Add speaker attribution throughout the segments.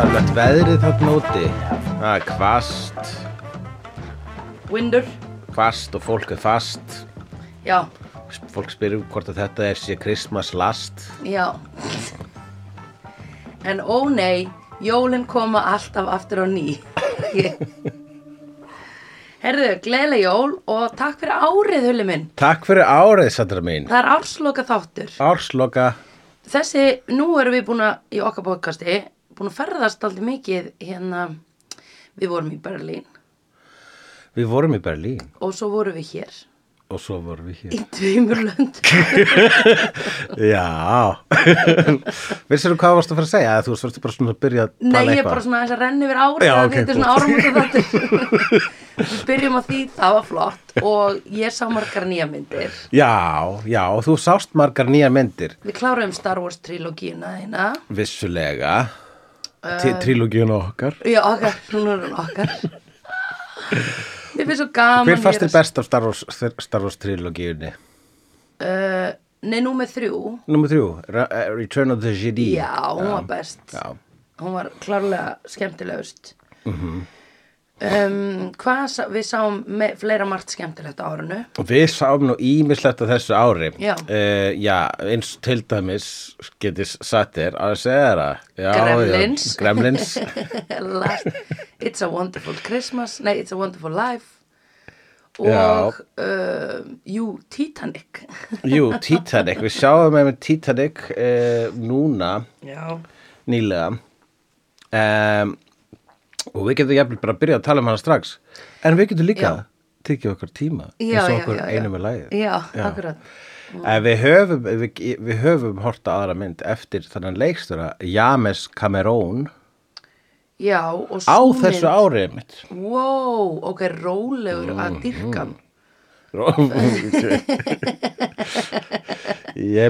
Speaker 1: veðrið þarna úti? Það er kvast,
Speaker 2: Windur,
Speaker 1: kvast og fólk er fast.
Speaker 2: já,
Speaker 1: Sp- Fólk spyrir hvort að þetta er sé Christmas last.
Speaker 2: já. En ó nei, jólin koma alltaf aftur á ný. Herðu, gleðileg jól og takk fyrir árið, hulli minn.
Speaker 1: Takk fyrir árið, Sandra mín.
Speaker 2: Það er ársloka þáttur.
Speaker 1: Ársloka,
Speaker 2: Þessi, nú erum við búin að, í okkar podcasti, búin að ferðast alltaf mikið hérna, við vorum í Berlín
Speaker 1: við vorum í Berlín
Speaker 2: og svo vorum við hér
Speaker 1: og svo vorum við hér.
Speaker 2: í tveimur lönd.
Speaker 1: Já. Vissirðu hvað varst að fara að segja? Eða Þú varst bara svona að byrja að tala
Speaker 2: Nei,
Speaker 1: eitthvað.
Speaker 2: ég er bara svona aðeins að renna yfir árið
Speaker 1: Já,
Speaker 2: að
Speaker 1: ok,
Speaker 2: þetta er svona áramóta þetta Við byrjum á því, það var flott og ég sá margar nýja myndir
Speaker 1: Já, já, og þú sást margar nýja myndir.
Speaker 2: Við kláruðum Star Wars trilógíuna hérna. þeina
Speaker 1: Vissulega.
Speaker 2: Eh.
Speaker 1: Uh, Trilógíun okkar.
Speaker 2: Já, okkar, núna er hún okkar Mér finnst svo gaman
Speaker 1: Hver fannst
Speaker 2: ég
Speaker 1: þér
Speaker 2: er að-
Speaker 1: best af Star Wars, Star Wars trilógíunni?
Speaker 2: Uh, Nei, nú með þrjú
Speaker 1: Númer þrjú, Ra- eh, Return of the Jedi.
Speaker 2: Já, hún var best
Speaker 1: Já.
Speaker 2: Hún var klárlega skemmtilegust
Speaker 1: Mhm.
Speaker 2: um, Hvað sá, við sáum me, fleira margt skemmtilegt á árinu
Speaker 1: Og Við sáum nú ímislegt á þessu ári.
Speaker 2: Já.
Speaker 1: Eh, já, eins til dæmis getið satt þér að segja þér það. Já,
Speaker 2: Gremlins.
Speaker 1: Já, gremlins.
Speaker 2: Last, it's a Wonderful Christmas Nei, It's a Wonderful Life
Speaker 1: Já.
Speaker 2: Og uh, Jú, Titanic
Speaker 1: Jú, Titanic. Við sjáum með Titanic eh, núna
Speaker 2: Já
Speaker 1: nýlega. Um, og við getum jafnvel bara að byrja að tala um hana strax. En við getum líka
Speaker 2: Já.
Speaker 1: tekið okkur tíma
Speaker 2: Já,
Speaker 1: eins
Speaker 2: já,
Speaker 1: og okkur
Speaker 2: já, já.
Speaker 1: einum er lagið.
Speaker 2: Já, akkurat
Speaker 1: En Eh, við höfum, við, við höfum horta aðra mynd eftir þannig leikstura James Cameron
Speaker 2: Já, og
Speaker 1: á Mhm.
Speaker 2: sú
Speaker 1: þessu
Speaker 2: mynd-
Speaker 1: árið mitt.
Speaker 2: Wow, ok, rólegur að dyrka hann
Speaker 1: Ég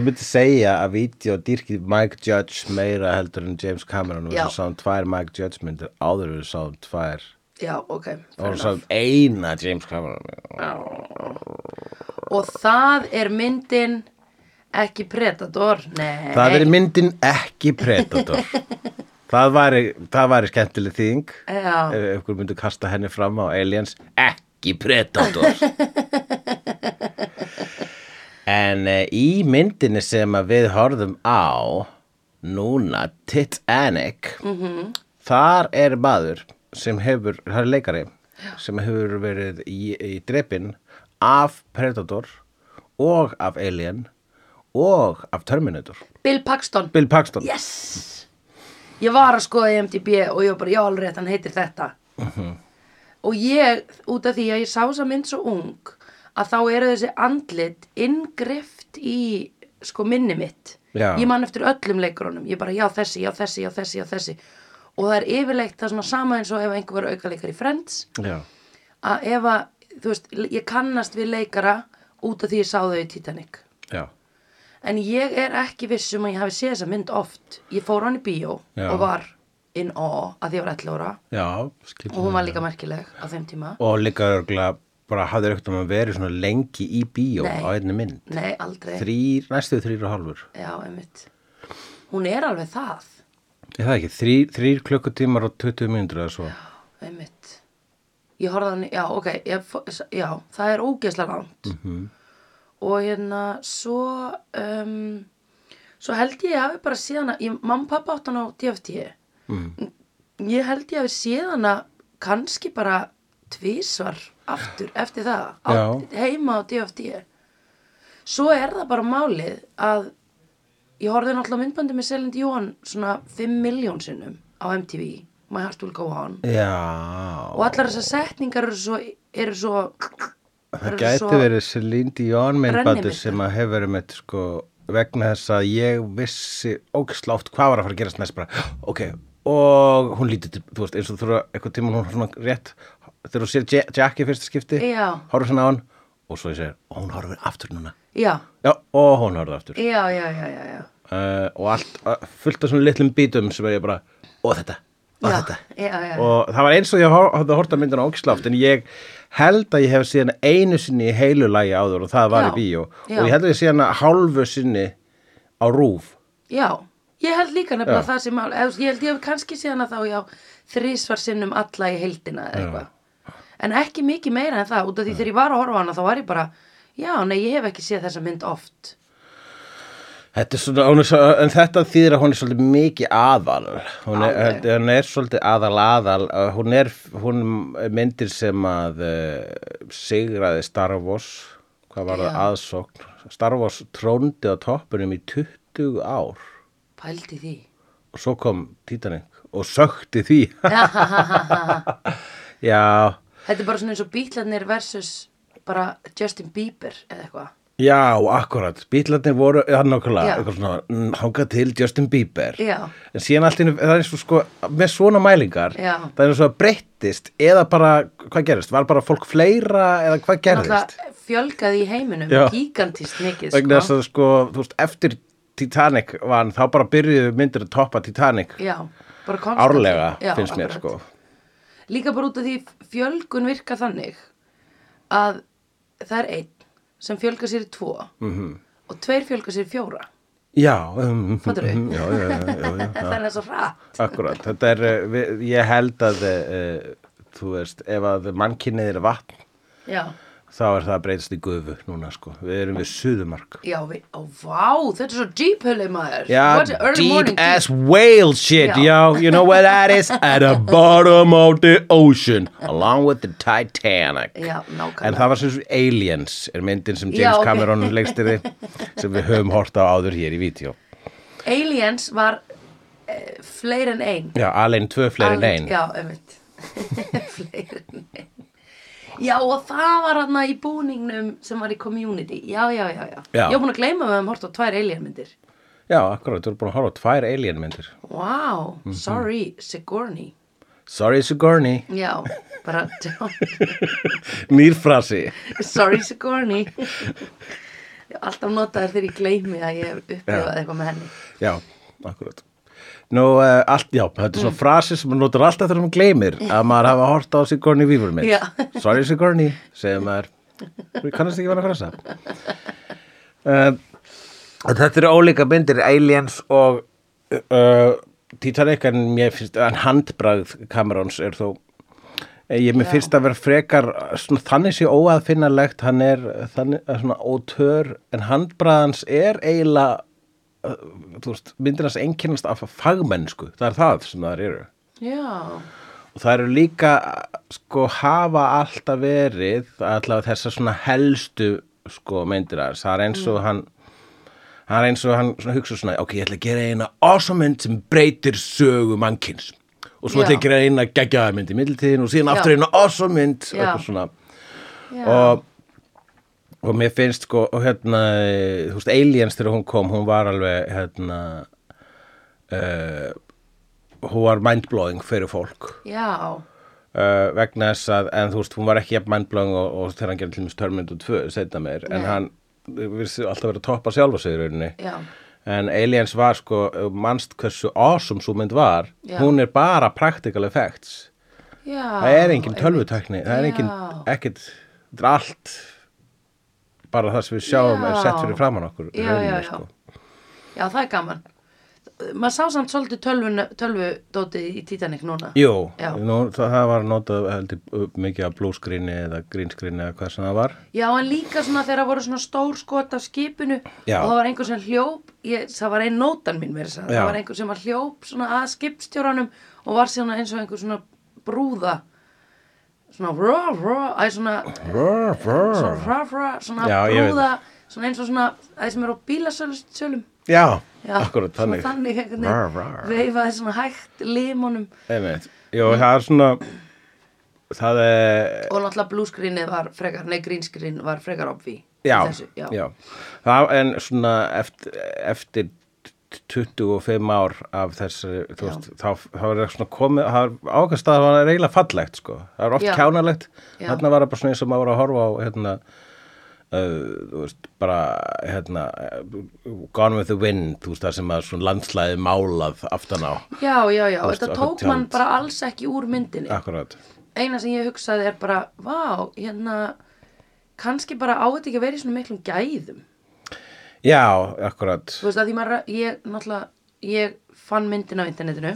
Speaker 1: myndi segja að vídeo dýrkið Mike Judge meira heldur en James Cameron og
Speaker 2: Já.
Speaker 1: við sáum tvær Mike Judge myndir áður en við sáum tvær
Speaker 2: Já, ok
Speaker 1: og
Speaker 2: fair
Speaker 1: við
Speaker 2: enough.
Speaker 1: sáum eina James Cameron
Speaker 2: Og það er myndin ekki Predator Nei
Speaker 1: Það er myndin ekki Predator Það væri, það væri skemmtileg þýðing
Speaker 2: Já.
Speaker 1: ef ykkur myndi kasta henni fram á Aliens ekki Predator En uh, í myndinni sem að við horfum á núna Titanic
Speaker 2: Mhm.
Speaker 1: -hmm. þar er maður sem hefur, það er leikari sem hefur verið í, í drepin af Predator og af Alien og af Terminator
Speaker 2: Bill Paxton
Speaker 1: Bill Paxton
Speaker 2: Yes Ég var að skoða E IMDb og ég var bara, já alveg rétt, hann heitir þetta Og ég, út af því að ég sá þessa mynd svo ung að þá eru þessi andlit inngrift í sko minni mitt
Speaker 1: Já.
Speaker 2: Ég man eftir öllum leikurunum Ég bara, já þessi, já þessi, já þessi, já þessi Og það er yfirleitt það er svona sama eins og ef einhver var aukaleikar í Friends
Speaker 1: Já.
Speaker 2: að ef að, þú veist, ég kannast við leikara út af því ég sá þau í Titanic
Speaker 1: Já.
Speaker 2: En ég er ekki viss um að ég hafi séð þessa mynd oft. Ég fór á hann í bíó
Speaker 1: Já.
Speaker 2: og var in awe að því ég var 11 ára
Speaker 1: Já, skilur.
Speaker 2: og hún var líka merkileg á þeim tíma.
Speaker 1: Mm. Og líka örgulega bara hafði ekkert um að vera svona lengi í bíó
Speaker 2: Nei.
Speaker 1: á einni mynd.
Speaker 2: Nei, aldrei.
Speaker 1: Þrýr, næstu þrýr og hálfur.
Speaker 2: Já, einmitt. Hún er alveg það,
Speaker 1: Er það ekki? Þrýr, þrýr klukkutímar og 20 mínútur eða svo.
Speaker 2: einmitt. Ég horfði á hann, já, ok, ég, fó- já, það er ógeðslega langt. Og hérna, svo, um, svo held ég að hafi bara séð hana, ég, mamma og pappa átt hana á DFT. Ég held ég hafi séð hana kannski bara tvísvar aftur eftir það, á,
Speaker 1: Já.
Speaker 2: heima á DFT. Svo er það bara málið að ég horfði náttúrulega á myndbandi með Selind Jón svona 5 miljón sinnum á MTV, My Heart Will Go On
Speaker 1: Já.
Speaker 2: og allar þessar setningar eru svo, eru svo
Speaker 1: það
Speaker 2: eru
Speaker 1: gæti
Speaker 2: svo-
Speaker 1: verið Celine Dion myndbandi
Speaker 2: Renniminna.
Speaker 1: sem að hefur verið með sko vegna þess að ég vissi ógisla oft hvað var að fara að gerast næst bara, "Oh, ok, og hún lítið, til- þú veist, eins og þú þurfa eitthvað tíma hún svona rétt, þegar þú sér Ja- Jack í fyrsta skipti,
Speaker 2: Já.
Speaker 1: horfður svona á hann og svo ég segir, og hún horfður aftur núna
Speaker 2: já,
Speaker 1: Já, og hún horfði aftur
Speaker 2: já, já, já, já, já.
Speaker 1: uh, og allt, uh, fullt af svona litlum bítum sem er ég bara, og þetta og
Speaker 2: Já,
Speaker 1: þetta
Speaker 2: já, já.
Speaker 1: og það var eins og ég hor- hafði horft að myndina ógisláft en ég held að ég hef síðan einu sinni í heilu lagi áður og það var
Speaker 2: Já,
Speaker 1: í bíó
Speaker 2: já.
Speaker 1: og ég held að ég síðan að hálfu sinni á rúf
Speaker 2: já, Ég held líka nefnilega
Speaker 1: Já.
Speaker 2: það sem mál, eða, þú veist, ég held ég hef kannski síðan að þá já þrísvar sinnum alla í heildina eða eitthvað. En ekki mikið meira en það, út af því þegar ég var að horfa á hana þá var ég bara, já, nei, ég hef ekki séð þessa mynd oft.
Speaker 1: Þetta er svona, hún er svo, en þetta þýðir að hún er svolítið mikið aðal, hún er, eh,
Speaker 2: Alveg.
Speaker 1: hún er svolítið aðal aðal, Uh, hún er, hún er myndir sem að uh, sigraði Star Wars, hvað var það
Speaker 2: Já.
Speaker 1: aðsókn, Star Wars tróndi á toppunum í 20 ár
Speaker 2: Pældi því.
Speaker 1: og svo kom Titanic og sökti því,
Speaker 2: Þetta
Speaker 1: já,
Speaker 2: er bara svona eins og bílarnir versus bara Justin Bieber eða eitthvað.
Speaker 1: já, akkurat, bílarnir voru, já, nákvæmlega,
Speaker 2: Já.
Speaker 1: eitthvað svona, hangað til Justin Bieber,
Speaker 2: Já,
Speaker 1: en síðan allt innu, það er eins og sko með svona mælingar
Speaker 2: Já.
Speaker 1: það er eins og að breyttist eða bara, hvað gerist, var bara fólk fleira eða hvað gerist
Speaker 2: náttúrulega fjölgaði í heiminum
Speaker 1: Já.
Speaker 2: gigantist mikið,
Speaker 1: vegna þess
Speaker 2: sko.
Speaker 1: að sko, þú veist, eftir Titanic vann, þá bara byrjuðu myndir að toppa Titanic
Speaker 2: Já, bara konstantið.
Speaker 1: árlega, finnst mér sko
Speaker 2: Líka bara út af því fjölgun virkar þannig að það er einn sem fjölgar sér í tvo -hmm.
Speaker 1: Mhm.
Speaker 2: og tveir fjölgar sér í fjóra.
Speaker 1: já, um,
Speaker 2: Fattarðu?
Speaker 1: um, já, já, já, já, já.
Speaker 2: Þannig er svo rætt.
Speaker 1: Akkurat, þetta er, eh, við, ég held að uh, þú veist, ef að mannkynnið er vatn,
Speaker 2: Já,
Speaker 1: þá er það að breytast í gufu núna sko, við erum við suðumark
Speaker 2: já, við, ó, vá, þetta er svo deep hulið maður.
Speaker 1: Já,
Speaker 2: What a early
Speaker 1: deep
Speaker 2: morning
Speaker 1: as whale shit,
Speaker 2: Já.
Speaker 1: yo. You know where that is? At the bottom of the ocean, along with the Titanic.
Speaker 2: Já, nákvæmlega.
Speaker 1: En það var sem svo Aliens, er myndin sem James
Speaker 2: Já, ok.
Speaker 1: Cameron leikstýrði, sem við höfum hort á áður hér í vídeo.
Speaker 2: Aliens var uh, fleiri en ein.
Speaker 1: Já, Alien 2 fleiri en
Speaker 2: Alveg-
Speaker 1: ein.
Speaker 2: Já, einmitt. fleiri en ein. Já, og það var hann í búningnum sem var í community. Já, já, já, já.
Speaker 1: Já.
Speaker 2: Ég var búin að gleyma að við höfum hort á tvær alien myndir.
Speaker 1: Já, akkurat, þú eru búin að horfa á tvær Alien myndir.
Speaker 2: Wow,
Speaker 1: Mhm.
Speaker 2: sorry, Sigourney
Speaker 1: Sorry Sigourney,
Speaker 2: Já, bara don't-
Speaker 1: nýrfrasi.
Speaker 2: Sorry Sigourney Ég hef Alltaf nota þér þegar ég gleymi að ég hef upplifað eitthvað með henni
Speaker 1: Já, akkurat. Nú, uh, allt, já, þetta er svona frasi sem maður notar alltaf þegar maður gleymir að maður hafa hort á Sigourney Weaver mynd.
Speaker 2: Já.
Speaker 1: Sorry Sigourney, segir maður. Við kannast ekki vera frasa. Uh, þetta eru ólíka myndir, Aliens og uh, Titanic, en mér finnst, en handbragð Camerons er þó eh, Ég mér
Speaker 2: Já.
Speaker 1: finnst að vera frekar svona, þannig sé óaðfinnalegt hann er þannig, að svona ótör en handbraðans er eiginlega uh, þú veist, myndir hans einkennast af fagmennsku, það er það sem það eru
Speaker 2: Já,
Speaker 1: og það eru líka sko hafa alltaf verið allavega þessar svona helstu sko myndir hans, það er eins
Speaker 2: Mm.
Speaker 1: og hann það er eins og hann svona hugsa svona ok, ég ætla að gera eina awesome mynd sem breytir sögu mannkins og svo ætla ég að
Speaker 2: Já.
Speaker 1: gera eina geggjaða mynd í middiltíðin og síðan
Speaker 2: Já.
Speaker 1: aftur eina awesome mynd og
Speaker 2: Já.
Speaker 1: eitthvað svona
Speaker 2: já,
Speaker 1: og, og mér finnst sko, og hérna, eh, þú veist, Aliens þegar hún kom, hún var alveg hérna uh, hún var mindblowing fyrir fólk
Speaker 2: já,
Speaker 1: uh, vegna þess að, en þú veist, hún var ekki jafn mindblowing og, og þegar hann gerði til mjög törmynd og tvö, setna meir,
Speaker 2: Nei.
Speaker 1: en hann virðist alltaf verið að toppa sjálfa sig í rauninni
Speaker 2: já,
Speaker 1: en Aliens var sko, ef þú manst hversu awesome svo mynd var,
Speaker 2: Já.
Speaker 1: hún er bara practical effects
Speaker 2: já
Speaker 1: það er engin tölvutekni það er engin,
Speaker 2: Já.
Speaker 1: ekkit þetta er allt bara það sem við sjáum er
Speaker 2: Já.
Speaker 1: sett fyrir framann okkur í
Speaker 2: Já,
Speaker 1: rauninni,
Speaker 2: já, já.
Speaker 1: sko.
Speaker 2: Já, það er gaman Maður sá samt svolítið tölvun, tölvudótið í Titanic núna
Speaker 1: Jú,
Speaker 2: Já.
Speaker 1: nú, það, það var notað heldur, mikið af blúskrinni eða grínskrinni eða hvað sem það var
Speaker 2: Já, en líka svona þegar það voru svona stór skot af skipinu
Speaker 1: Já.
Speaker 2: og það var einhver sem hljóp, ég, það var ein nótan mín mér þess að,
Speaker 1: Já.
Speaker 2: það var einhver sem að hljóp svona að skipstjóranum og var svona eins og einhver svona brúða svona rá, rá, æ, svona
Speaker 1: Rör,
Speaker 2: svona
Speaker 1: rör.
Speaker 2: rá, rá, svona
Speaker 1: Já, ég veit.
Speaker 2: brúða svona eins og svona, það sem er á bílasölum
Speaker 1: Já,
Speaker 2: Já,
Speaker 1: akkurat þannig
Speaker 2: svona þannig einhvern
Speaker 1: Rá,
Speaker 2: veginn
Speaker 1: rá.
Speaker 2: veifaði svona hægt limunum
Speaker 1: Einmitt. Jú, það er svona það er
Speaker 2: og náttúrulega blúskrínið var frekar, nei grínskrinn var frekar obvi
Speaker 1: já,
Speaker 2: þessu, já,
Speaker 1: já. Það, en svona eftir, eftir 25 ár af þessari, þú
Speaker 2: Já.
Speaker 1: veist, þá, þá er það svona komið, það er ákast að það var eiginlega fallegt, sko, það er oft
Speaker 2: Já.
Speaker 1: kjánalegt
Speaker 2: Já.
Speaker 1: þarna var það bara svona eins og maður var að horfa á hérna, uh, þú veist, bara hérna, uh, Gone with the Wind, þú veist, það sem að svona landslæði málað aftan á,
Speaker 2: Já, já, já,
Speaker 1: Þú veist,
Speaker 2: þetta
Speaker 1: okkur
Speaker 2: tók mann
Speaker 1: tjald.
Speaker 2: bara alls ekki úr myndinni.
Speaker 1: akkurat
Speaker 2: Eina sem ég hugsaði er bara, vá, hérna, kannski bara á þetta ekki að vera í svona miklum gæðum.
Speaker 1: Já, akkurat
Speaker 2: Þú veist að því maður, ég náttúrulega ég fann myndin á internetinu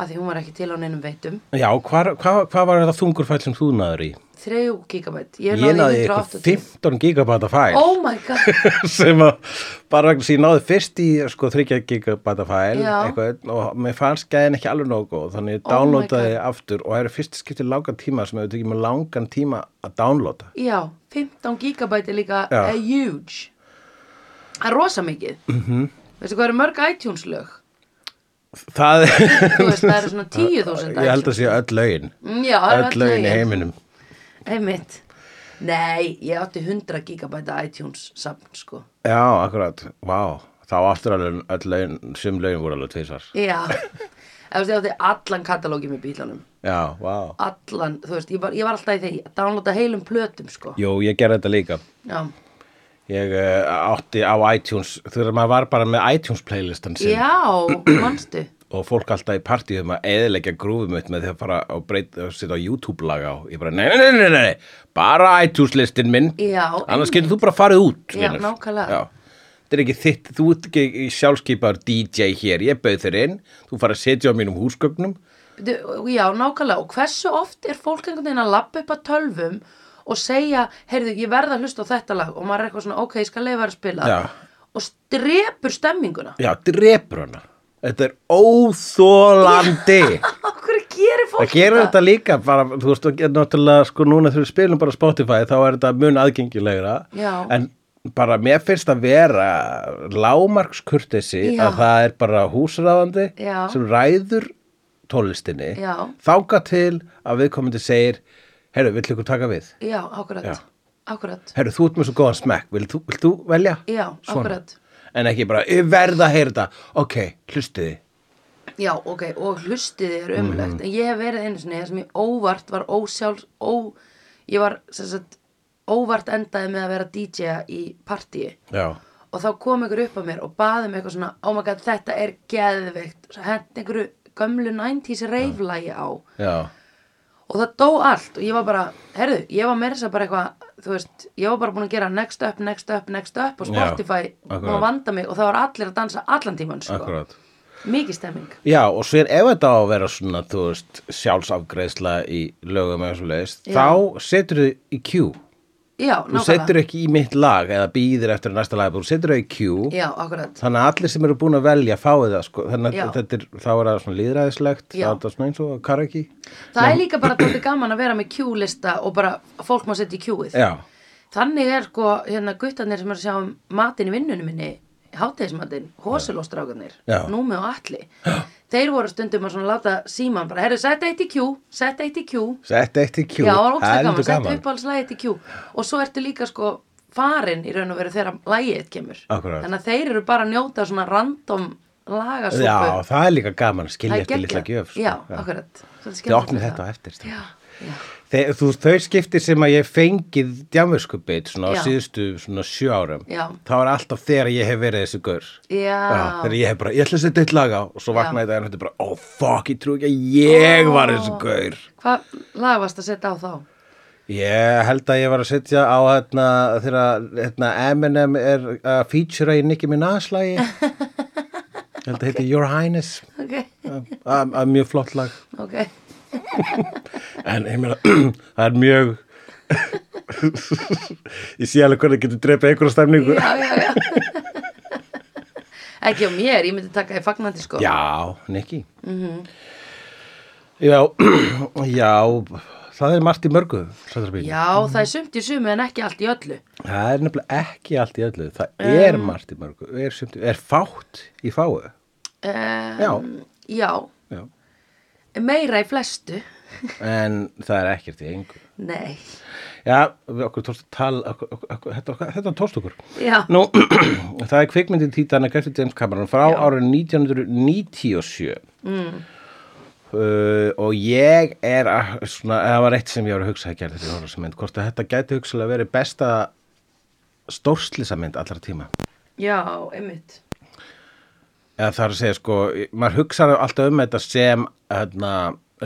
Speaker 2: að því hún var ekki til á neinum veitum
Speaker 1: Já, hvað hva, hva var þetta þungurfæll sem þú náður í?
Speaker 2: 3 gigabæt ég
Speaker 1: Ég
Speaker 2: náði
Speaker 1: náði eitthvað
Speaker 2: 180
Speaker 1: 15 gigabata fæl
Speaker 2: oh my god
Speaker 1: sem að bara vegna sem ég náði fyrst í sko 3 gigabata fæl
Speaker 2: Já.
Speaker 1: eitthvað, og mér fannst gæðin ekki alveg nógu góð þannig ég
Speaker 2: Oh my
Speaker 1: downloadaði aftur og það eru fyrst skipti langan tíma sem hefur tekið mér langan tíma að downloada
Speaker 2: já, 15 gigabæt er líka
Speaker 1: Já.
Speaker 2: a huge það er rosa mikið -hmm.
Speaker 1: Mhm.
Speaker 2: veistu hvað eru mörg iTunes lög
Speaker 1: Það
Speaker 2: þú veist það eru svona 10.000
Speaker 1: ég held að
Speaker 2: iTunes
Speaker 1: sé öll lögin
Speaker 2: Mm, já, það eru
Speaker 1: öll lögin í
Speaker 2: lögin.
Speaker 1: heiminum
Speaker 2: Einmitt. Nei, ég átti 100 gigabæta iTunes samt, sko.
Speaker 1: Já, akkurat, vá þá aftur alveg öll lögin, sum lögin voru alveg tvisvar
Speaker 2: Já. Þú veist, ég átti allan katalógi með bílanum.
Speaker 1: Já, vá
Speaker 2: Allan, þú veist, ég var, ég var alltaf í þeir, downloada heilum plötum, sko.
Speaker 1: Jú, ég gerði þetta líka
Speaker 2: Já.
Speaker 1: Ég uh, átti á iTunes þegar maður var bara með iTunes playlistan sinn
Speaker 2: Já, manstu.
Speaker 1: og fólk alltaf í partíum um að eðilegja grúfum mitt með því að fara og breyta og setja á YouTube lag á ég bara, nei, nei, nei, nei, nei, bara iTunes listin minn
Speaker 2: Já,
Speaker 1: annars getur þú bara farið út
Speaker 2: Já,
Speaker 1: vinur.
Speaker 2: nákvæmlega.
Speaker 1: Já. þetta er ekki þitt, þú ert ekki sjálfskeipaður DJ hér, ég bauð þér inn þú farið að setja á mínum húsgögnum
Speaker 2: Bíddu, Já, nákvæmlega. Og hversu oft er fólk einhvern veginn að lappa upp að tölvum og segja, heyrðu, ég verð að hlusta á þetta lag og maður er eitthvað svona, ok, ég skal leifa að spila.
Speaker 1: Já.
Speaker 2: Og strepur stemminguna.
Speaker 1: já, drepur hana þetta er óþólandi
Speaker 2: Okkur gerir fólk
Speaker 1: Það gerir þetta líka bara, þú veist, og náttúrulega sko núna þegar við spilum bara Spotify þá er þetta mun aðgengilegra
Speaker 2: Já.
Speaker 1: en bara mér finnst að vera lámarkskurtesi
Speaker 2: Já.
Speaker 1: að það er bara húsráðandi
Speaker 2: Já.
Speaker 1: sem ræður tónlistinni
Speaker 2: Já.
Speaker 1: þáka til að viðkomandi segir herru, vill ykkur taka við?
Speaker 2: Já, akkurat.
Speaker 1: Já.
Speaker 2: Akkurat.
Speaker 1: Herru, þú ert með svo góðan smekk, vill þú, vill þú velja?
Speaker 2: Já, akkurat.
Speaker 1: En ekki bara, ég verð að heyra þetta, ok, hlustiði.
Speaker 2: Já, ok, og hlustið er umlegt
Speaker 1: Mhm.
Speaker 2: en ég hef verið einu sinni þar sem ég óvart var ósjálf, ó ég var, sem sagt, óvart endaði með að vera DJ-a í partíi
Speaker 1: Já,
Speaker 2: og þá kom ykkur upp að mér og baði mig eitthvað svona, oh my god, þetta er geðveikt, svo hent einhverju gömlu 90s reiflægi á
Speaker 1: já,
Speaker 2: og það dó allt og ég var bara, herðu, ég var meira þess að bara eitthvað, þú veist, ég var bara búin að gera next up, next up, next up og
Speaker 1: Já,
Speaker 2: Spotify
Speaker 1: akkurat.
Speaker 2: og vanda mig og það var allir að dansa allan tíman, sko,
Speaker 1: akkurat.
Speaker 2: mikið stemming
Speaker 1: Já, og svo ef þetta á að vera svona, þú veist, sjálfsafgreðsla í lögum eða svo leiðist,
Speaker 2: Já.
Speaker 1: þá setur þau í Q.
Speaker 2: Já,
Speaker 1: Þú setur ekki í mitt lag eða býðir eftir næsta lag, þú setur þau í Q.
Speaker 2: Já, akkurat.
Speaker 1: Þannig að allir sem eru búin að velja fái það, sko, þannig að
Speaker 2: Já.
Speaker 1: þetta er, þá er það svona líðræðislegt, þá
Speaker 2: Já.
Speaker 1: er það svona eins og karaki.
Speaker 2: Það er líka bara tóttið gaman að vera með Q-lista og bara fólk má setja í Q-ið.
Speaker 1: Já,
Speaker 2: Þannig er sko, hérna, guttarnir sem er að sjá um matinn í vinnunum minni, hátæðismatinn, hósulóstrákarnir,
Speaker 1: Já.
Speaker 2: númi og alli. Þeir voru stundum að svona láta síman bara, herru, sett eitt í Q, sett eitt í Q.
Speaker 1: sett eitt í Q,
Speaker 2: Já, það var ógstlega
Speaker 1: heldur
Speaker 2: gaman, sett uppáhaldslagið í Q. Og svo ertu líka sko farin í raun og veru þegar lagið kemur.
Speaker 1: Akkurat.
Speaker 2: Þannig að þeir eru bara að njóta svona random lagasúpu.
Speaker 1: Já, það er líka gaman að skilja eftir litla
Speaker 2: geggjað.
Speaker 1: gjöf. sko.
Speaker 2: Já, akkurat.
Speaker 1: Þið opnum þetta á eftir. sko. strákar.
Speaker 2: Já, já.
Speaker 1: Þe, þú, þau skipti sem að ég hef fengið djámverskupið svona á
Speaker 2: Já.
Speaker 1: síðustu svona sjö árum
Speaker 2: Já.
Speaker 1: þá er alltaf þegar ég hef verið þessi gaur
Speaker 2: Já,
Speaker 1: þegar ég hef bara, ég ætla að setja eitt lag á og svo vaknaði þetta og þetta bara, oh fuck, ég trú ekki að ég var þessi gaur
Speaker 2: hvað lag varst að setja á þá?
Speaker 1: ég held að ég var að setja á hérna, þegar hérna, Eminem er að featura í Nicki Minaj lagi ég held að heiti Your Highness
Speaker 2: Ok,
Speaker 1: að að mjög flott lag
Speaker 2: ok,
Speaker 1: En ég meina, það er mjög Ég sé alveg hvernig getur dreipið einhverja stemningu
Speaker 2: já, já, já Ekki á mér, ég myndi taka í fagnandi sko
Speaker 1: Já, Nicky Já, já Það er margt í mörgu Sandra Já.
Speaker 2: Já, það er sumt í sumu en ekki allt í öllu
Speaker 1: Það er nefnilega ekki allt í öllu Það
Speaker 2: Um.
Speaker 1: er margt í mörgu er, sumt, er fátt í fáu
Speaker 2: um, Já
Speaker 1: já.
Speaker 2: meira í flestu
Speaker 1: En það er ekkert í engu
Speaker 2: Nei,
Speaker 1: Já, við okkur tókst að tala okkur, okkur, okkur, þetta, okkur, þetta tókst okkur
Speaker 2: já,
Speaker 1: Nú, það er kvikmyndin Titanic eftir James Cameron frá árið 1997 mm. uh, og ég er að, svona, það var eitt sem ég var að hugsa að gera þetta horfa sem mynd, hvort að þetta gæti hugsalega verið besta stórslisamynd allra tíma
Speaker 2: já, einmitt
Speaker 1: eða það er að segja sko, maður hugsaði alltaf um þetta sem hérna,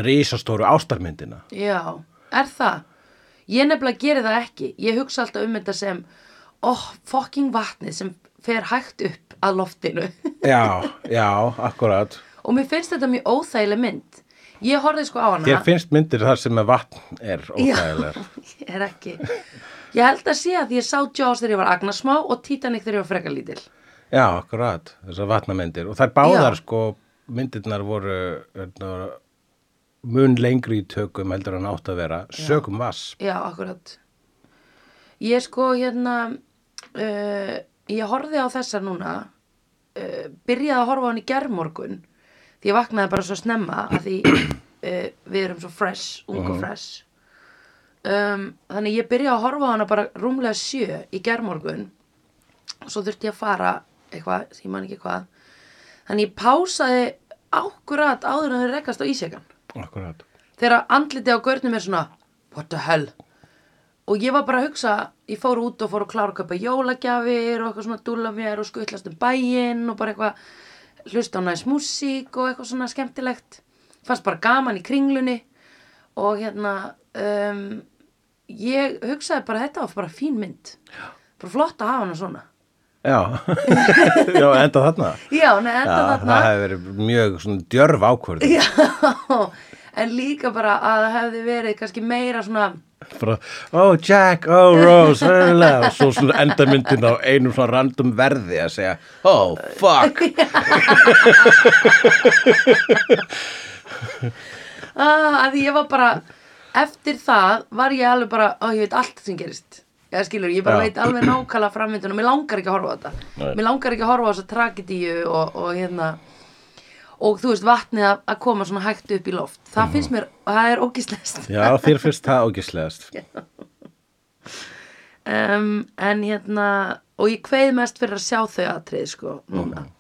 Speaker 1: risastóru ástarmyndina
Speaker 2: Já, er það? Ég nefnilega geri það ekki Ég hugsa alltaf um þetta sem oh, fucking vatnið sem fer hægt upp að loftinu
Speaker 1: Já, já, akkurat
Speaker 2: og mér finnst þetta mjög óþægileg mynd ég horfði sko á hana
Speaker 1: Þér finnst myndir þar sem að vatn er óþægilegar
Speaker 2: Já, ég er ekki ég held að sé að ég sá Jaws þegar ég var agnarsmá og Titanic þegar ég var frekar lítil
Speaker 1: Já, akkurat, þessar vatnamyndir og þær báðar
Speaker 2: Já.
Speaker 1: sko, myndirnar voru hérna, mun lengri í tökum heldur en átt að vera sögum vass
Speaker 2: Já, akkurat. Ég sko hérna, uh, ég horfði á þessa núna, uh, byrjaði að horfa á hann í germorgun, því ég vaknaði bara svo snemma að því uh, við erum svo fresh, ung og fresh. Um, þannig ég byrjaði að horfa á hana bara rúmlega sjö í germorgun og svo þurfti ég að fara eitthvað, ég man ekki hvað. Þannig ég pásaði ákkurat áður en þau rekast á ísjakan
Speaker 1: Akkurat
Speaker 2: þegar andliti á görnum er svona what the hell og ég var bara að hugsa, ég fór út og fór að klára að kaupa jólagjafir og eitthvað svona dúla mér og skuttlast um bæinn og bara eitthvað hlusta á næs músík og eitthvað svona skemmtilegt fannst bara gaman í kringlunni og hérna um, ég hugsaði bara þetta var bara fín mynd bara flott að hafa hana svona
Speaker 1: Já, já, enda þarna
Speaker 2: já, nei, enda
Speaker 1: Já,
Speaker 2: þarna
Speaker 1: það hefði verið mjög svona djörf ákvörð
Speaker 2: já, en líka bara að það hefði verið kannski meira svona
Speaker 1: bara, oh Jack, oh Rose og svo svona enda myndin á einum svona random verði að segja oh fuck
Speaker 2: ah, að því ég var bara eftir það var ég alveg bara ó, ég veit allt sem gerist eða skilur, ég bara
Speaker 1: Já.
Speaker 2: veit alveg nákvæmlega framvindun og mér langar ekki að horfa á þetta
Speaker 1: Nei.
Speaker 2: mér langar ekki að horfa á þessa tragedíu og, og hérna og þú veist vatnið að, að koma svona hægt upp í loft
Speaker 1: Mhm.
Speaker 2: það finnst mér, það er ógislest
Speaker 1: Já, þér finnst það ógislegast
Speaker 2: um, en hérna og ég kveið mest fyrir að sjá þau aðtrið sko, núna mm.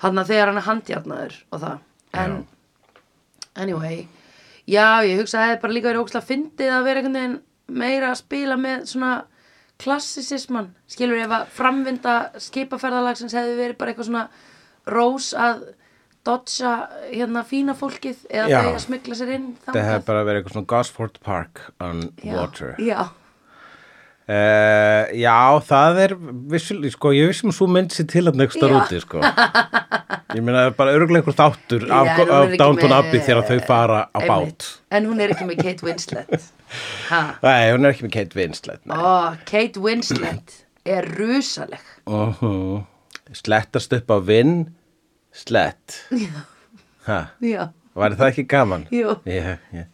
Speaker 2: þannig að þegar hann er handjarnaður og það en
Speaker 1: Já.
Speaker 2: anyway já, ég hugsa að það hefði bara líka verið ógslag fyndið að vera einhvern veginn meira að spila með svona klassisisman skilur ef að framvinda skipaferðalagsins hefði verið bara eitthvað svona rós að dodja hérna fína fólkið eða
Speaker 1: Já.
Speaker 2: þau að smygla sér inn
Speaker 1: Þetta hefði bara verið eitthvað svona Gosford Park on water
Speaker 2: já,
Speaker 1: Uh, já, það er vissulega, sko, ég vissum svo mynd sér til að nefnst að
Speaker 2: Já.
Speaker 1: rúti, sko Ég meina, bara öruglega einhver þáttur af,
Speaker 2: Já, en hún er
Speaker 1: af
Speaker 2: ekki
Speaker 1: Downton
Speaker 2: með-
Speaker 1: Abbey þegar þau fara á bát
Speaker 2: einmitt. en hún er ekki með Kate Winslet ha,
Speaker 1: Nei, hún er ekki með Kate Winslet nei.
Speaker 2: ó, Kate Winslet er rusaleg
Speaker 1: uh -huh. Slettast upp á vinn Slett ha,
Speaker 2: já,
Speaker 1: Var það ekki gaman?
Speaker 2: Jú.
Speaker 1: yeah, yeah.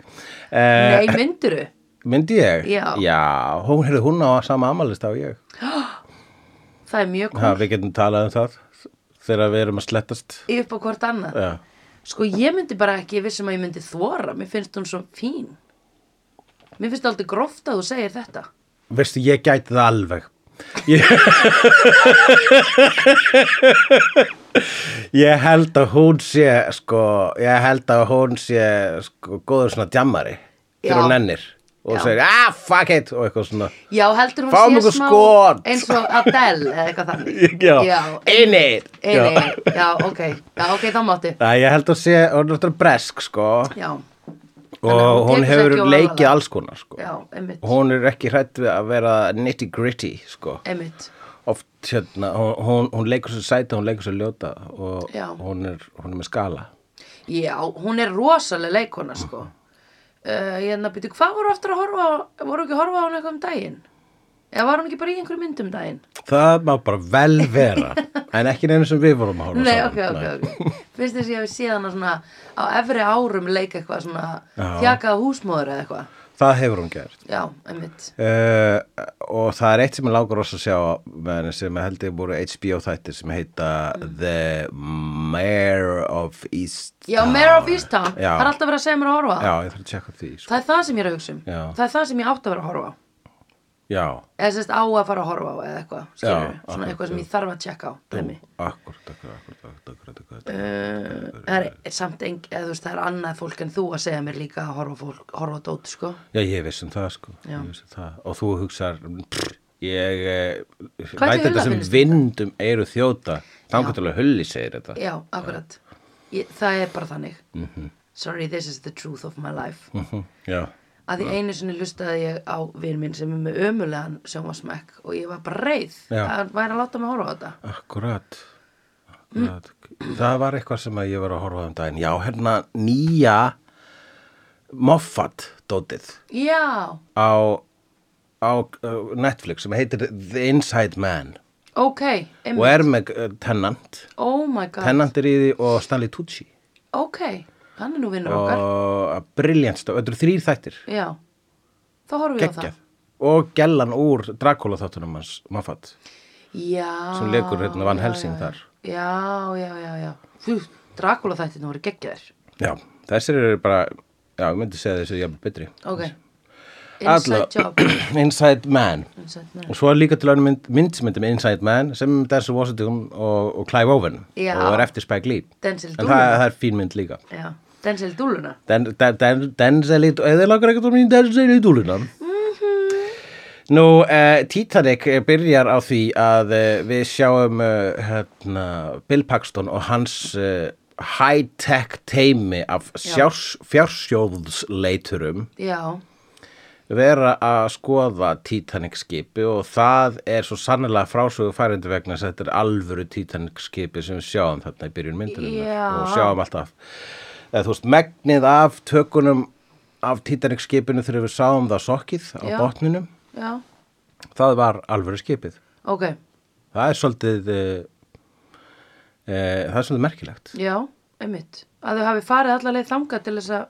Speaker 1: Uh,
Speaker 2: nei mynduru
Speaker 1: Myndi ég?
Speaker 2: Já.
Speaker 1: Já, hún, heyrðu, hún á sama amalist á ég
Speaker 2: það er mjög
Speaker 1: ha,
Speaker 2: cool
Speaker 1: Við getum talað um það þegar við erum að slettast
Speaker 2: upp á hvort annað
Speaker 1: Já,
Speaker 2: Sko ég myndi bara ekki vissum að ég myndi þvora Mér finnst hún svo fín Mér finnst það aldrei gróft að þú segir þetta
Speaker 1: Veistu, ég gæti það alveg Ég, ég held að hún sé sko, ég held að hún sé sko, góður svona djammari
Speaker 2: Já.
Speaker 1: þegar hún ennir og
Speaker 2: Já.
Speaker 1: segir, ah, fuck it og eitthvað svona
Speaker 2: Já, heldur hún
Speaker 1: Fáum
Speaker 2: sé
Speaker 1: okkur
Speaker 2: smá
Speaker 1: skot.
Speaker 2: eins og Adele eða eitthvað þannig
Speaker 1: Já,
Speaker 2: já,
Speaker 1: in it
Speaker 2: já.
Speaker 1: Já.
Speaker 2: já ok, já, ok, þá mátti
Speaker 1: Æ, ég held að sé, hún er náttúrulega bresk sko,
Speaker 2: Já, Þannig að
Speaker 1: og
Speaker 2: hún
Speaker 1: hún
Speaker 2: tekur sig
Speaker 1: hefur
Speaker 2: ekki of
Speaker 1: leikið
Speaker 2: alvarlega.
Speaker 1: alls konar sko.
Speaker 2: já, einmitt,
Speaker 1: hún er ekki hrætt við að vera nitty gritty sko.
Speaker 2: einmitt
Speaker 1: oft hérna, hún, hún, hún leikur sér sæta, hún leikur sér ljóta og
Speaker 2: Já.
Speaker 1: hún er, hún er með skala.
Speaker 2: Já, hún er rosaleg leikona sko uh, Hérna, býtu, hvað voru aftur að horfa á Voru ekki að horfa á hún eitthvað um daginn? Eða var hún ekki bara í einhverjum myndum um daginn?
Speaker 1: Það má bara vel vera, en ekki neina sem við vorum að horfa
Speaker 2: Nei, ok,
Speaker 1: saman.
Speaker 2: ok, ok. Finnst þess að ég hef séð hana svona á efri árum leika eitthvað svona
Speaker 1: Já.
Speaker 2: þjakaða húsmóður eða eitthvað.
Speaker 1: Það hefur hún gert.
Speaker 2: Já, einmitt.
Speaker 1: Uh, og það er eitt sem ég langar rosa að sjá með henni sem ég held ég voru HBO þættir sem heita
Speaker 2: Mm.
Speaker 1: The Mayor of East
Speaker 2: Já, Mare of Easttown,
Speaker 1: Já.
Speaker 2: það er alltaf verið að segja mér að horfa á.
Speaker 1: Já, ég þarf að tjekka því sko.
Speaker 2: Það er það sem ég er að hugsa um.
Speaker 1: Já.
Speaker 2: Það er það sem ég átt að vera að horfa á.
Speaker 1: Já,
Speaker 2: Eða sérst á að fara að horfa á eða eitthvað, skilur
Speaker 1: Já,
Speaker 2: Svona
Speaker 1: akkurat,
Speaker 2: eitthvað sem ég þarf að tjekka á, dæmi.
Speaker 1: akkurat, akkurat, akkurat, akkurat, akkurat, akkurat. Eh,
Speaker 2: Uh, það er- er samt eng, eða þú veist, það er annað fólk en þú að segja mér líka að horfa á fólk, horfa á dót, sko.
Speaker 1: Já, ég viss um það sko Ég viss um það. og þú hugsar pff, ég eh,
Speaker 2: Hvað ætli
Speaker 1: læt þetta
Speaker 2: Hulla
Speaker 1: sem
Speaker 2: finnst?
Speaker 1: vindum eiru þjóta þangatil að hulli segir þetta
Speaker 2: Já, akkurat. Ég, það er bara þannig. Sorry, this is the truth of my life.
Speaker 1: Mhm, Já,
Speaker 2: að því einu sinni hlustaði ég á vin minn sem er með ömulegan sjónvarsmekk og ég var bara reið
Speaker 1: Já.
Speaker 2: að hann væri að láta mig horfa á þetta
Speaker 1: Akkurat, akkurat. Það var eitthvað sem að ég var að horfa á um daginn. Já, hérna nýja Moffat dótið
Speaker 2: Já,
Speaker 1: á, á uh, Netflix sem heitir The Inside Man
Speaker 2: ok,
Speaker 1: og
Speaker 2: einmitt,
Speaker 1: er með uh, Tennant.
Speaker 2: oh my god,
Speaker 1: Tennant er í því og Stanley Tucci
Speaker 2: ok, hann er nú vinnur okkar,
Speaker 1: og briljant stöf, þetta eru þrýr þættir,
Speaker 2: já, þá horfum við á
Speaker 1: geggjað.
Speaker 2: það.
Speaker 1: Og gellan úr Dracula þáttunum hans, Moffat.
Speaker 2: Já.
Speaker 1: Sem leikur hérna Van
Speaker 2: já,
Speaker 1: Helsing
Speaker 2: já,
Speaker 1: þar.
Speaker 2: Já, já, já, já. Þú, Dracula þættinu voru geggjaðir.
Speaker 1: Já, þessir eru bara, já, ég myndi segja þessu jafn betri.
Speaker 2: Ok. Inside
Speaker 1: Alla-
Speaker 2: job.
Speaker 1: Inside Man.
Speaker 2: Inside man.
Speaker 1: Og svo er líka til önnum mynd, mynd sem heitir Inside Man sem er Denzel Washington og, og Clive Owen
Speaker 2: Já.
Speaker 1: og er eftir Spike Lee.
Speaker 2: Denzel
Speaker 1: En það,
Speaker 2: Dúluna.
Speaker 1: það er fín mynd líka.
Speaker 2: Já. Denzel Dúluna.
Speaker 1: Den, den, den, Denzel í dúluna. Eða langar ekkert um í Denzel í dúluna. Nú, uh, Titanic eh, byrjar á því að uh, við sjáum uh, hérna, Bill Paxton og hans uh, high-tech teimi af sjárs, fjársjóðsleiturum
Speaker 2: Já.
Speaker 1: vera að skoða Titanic skipi og það er svo sannlega frásögu færindi vegna þess að þetta er alvöru Titanic skipi sem við sjáum þarna í byrjun
Speaker 2: Já.
Speaker 1: myndarinnar og sjáum alltaf eða þú veist, megnið af tökunum af Titanic skipinu þegar við sáum það sokkið á
Speaker 2: Já.
Speaker 1: botninum
Speaker 2: Já.
Speaker 1: það var alvöru skipið
Speaker 2: Ok.
Speaker 1: það er svolítið e, e, það er svolítið merkilegt
Speaker 2: Já. Einmitt. Að þau hafi farið allar leið þangað til þess að...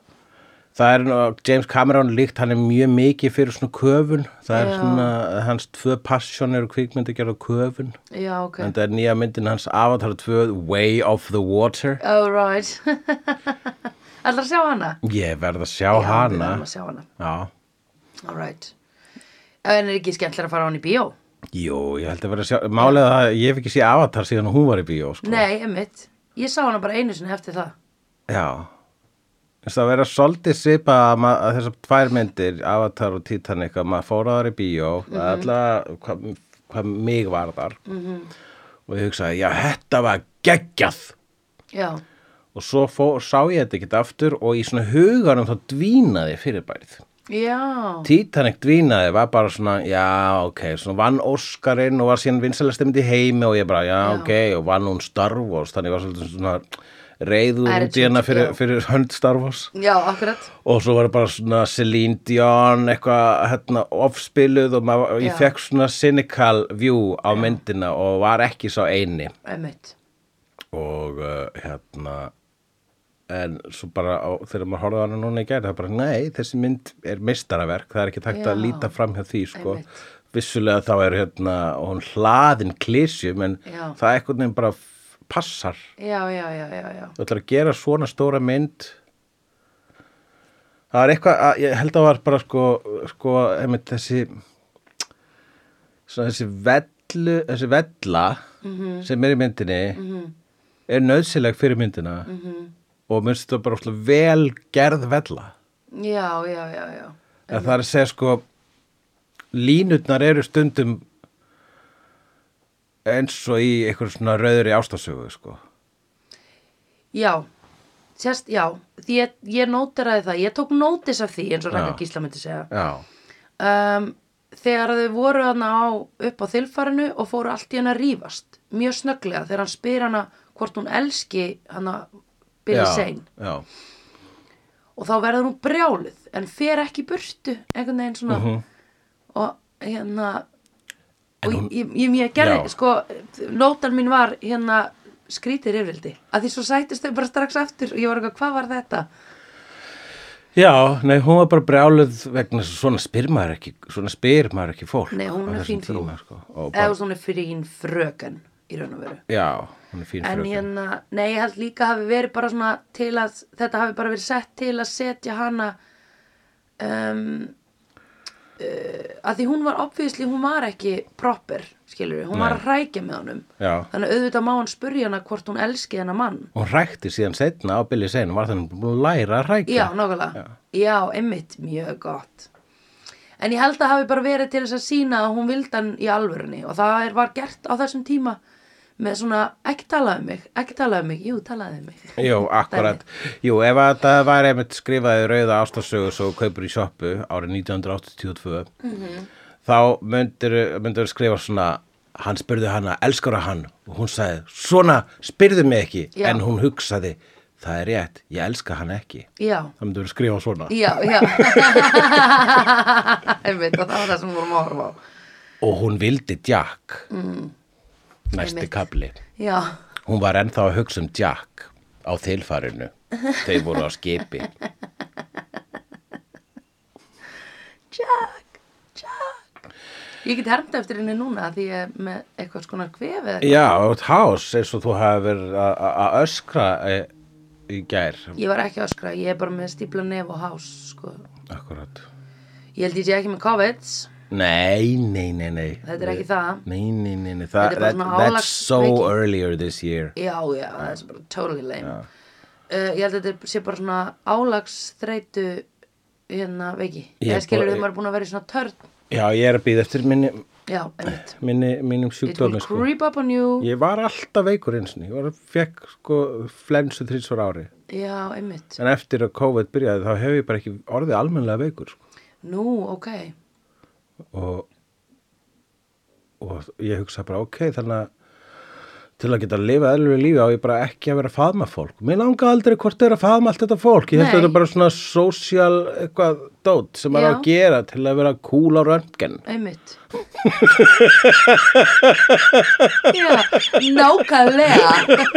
Speaker 1: Það er nú, James Cameron líkt, hann er mjög mikið fyrir svona köfun, það er
Speaker 2: Já.
Speaker 1: svona, hans tvö passion eru kvikmyndi gerða köfun.
Speaker 2: Já, ok.
Speaker 1: En það er nýja myndin hans Avatar 2 Way of the Water
Speaker 2: All right. allar að sjá hana?
Speaker 1: Ég verð að sjá
Speaker 2: Já, við
Speaker 1: hana
Speaker 2: verðum að sjá hana.
Speaker 1: Já,
Speaker 2: All right. En er ekki skemmtilega að fara á hann í bíó?
Speaker 1: jú, ég held að verða að sjá Málið er að ég hef ekki sé Avatar síðan hún var í bíó sko.
Speaker 2: Nei, einmitt. Ég sá hana bara einu sinni eftir það.
Speaker 1: Já Þess að vera svolítið svipa að, ma- að þessar tvær myndir Avatar og Titanic að maður fóra þar í bíó mm
Speaker 2: Mhm.
Speaker 1: -hmm. allavega hvað hvað mig var þar -hmm. og ég hugsaði, já, þetta var geggjað
Speaker 2: Já.
Speaker 1: og svo fó, sá ég þetta ekki aftur og í svona huganum þá dvínaði fyrirbærið
Speaker 2: Já.
Speaker 1: Titanic dvínaði var bara svona, já, ok, svona vann Óskarinn og var síðan vinsalasti mynd í heimi og ég bara, já,
Speaker 2: Já.
Speaker 1: ok, og vann hún Star Wars, þannig var svolítið svona reyður út í
Speaker 2: Attitude,
Speaker 1: hérna
Speaker 2: já.
Speaker 1: fyrir, fyrir hönd Star Wars.
Speaker 2: Já, akkurat.
Speaker 1: Og svo var bara svona Celine Dion, eitthvað, hérna, ofspiluð og maður,
Speaker 2: Já.
Speaker 1: ég fekk svona cynical view á myndina og var ekki sá eini
Speaker 2: Einmitt.
Speaker 1: og uh, hérna en svo bara á, þegar maður horfði á hana núna í gæri það er bara nei, þessi mynd er mistaraverk það er ekki takt
Speaker 2: Já.
Speaker 1: að líta fram hjá því sko.
Speaker 2: Einmitt.
Speaker 1: vissulega þá er hérna hún hlaðin klísjum en
Speaker 2: Já.
Speaker 1: það eitthvað nefn bara f- passar
Speaker 2: Já, já, já, já, já.
Speaker 1: þú ætlar að gera svona stóra mynd það er eitthvað að, ég held að var bara sko, sko einmitt þessi svona þessi vellu þessi vella
Speaker 2: Mhm.
Speaker 1: sem er í myndinni er nöðsileg fyrir myndina
Speaker 2: Mhm.
Speaker 1: og minnst þetta bara óslega vel gerð vella
Speaker 2: Já, já, já, já.
Speaker 1: en það er að segja sko línutnar eru stundum eins og í einhver svona rauðri ástasögu sko
Speaker 2: Já, sérst, já. Því ég, ég nóteraði það. Ég tók nótis af því, eins og
Speaker 1: Já.
Speaker 2: Raka Gísla myndi segja.
Speaker 1: já,
Speaker 2: Um, þegar þau voru hana á, upp á þilfarinu og fóru allt í hana að rífast. Mjög snögglega þegar hann spyr hana hvort hún elski hana Billy
Speaker 1: já,
Speaker 2: Zane.
Speaker 1: já.
Speaker 2: og þá verður hún brjáluð en fer ekki í burtu einhvern veginn svona
Speaker 1: Mhm.
Speaker 2: og hérna og ég, ég, ég gerði,
Speaker 1: Já.
Speaker 2: sko nótan mín var hérna skrítir yfirvildi, að því svo sættist þau bara strax aftur og ég var eitthvað, hvað var þetta?
Speaker 1: Já, nei, hún var bara brjáluð vegna þess að svona spyr maður ekki, svona spyr maður ekki fólk.
Speaker 2: Nei, hún
Speaker 1: á
Speaker 2: er
Speaker 1: þessum
Speaker 2: fín frú
Speaker 1: tíma, sko, og
Speaker 2: eða
Speaker 1: bara,
Speaker 2: þú veist, hún er fín fröken í raun og veru
Speaker 1: Já, hún er fín
Speaker 2: en
Speaker 1: fröken.
Speaker 2: hérna, nei, ég held líka hafi verið bara svona til að, þetta hafi bara verið sett til að setja hana um, uh, að því hún var obviously, hún var ekki proper, skilur við, hún var
Speaker 1: Nei.
Speaker 2: að hrækja með honum
Speaker 1: Já,
Speaker 2: Þannig að auðvitað má hann spurja hana hvort hún elski hennar mann.
Speaker 1: hún rækti síðan setna á Billy Zane, hún var þannig búin að læra að rækja.
Speaker 2: Já, nákvæmlega. Já. einmitt, mjög gott. En ég held að hafi bara verið til þess að sína að hún vildi hann í alvörunni og það er, var gert á þessum tíma með svona, ekki talaðu um mig, ekki talaðu um mig, jú, talaðu um mig.
Speaker 1: Jú, akkurat. Jú, ef að það var einmitt skrifaði rauða ástarsögu svo kaupur í sjoppu árið 1982
Speaker 2: Mhm.
Speaker 1: þá myndir, myndir skrifa svona hann spurði hana, elskar hann og hún sagði, svona, spyrðu mig ekki
Speaker 2: Já.
Speaker 1: en hún hugsaði, það er rétt ég elska hann ekki
Speaker 2: Já,
Speaker 1: það myndir skrifa svona
Speaker 2: já, já. Einmitt, og það var það sem við vorum að horfa á.
Speaker 1: og hún vildi Jack næsti
Speaker 2: Mm. Einmitt.
Speaker 1: kapli
Speaker 2: Já,
Speaker 1: Hún var ennþá að hugsa um Jack á þilfarinu. Þau voru á skipi.
Speaker 2: Jack, Jack. Ég get hermt eftir henni núna því ég er með eitthvað skona kvefið eða
Speaker 1: Já, átt hás eins og þú hafi verið að- að að öskra e, í gær.
Speaker 2: Ég var ekki að öskra, ég er bara með stípla nef og hás, sko.
Speaker 1: Akkurat.
Speaker 2: Ég held ég sé ekki með COVID,
Speaker 1: Nei, nei, nei, nei.
Speaker 2: þetta er ekki það.
Speaker 1: Nei, nei, nei, nei. Þa,
Speaker 2: Þetta er bara
Speaker 1: that,
Speaker 2: svona
Speaker 1: that's so
Speaker 2: álagsveiki.
Speaker 1: earlier this year.
Speaker 2: Já, já, það er bara totally lame. Uh, ég held að þetta sé bara svona álagsþreytu hérna veiki.
Speaker 1: Ég er
Speaker 2: Ég skilur
Speaker 1: bara-
Speaker 2: þau maður er búin að vera í svona törn.
Speaker 1: Já, ég er að býða eftir minni,
Speaker 2: Já, einmitt.
Speaker 1: minni, mínum
Speaker 2: It will
Speaker 1: sjúkdómi, sko.
Speaker 2: creep up on you.
Speaker 1: Ég var alltaf veikur eins og ég var, fekk sko flensu þrísvar ári.
Speaker 2: Já, einmitt.
Speaker 1: En eftir að COVID byrjaði þá hef ég bara ekki orðið almennlega veikur, sko.
Speaker 2: Nú, ok.
Speaker 1: og, og ég hugsa bara ok, þannig að til að geta að lifa eðlulegu lífi á ég bara ekki að vera að faðma fólk. Mér langa aldrei hvort þau eru að faðma allt þetta fólk. Ég held að
Speaker 2: Nei.
Speaker 1: þetta er bara svona social eitthvað dót sem maður á að
Speaker 2: Já.
Speaker 1: gera til að vera cool á röntgen.
Speaker 2: Einmitt. Já, nákvæmlega.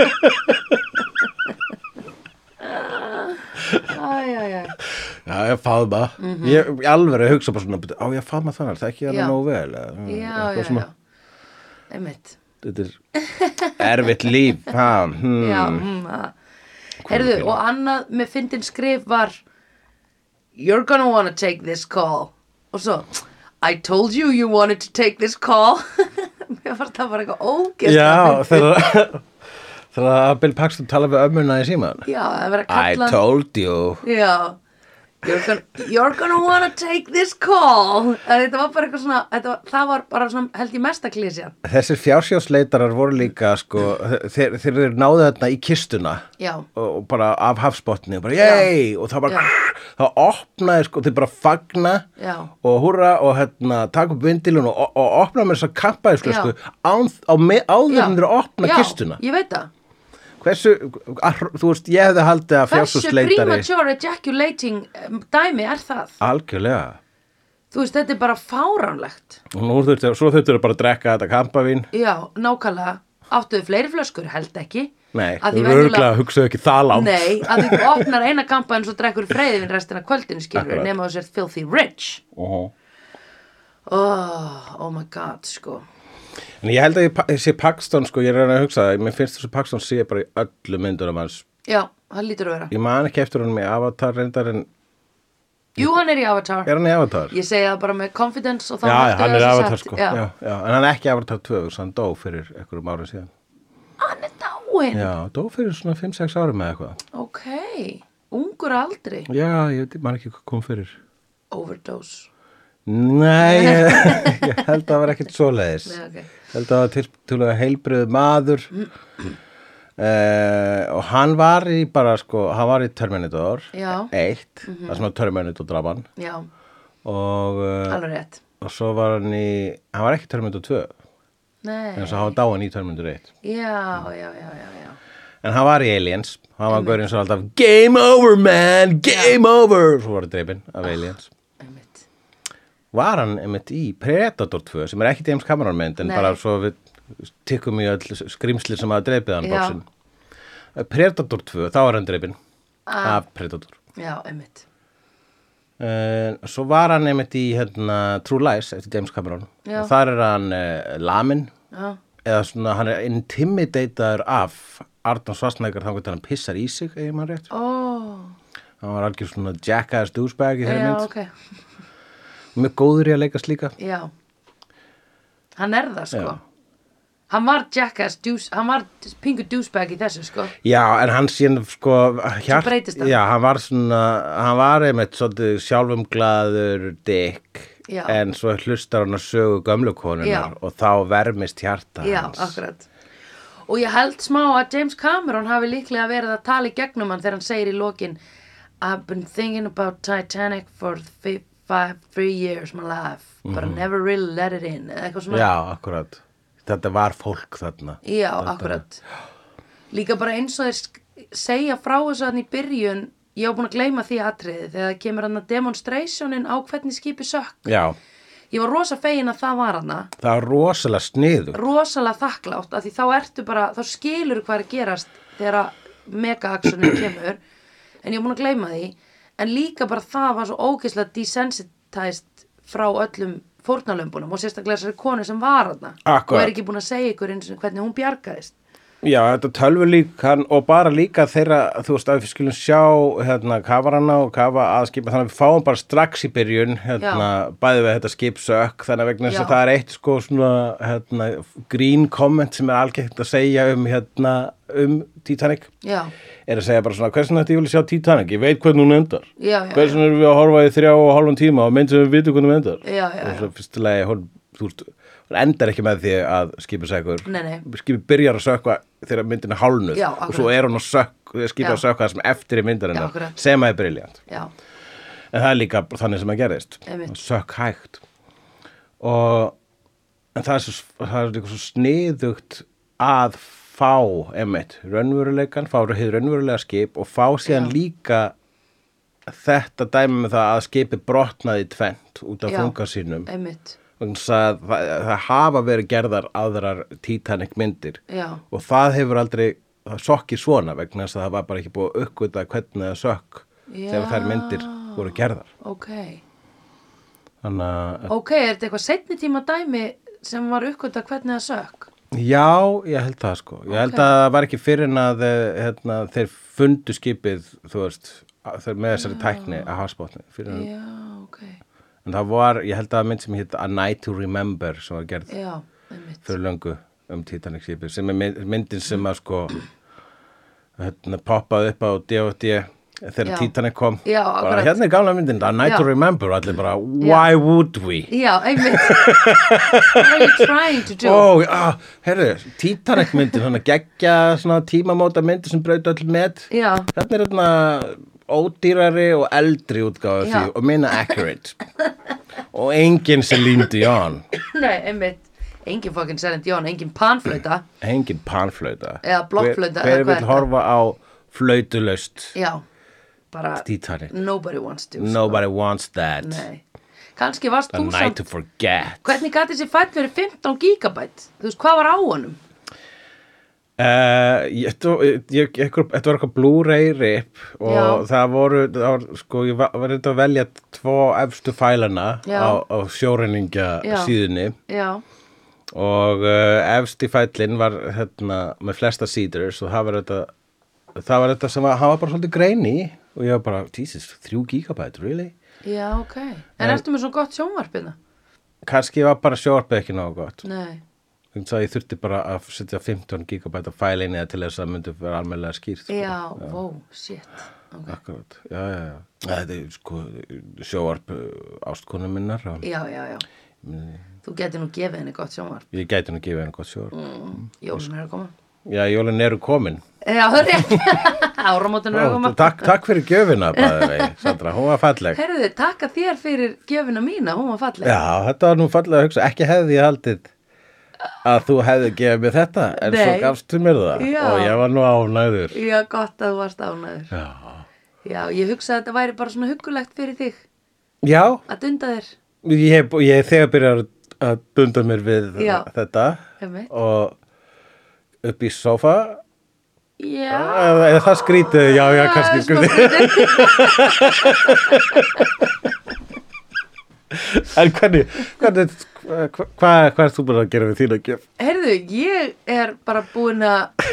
Speaker 2: Æ, æ, æ.
Speaker 1: Já, ég faðma. Mm -hmm. Ég ég alveg hugsa bara svona, "Bíddu, á ég að faðma þannig, það er ekki
Speaker 2: Mhm. Já.
Speaker 1: alveg nóg vel. eða, mm,
Speaker 2: Já,
Speaker 1: eitthvað
Speaker 2: já,
Speaker 1: svona.
Speaker 2: já. Einmitt.
Speaker 1: Þetta er erfitt líf. Ha, hmm.
Speaker 2: Já, mm, að. Herðu,
Speaker 1: píla.
Speaker 2: og annað með fyndin skrif var You're gonna wanna take this call. Og svo, I told you you wanted to take this call. Mér fannst það bara eitthvað ógeðslega.
Speaker 1: Já,
Speaker 2: fyndið.
Speaker 1: þegar þegar að Bill Paxton tala við ömmuna í síman.
Speaker 2: Já, það verið að
Speaker 1: I
Speaker 2: kalla.
Speaker 1: told you.
Speaker 2: Já You're gonna, you're gonna wanna take this call En Þetta var bara eitthvað svona þetta var, Það var bara svona held ég mesta klísjan
Speaker 1: Þessir fjársjóðsleitarar voru líka sko, þeir, þeir eru náðu þarna í kistuna
Speaker 2: Já,
Speaker 1: og og bara af hafsbotni og bara yey og það bara það opnaði sko, þeir bara fagna
Speaker 2: Já.
Speaker 1: og húra og hérna taka upp vindilun og, og opna með þess að kappa sko,
Speaker 2: Já.
Speaker 1: án, á, me- áður
Speaker 2: já
Speaker 1: en þeir opna
Speaker 2: Já,
Speaker 1: kistuna
Speaker 2: Ég veit það
Speaker 1: hversu, að, þú veist, ég hefði haldið að
Speaker 2: Hversu
Speaker 1: fjársjóðsleitari
Speaker 2: premature ejaculating um, dæmi er það?
Speaker 1: algjörlega
Speaker 2: Þú veist, þetta er bara fáránlegt
Speaker 1: og nú þurftu, svo þurftu bara að drekka þetta kampavín
Speaker 2: Já, nákvæmlega Áttuðu fleiri flöskur, held ekki
Speaker 1: nei,
Speaker 2: Að því
Speaker 1: þú
Speaker 2: venjulega-
Speaker 1: örgulega hugsaðu ekki það langt
Speaker 2: Nei, að því þú opnar eina kampa en svo drekkur freyðin restina kvöldinu skilur
Speaker 1: Akkurat.
Speaker 2: nema þú sér filthy rich
Speaker 1: Mhm.
Speaker 2: oh, oh my god, sko
Speaker 1: En ég held að ég, pa- ég sé Paxton, sko, ég er að reyna að hugsa það, mér finnst þessu Paxton sé bara í öllu myndunum hans.
Speaker 2: Já, það lítur að vera
Speaker 1: Ég man ekki eftir honum í Avatar reyndar en
Speaker 2: Jú, hann er í Avatar.
Speaker 1: er hann í Avatar?
Speaker 2: Ég segi það bara með confidence og þá
Speaker 1: já,
Speaker 2: máttu
Speaker 1: hann
Speaker 2: þess
Speaker 1: er
Speaker 2: að
Speaker 1: Avatar,
Speaker 2: sagt-
Speaker 1: sko.
Speaker 2: Já.
Speaker 1: Já. Já, en hann er ekki Avatar 2, svo hann dó fyrir einhverjum árum síðan.
Speaker 2: Hann er dáinn.
Speaker 1: Já, dó fyrir svona 5-6 árum eða eitthvað.
Speaker 2: Ok. Ungur að aldri.
Speaker 1: Já, ég veit, man ekki hvað kom fyrir.
Speaker 2: Overdose.
Speaker 1: Nei, ég, ég held að það var ekkert svoleiðis.
Speaker 2: Nei, ok.
Speaker 1: Held að það var til, tilvæg heilbröðu maður. Uh, og hann var í bara sko, hann var í Terminator
Speaker 2: Já.
Speaker 1: eitt, það sem var Terminator draman
Speaker 2: Já,
Speaker 1: og, uh,
Speaker 2: alveg rétt.
Speaker 1: og svo var hann í hann var ekki Terminator 2
Speaker 2: Nei.
Speaker 1: en svo hann var dáin í Terminator 1
Speaker 2: Já, já, já, já, já.
Speaker 1: en hann var í Aliens hann var gaurinn svo alltaf Game over man, game over svo var hann dreipin af Aliens
Speaker 2: Einmitt.
Speaker 1: var hann einmitt í Predator 2 sem er ekki James Cameron mynd en
Speaker 2: Nei.
Speaker 1: bara svo við tikkum í öll skrimsli sem hafa dreipið hann
Speaker 2: Já.
Speaker 1: bóksin Predator 2, þá var hann dreipin
Speaker 2: Ah.
Speaker 1: af Predator
Speaker 2: Já, einmitt.
Speaker 1: Uh, svo var hann einmitt í hérna, True Lies eftir James Cameron
Speaker 2: Já.
Speaker 1: og þar er hann uh, lamin
Speaker 2: Já,
Speaker 1: eða svona hann er intimidator af Arnón Svarsnækar þannig að hann pissar í sig eða mann rétt
Speaker 2: ó,
Speaker 1: hann var algjör svona jackass douchebag í þeirri
Speaker 2: já,
Speaker 1: mynd
Speaker 2: ok.
Speaker 1: mjög góður í að leika slíka
Speaker 2: Já. Hann er það, sko.
Speaker 1: Já.
Speaker 2: Hann var jackass, deuce, hann var pingu douchebag í þessu, sko.
Speaker 1: já en hann síðan sko hjart,
Speaker 2: breytist hann.
Speaker 1: já, hann var svona hann var einmitt svolítið sjálfum glaður dick
Speaker 2: Já.
Speaker 1: en svo hlustar hann að sögu gömlu konunar
Speaker 2: Já.
Speaker 1: og þá vermist hjarta
Speaker 2: Já,
Speaker 1: hans
Speaker 2: akkurat. og ég held smá að James Cameron hafi líklega verið að tala í gegnum hann þegar hann segir í lokin I've been thinking about Titanic for fi- five, three years of my life but I never really let it in eða eitthvað svona
Speaker 1: Já, akkurat. Þetta var fólk þarna.
Speaker 2: Já, akkurat Líka bara eins og þeir sk- segja frá þessu hann í byrjun Ég var búin að gleyma því atriði þegar það kemur hann að demonstrationin á hvernig skipi sökk
Speaker 1: Já,
Speaker 2: Ég var rosa fegin að það var hana
Speaker 1: það var rosalega sniður.
Speaker 2: rosalega þakklátt að því þá ertu bara, þá skilur hvað er að gerast þegar að mega-axonin kemur en ég er búin að gleyma því en líka bara það var svo ógeðslega desensitized frá öllum fórnalömbunum og sérstaklega þessari konu sem var hana
Speaker 1: Akkurat.
Speaker 2: og er ekki búin að segja ykkur eins og hvernig hún bjargaðist
Speaker 1: Já, þetta tölvu líkan og bara líka þeirra, þú veist, að við skulum sjá hérna kafarana og kafa að skipa þannig að við fáum bara strax í byrjun hérna, bæði við þetta skipsökk þannig að vegna þess
Speaker 2: Já.
Speaker 1: að það er eitt sko svona hérna, grín komment sem er algægt að segja um hérna, um Titanic
Speaker 2: Já,
Speaker 1: er að segja bara svona, hvers vegna þetta ég vil sjá Titanic ég veit hvernig hún endar
Speaker 2: Já, já,
Speaker 1: hvers vegna erum við að horfa í þrjá og hálfan tíma og mynd sem við vitum hvernig hún endar
Speaker 2: Já, já,
Speaker 1: og svo fyrstulega hún, þú veist, hún endar ekki með því að skipið sækur
Speaker 2: Nei, nei.
Speaker 1: skipið byrjar að sökva þegar myndin er hálnuð
Speaker 2: Já,
Speaker 1: og
Speaker 2: akkurat.
Speaker 1: svo er hún að sök, skipið
Speaker 2: Já.
Speaker 1: að sökva það sem eftir í
Speaker 2: Já,
Speaker 1: myndarinnar
Speaker 2: akkurat.
Speaker 1: sem að er briljant
Speaker 2: já,
Speaker 1: en það er líka þannig sem það gerðist
Speaker 2: Einmitt.
Speaker 1: sökk hægt og en það er svo, það er líka svo sniðugt að fá einmitt raunveruleikan, fá hér raunverulega skip og fá síðan líka þetta dæmi með það að skipi brotnaði í tvennt út af
Speaker 2: Já.
Speaker 1: þunga sínum
Speaker 2: einmitt
Speaker 1: vegna þess að það, það hafa verið gerðar aðrar Titanic myndir
Speaker 2: Já,
Speaker 1: og það hefur aldrei það sokkið svona vegna þess að það var bara ekki búið að uppgöta hvernig það sökk þegar
Speaker 2: Já.
Speaker 1: þær myndir voru gerðar
Speaker 2: ok
Speaker 1: þannig að
Speaker 2: Ok, er þetta eitthvað setni tíma dæmi sem var uppkvönda hvernig það sökk?
Speaker 1: já, ég held það sko ég held að það var ekki fyrir en að eh, hérna, þeir fundu skipið þú veist, að- þeir með
Speaker 2: Ah.
Speaker 1: þessari tækni að hafsbótni fyrir en
Speaker 2: Já, ok
Speaker 1: en það var, ég held að það mynd sem hétt A Night to Remember sem var gerð
Speaker 2: Já, einmitt
Speaker 1: fyrir löngu um Titanic skipið sem er mynd- myndin sem að sko hérna, poppaði upp á D.O.D. þegar
Speaker 2: Já.
Speaker 1: Titanic kom
Speaker 2: Já,
Speaker 1: bara
Speaker 2: akkurat.
Speaker 1: hérna er gamla myndin, A Night to
Speaker 2: Já.
Speaker 1: Remember og allir bara, why would we?
Speaker 2: Já, einmitt What are you trying to do?
Speaker 1: Ó, ah, herru, Titanic myndin svona geggja svona tímamóta myndi sem braut öll með
Speaker 2: Já.
Speaker 1: Þarna er þarna ódýrari og eldri útgáfa af því
Speaker 2: Já.
Speaker 1: og minna accurate og engin Celine Dion
Speaker 2: Nei, einmitt Engin fucking Serend Jón, engin panflöta
Speaker 1: engin panflöta
Speaker 2: Eða blokkflauta, eða
Speaker 1: hver, hver
Speaker 2: hvað er
Speaker 1: vil
Speaker 2: þetta?
Speaker 1: horfa á flötulöst
Speaker 2: Já, bara
Speaker 1: Titanic
Speaker 2: Nobody wants to
Speaker 1: nobody wants that
Speaker 2: Nei Kanski varst
Speaker 1: a
Speaker 2: þú
Speaker 1: night
Speaker 2: samt
Speaker 1: to forget
Speaker 2: Hvernig gæti þessi fæll verið 15 gigabæt? Þú veist, hvað var á honum?
Speaker 1: Uh, ég, þetta var- ég, ekkur, þetta var eitthvað Blu-ray rip og
Speaker 2: Já.
Speaker 1: það voru, það var, sko, ég var, var eitthvað að velja tvo efstu fælana
Speaker 2: Já.
Speaker 1: á, á sjóreiningja
Speaker 2: Já.
Speaker 1: síðunni
Speaker 2: Já,
Speaker 1: og uh, efsti fælinn var hérna, með flesta seeders og það var þetta það var þetta sem var, hann var bara svolítið greini og ég var bara, Jesus, þrjú gigabæt, really?
Speaker 2: já, ok En ertu með svo gott hérna? sjónvarpina?
Speaker 1: Kannski var bara sjórpið ekki nógu gott
Speaker 2: Nei
Speaker 1: þannig að ég þurfti bara að setja 15 gigabæt á fælinni til þess að það myndi vera almennlega skýrt sko.
Speaker 2: Já, wow, shit okay.
Speaker 1: Akkurat, já, já, já. Þetta er sko sjóarp ástkonu minnar. og
Speaker 2: Já, já, já Þú geti nú gefið henni gott sjónvarp
Speaker 1: Ég gæti nú að gefa henni gott sjóarp.
Speaker 2: mm, Jólun er að koma
Speaker 1: Já, jólin eru komin.
Speaker 2: Já, það er rétt Áramótin er að
Speaker 1: Ó,
Speaker 2: koma
Speaker 1: takk, takk fyrir gjöfina, bæði vei, Sandra, hún var falleg.
Speaker 2: Herðu, takka þér fyrir gjöfina mína, hún var falleg.
Speaker 1: Já, þetta var nú falleg að hugsa, ekki hefði ég haldið að þú hefði gefið mér þetta, en svo
Speaker 2: Nei.
Speaker 1: gafstu mér það
Speaker 2: Já.
Speaker 1: og ég var nú ánægður.
Speaker 2: Já, gott að þú varst ánæður.
Speaker 1: Já,
Speaker 2: Já, ég hugsaði að þetta væri bara svona huggulegt fyrir þig
Speaker 1: já
Speaker 2: að dunda þér.
Speaker 1: ég, hef- ég hef þegar byrjar að dunda mér við
Speaker 2: Já.
Speaker 1: þetta
Speaker 2: Einmitt.
Speaker 1: og upp í sófa
Speaker 2: Já, sko.
Speaker 1: eða eða það skrítið, já, já, kannski
Speaker 2: smá skrítið.
Speaker 1: En hvernig, hvernig hva- hva- hvað hva er þú bara að gera við þína gjöf?
Speaker 2: Herðu, ég er bara búin að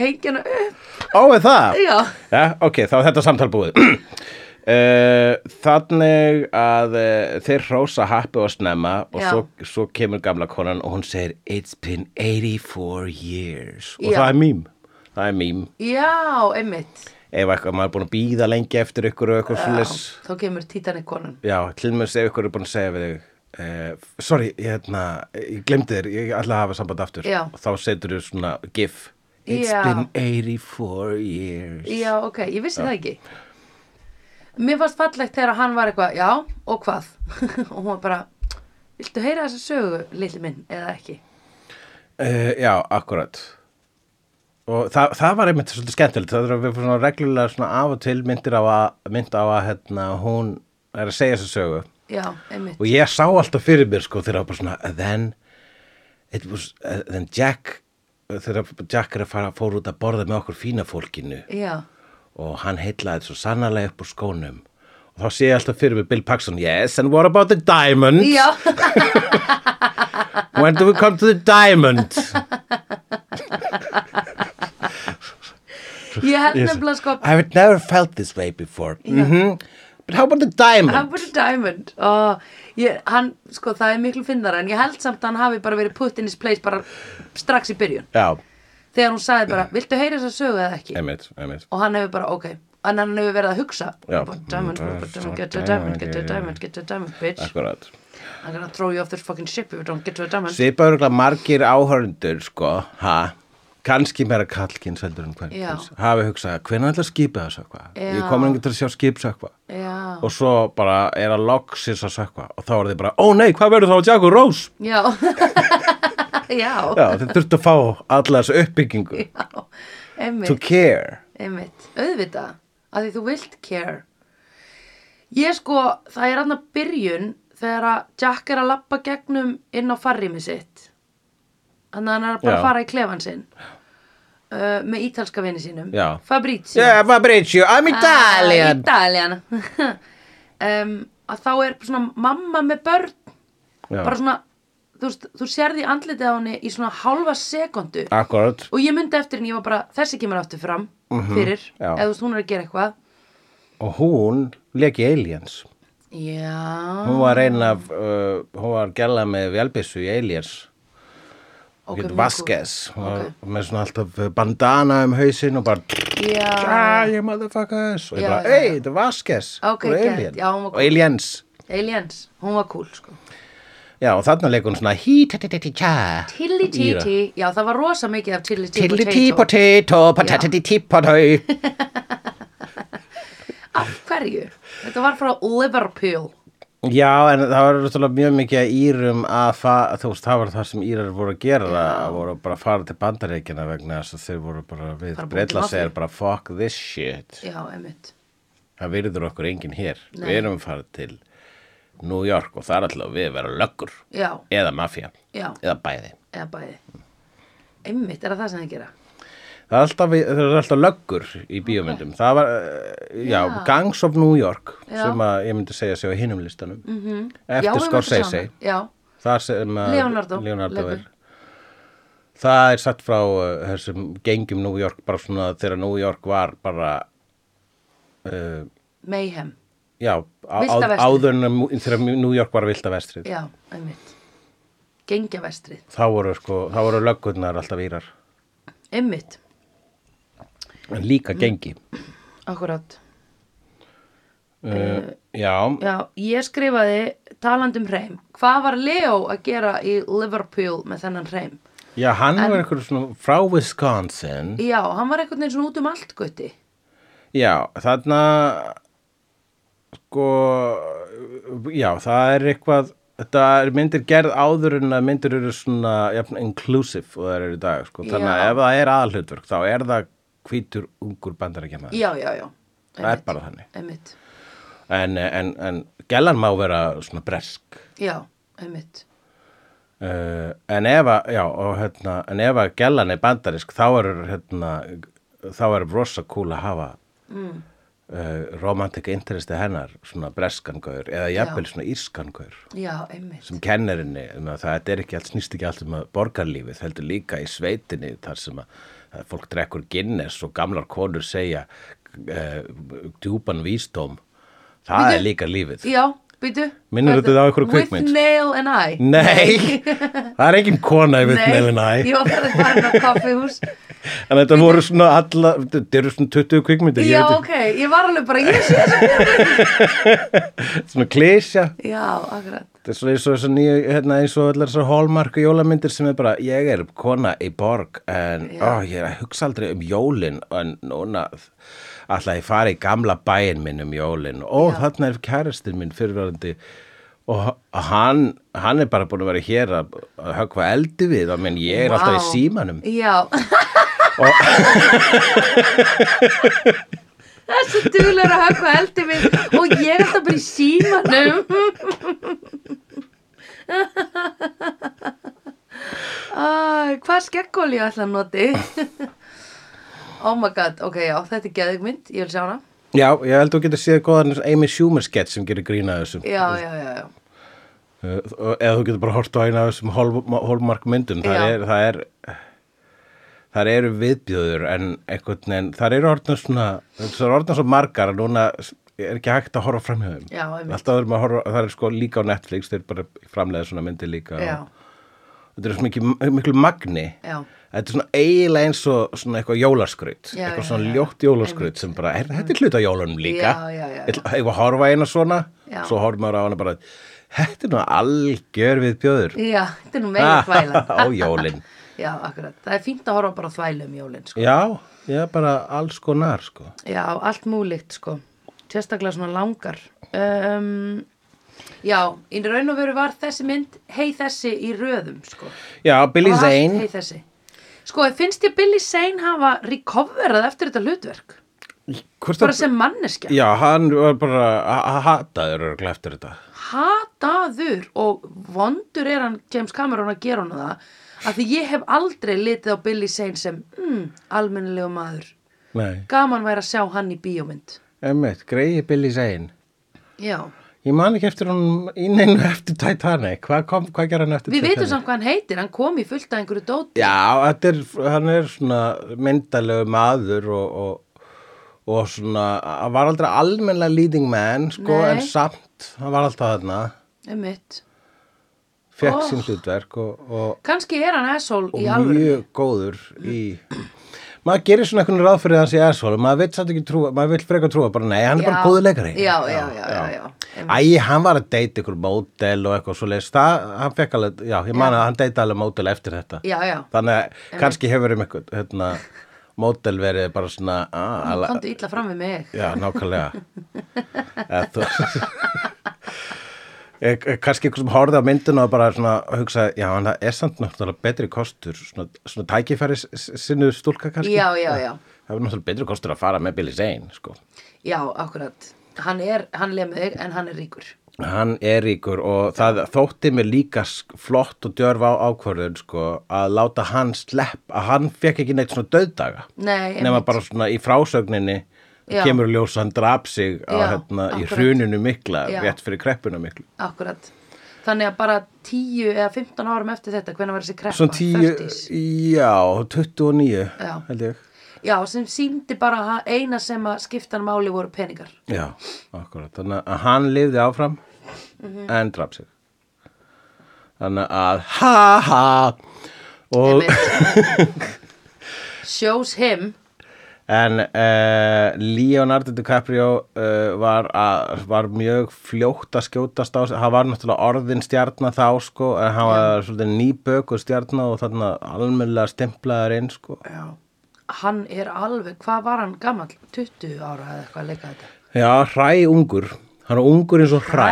Speaker 2: hengja hana upp.
Speaker 1: Ó, er það?
Speaker 2: Já,
Speaker 1: Já, ok, þá er þetta samtal búið. Uh, þannig að uh, þeir hrósa happi og snemma og
Speaker 2: Já.
Speaker 1: svo, svo kemur gamla konan og hún segir It's been 84 years og
Speaker 2: Já.
Speaker 1: það er mím það er mím,
Speaker 2: já, einmitt.
Speaker 1: ef eitthvað maður er búin að býða lengi eftir ykkur og ykkur
Speaker 2: Já,
Speaker 1: svolítið
Speaker 2: þá kemur Titanic konan.
Speaker 1: Já, til mér segja ykkur er búin að segja við þig Uh, sorry, ég, hérna, ég glemdi þér, ég ætla að hafa samband aftur
Speaker 2: Já.
Speaker 1: og þá setur þú svona gif It's
Speaker 2: Já.
Speaker 1: been 84 years
Speaker 2: Já, ok, ég vissi það ekki. Mér fannst fallegt þegar hann var eitthvað, já, og hvað? og hún var bara, viltu heyra þessa sögu, lilli minn, eða ekki?
Speaker 1: uh, Já, akkurat og það, það var einmitt svolítið skemmtilegt það er að við fórum svona reglulega svona af og til myndir á að, mynd á að hérna, hún er að segja þessu sögu
Speaker 2: Já, einmitt.
Speaker 1: og ég sá alltaf fyrir mér sko þegar það var bara svona "And then it was, uh, then Jack þegar Jack er að fara, fór út að borða með okkur fína fólkinu
Speaker 2: Já,
Speaker 1: og hann heitlaði svo sannarlega upp úr skónum og þá sé ég alltaf fyrir mig Bill Paxton yes and what about the diamond
Speaker 2: já,
Speaker 1: when do we come to the diamond
Speaker 2: ég held nefnilega sko,
Speaker 1: I had never felt this way before mm but how about the diamond
Speaker 2: hann búið Diamond. Og ég, hann, sko, það er miklu fyndara, en ég held samt að hann hafi bara verið put in his place bara strax í byrjun.
Speaker 1: já,
Speaker 2: Þegar hún sagði bara, viltu heyra þessa sögu eða ekki?
Speaker 1: einmitt, einmitt
Speaker 2: og hann hefur bara, ok en hann hefur verið að hugsa
Speaker 1: Já.
Speaker 2: Bara, diamond, bara, diamond, get to a diamond, get to a diamond, get to a diamond, bitch
Speaker 1: akkurat
Speaker 2: I'm gonna throw you off this fucking ship if you don't get to a diamond
Speaker 1: svipa örgulega margir áhörundur sko, ha kannski meira kallkins heldur en hvern
Speaker 2: Já.
Speaker 1: hafi hugsað, hvernig ætla að skipa það sökva ég
Speaker 2: Já.
Speaker 1: komin ekki til að sjá skip sökva
Speaker 2: já,
Speaker 1: og svo bara er að loksins að sökva og þá er þið bara, ó nei, hvað verður þá að Jack og Rose
Speaker 2: já já,
Speaker 1: Já, þið þurftu að fá alla þessu uppbyggingu
Speaker 2: já
Speaker 1: to
Speaker 2: einmitt,
Speaker 1: care
Speaker 2: einmitt auðvitað, að því þú vilt care ég sko það er annað byrjun þegar að Jack er að lappa gegnum inn á farrými sitt þannig að hann er bara
Speaker 1: Já.
Speaker 2: að fara í klefan sinn uh, með ítalska vini sínum
Speaker 1: Já.
Speaker 2: Fabrizio
Speaker 1: Yeah, Fabrizio, I'm
Speaker 2: Ah,
Speaker 1: Italian
Speaker 2: Italian um, að þá er svona mamma með börn bara
Speaker 1: Já,
Speaker 2: svona þú, veist, þú sérði andlitið á henni í svona hálfa sekundu
Speaker 1: Ah. akkurat
Speaker 2: og ég myndi eftir henni, ég var bara þessi kemur aftur fram fyrir,
Speaker 1: Mhm. já.
Speaker 2: eða þú veist hún er að gera eitthvað
Speaker 1: Og hún leki aliens
Speaker 2: já,
Speaker 1: Hún var einn af, uh, hún var gæla með velbissu í aliens
Speaker 2: ok,
Speaker 1: okay,
Speaker 2: mjög
Speaker 1: Vasquez Hún var
Speaker 2: Ok.
Speaker 1: með svona alltaf bandana um hausinn og bara
Speaker 2: góð. já,
Speaker 1: Ah, you motherfuckers Og ég
Speaker 2: Já,
Speaker 1: bara,
Speaker 2: já,
Speaker 1: ei, þetta er Vasquez
Speaker 2: Ok,
Speaker 1: hún er
Speaker 2: gett.
Speaker 1: alien.
Speaker 2: Já, hún var
Speaker 1: Og aliens
Speaker 2: aliens, hún var cool sko.
Speaker 1: Já, og þarna leikur hún svona Hí-ti-ti-ti-tja
Speaker 2: tilly
Speaker 1: Íra.
Speaker 2: titi, já það var rosa mikið af tilly titi potato,
Speaker 1: Tilly-tí-potato, patati-tí-potato
Speaker 2: af hverju þetta var frá Liverpool
Speaker 1: Já, en það var náttúrulega mjög mikið að Írum að fa- þú veist, það var það sem Írar voru að gera það voru bara að fara til bandaríkina vegna þess að þeir voru bara við
Speaker 2: Bara búin til
Speaker 1: breyla
Speaker 2: mafíu.
Speaker 1: segir bara fuck this shit
Speaker 2: já, einmitt
Speaker 1: það virður okkur enginn hér
Speaker 2: Nei.
Speaker 1: við erum að fara til New York og það er alltaf við að vera löggur
Speaker 2: já,
Speaker 1: eða mafía,
Speaker 2: já,
Speaker 1: eða bæði
Speaker 2: eða bæði einmitt, er það það sem þið gera
Speaker 1: það er alltaf, við- það er alltaf löggur í bíómyndum það var, uh, já,
Speaker 2: Já.
Speaker 1: Gangs of New York
Speaker 2: Já. Mhm.
Speaker 1: sem að ég myndi segja sig á hinum listanum mm -hmm.
Speaker 2: Já,
Speaker 1: eftir
Speaker 2: við möttum
Speaker 1: Scorsese
Speaker 2: saman. já,
Speaker 1: Það sem að
Speaker 2: Leonardo
Speaker 1: er.
Speaker 2: leikur.
Speaker 1: Það er satt frá uh, þessum gengjum New York bara svona þegar New York var bara uh,
Speaker 2: mayhem
Speaker 1: já, á-
Speaker 2: Villta
Speaker 1: áð-
Speaker 2: vestrið.
Speaker 1: áður en að- þegar New York var vilda vestrið.
Speaker 2: já, einmitt gengja vestrið,
Speaker 1: Þá voru sko, þá voru löggurnar alltaf írar.
Speaker 2: einmitt
Speaker 1: En líka gengi.
Speaker 2: akkurat Mm. Eh.
Speaker 1: Uh, já,
Speaker 2: já, ég skrifaði talandi um hreim hvað var Leo að gera í Liverpool með þennan hreim
Speaker 1: já, hann var einhver svona frá Wisconsin.
Speaker 2: já, hann var einhvern veginn svona út um allt gutti
Speaker 1: Já, þarna sko já, það er eitthvað þetta er myndir gerð áður en að myndir eru svona jafn, inclusive og það eru í dag sko. þannig að
Speaker 2: Já.
Speaker 1: ef það er aðhlutverk þá er það hvítur ungur bandarækjamaður
Speaker 2: já, já, já,
Speaker 1: það er bara þannig
Speaker 2: einmitt,
Speaker 1: en, en, en gellan má vera svona bresk
Speaker 2: já, einmitt
Speaker 1: uh, en ef að já, og, hérna, en ef að gellan er bandarísk þá er hérna, þá er rosa cool að hafa
Speaker 2: mm.
Speaker 1: uh, romantika interesti hennar svona breskangaur eða jafnvel svona írskangaur
Speaker 2: já, einmitt
Speaker 1: sem kennarinni, um að það þetta er ekki allt snýst ekki allt um að borgarlífið heldur líka í sveitinni þar sem að, að fólk drekkur Guinness og gamlar konur segja uh, djúpan vísdóm það
Speaker 2: Bíddu.
Speaker 1: er líka lífið
Speaker 2: já, býtu
Speaker 1: Minnir þetta á einhverja kvikmynd?
Speaker 2: with nail and I
Speaker 1: Nei, það er engin kona yfir meðlina
Speaker 2: ég var bara að fara inn á kaffihús
Speaker 1: en þetta voru svona alla, þetta eru svona 20 kvikmyndir ég
Speaker 2: Já,
Speaker 1: veit
Speaker 2: ok, ég var alveg bara, ég sé þessu
Speaker 1: ekki, svona klísja
Speaker 2: Já, akkurat
Speaker 1: Þetta er svo eins og þessar nýju, hérna, eins og allar þessar hallmarku jólamyndir sem er bara, ég er kona í borg en ó, ég er að hugsa aldrei um jólin en núna alltaf ég fari í gamla bæin minn um jólin og þarna er kærastinn minn fyrirverandi og h- hann, hann er bara búin að vera hér að, að höggva eldi við og menn ég er alltaf í
Speaker 2: Vá.
Speaker 1: símanum.
Speaker 2: Já Þessi duðlega að höfka eldi mig og ég er alltaf bara í símanum Æ, Hvað skeggóli ég ætla að noti? oh my god, ok, já, þetta er geðug mynd, ég vil sjá hana
Speaker 1: Já, ég held þú getur séð góðan Amy Schumer sketch sem gerir grína þessu.
Speaker 2: Já, já, já, já
Speaker 1: Uh, eða þú getur bara hort á eina af þessum hólmark myndum þar,
Speaker 2: Já.
Speaker 1: er, það er þar eru viðbjöður en einhvern veginn, þar eru orðnum svona þar eru orðnum svo margar að núna er ekki hægt að horfa framhjöðum
Speaker 2: Já, einmitt.
Speaker 1: alltaf þurfum að horfa, það er sko líka á Netflix þeir bara framlega svona myndir líka
Speaker 2: Já,
Speaker 1: og, þetta er svo mikið, miklu magni
Speaker 2: já,
Speaker 1: þetta er svona eiginlega eins og svona eitthvað jólaskraut
Speaker 2: Já,
Speaker 1: eitthvað
Speaker 2: já,
Speaker 1: svona
Speaker 2: já.
Speaker 1: ljótt jólaskraut sem bara, er, þetta er hluta jólunum líka
Speaker 2: Já, já, já, já.
Speaker 1: Ég ætla- ég var að horfa á eina svona
Speaker 2: Já.
Speaker 1: svo horfum maður á hana bara þetta er nú algjör við bjóður
Speaker 2: já, þetta er nú meira þvæla
Speaker 1: á jólin
Speaker 2: Já, akkurat, það er fínt að horfa bara á þvælu um jólin, sko
Speaker 1: já, já, bara alls konar sko.
Speaker 2: Já, allt múlíkt sko Sérstaklega svona langar um, Já, í raun og veru var þessi mynd Hei þessi í röðum sko
Speaker 1: já, Billy
Speaker 2: Og allt
Speaker 1: Zane
Speaker 2: Hey þessi Sko, finnst ég Billy Zane hafa recoverað eftir þetta hlutverk
Speaker 1: hvort
Speaker 2: Bara
Speaker 1: það
Speaker 2: sem manneskja
Speaker 1: Já, hann var bara að hataður örgulega eftir þetta.
Speaker 2: Hataður og vondur er hann James Cameron að gera hann það Af því ég hef aldrei litið á Billy Zane sem mm, almennilegu maður
Speaker 1: Nei,
Speaker 2: Gaman væri að sjá hann í bíómynd
Speaker 1: emmitt, greiði Billy Zane.
Speaker 2: Já
Speaker 1: Ég man ekki eftir hann í neinu eftir Titanic. Hvað kom, hvað gerði hann eftir
Speaker 2: Við
Speaker 1: Titanic?
Speaker 2: vitum samt hvað hann heitir, hann kom í fullt af einhverju dóti.
Speaker 1: Já, þetta er, hann er svona myndalegu maður og, og, og svona, hann var aldrei almennlega leading man, sko,
Speaker 2: Nei.
Speaker 1: en samt, hann var alltaf þarna,
Speaker 2: Einmitt.
Speaker 1: fekk
Speaker 2: Oh.
Speaker 1: sín hlutverk og, og,
Speaker 2: Kannski er hann asshole í
Speaker 1: og
Speaker 2: alvöru.
Speaker 1: mjög góður í... Maður gerir svona einhvern ráð fyrir hans í asshole, maður vill samt ekki trúa, maður vill frekar trúa, bara nei, hann er bara
Speaker 2: Já.
Speaker 1: góðuleikari.
Speaker 2: Já, já, já, já, já.
Speaker 1: Æ, hann var að deyta ykkur mótel og eitthvað svo leiðist, það, hann fekk alveg, já, ég man að hann deyta alveg mótel eftir þetta.
Speaker 2: Já, já.
Speaker 1: þannig að kannski hefur um eitthvað hérna, mótel verið bara svona ah, ala,
Speaker 2: Kondu illa fram við mig.
Speaker 1: já, nákvæmlega eða þú Eh, eh, kannski ykkur sem horfði á myndina og bara svona hugsa, já, en það er samt náttúrulega betri kostur, svona, svona tækifæri sinnu stúlka kannski
Speaker 2: Já, já, já.
Speaker 1: það var náttúrulega betri kostur að fara með Billy Zane sko.
Speaker 2: Já, akkurat. Hann er, hann lemur þig en hann er ríkur.
Speaker 1: hann er ríkur og það þótti mér líka sk- flott og djörf á ákvörðun sko, að láta hann slepp að hann fekk ekki neitt svona döðdaga
Speaker 2: Nei,
Speaker 1: nema
Speaker 2: einmitt.
Speaker 1: bara svona í frásögninni
Speaker 2: Já.
Speaker 1: kemur ljós að hann draf sig á,
Speaker 2: Já,
Speaker 1: hérna, í
Speaker 2: akkurat.
Speaker 1: hruninu mikla
Speaker 2: Já.
Speaker 1: rétt fyrir kreppuna miklu
Speaker 2: Akkurat. Þannig að bara 10 eða 15 árum eftir þetta, hvenær var þessi kreppa?
Speaker 1: svona 10,
Speaker 2: 30s.
Speaker 1: já, 29
Speaker 2: Já.
Speaker 1: held ég
Speaker 2: Já, sem síndi bara að eina sem að skiptan máli voru peningar.
Speaker 1: já, akkurat, þannig að hann lifði áfram
Speaker 2: Mhm.
Speaker 1: en draf sig þannig að ha ha og
Speaker 2: Einmitt. Shows him.
Speaker 1: En uh, Leonardo DiCaprio uh, var, að, var mjög fljótt að skjótast á sig. Hann var náttúrulega orðin stjarnar þá sko, en hann var svolítið nýbökuð stjarnar og þarna almennilega stemplaður inn sko.
Speaker 2: Já. Hann er alveg, hvað var hann gamall? 20 ára eða eitthvað að leika þetta?
Speaker 1: Já, hræ ungur. Hann er ungur eins og hræ.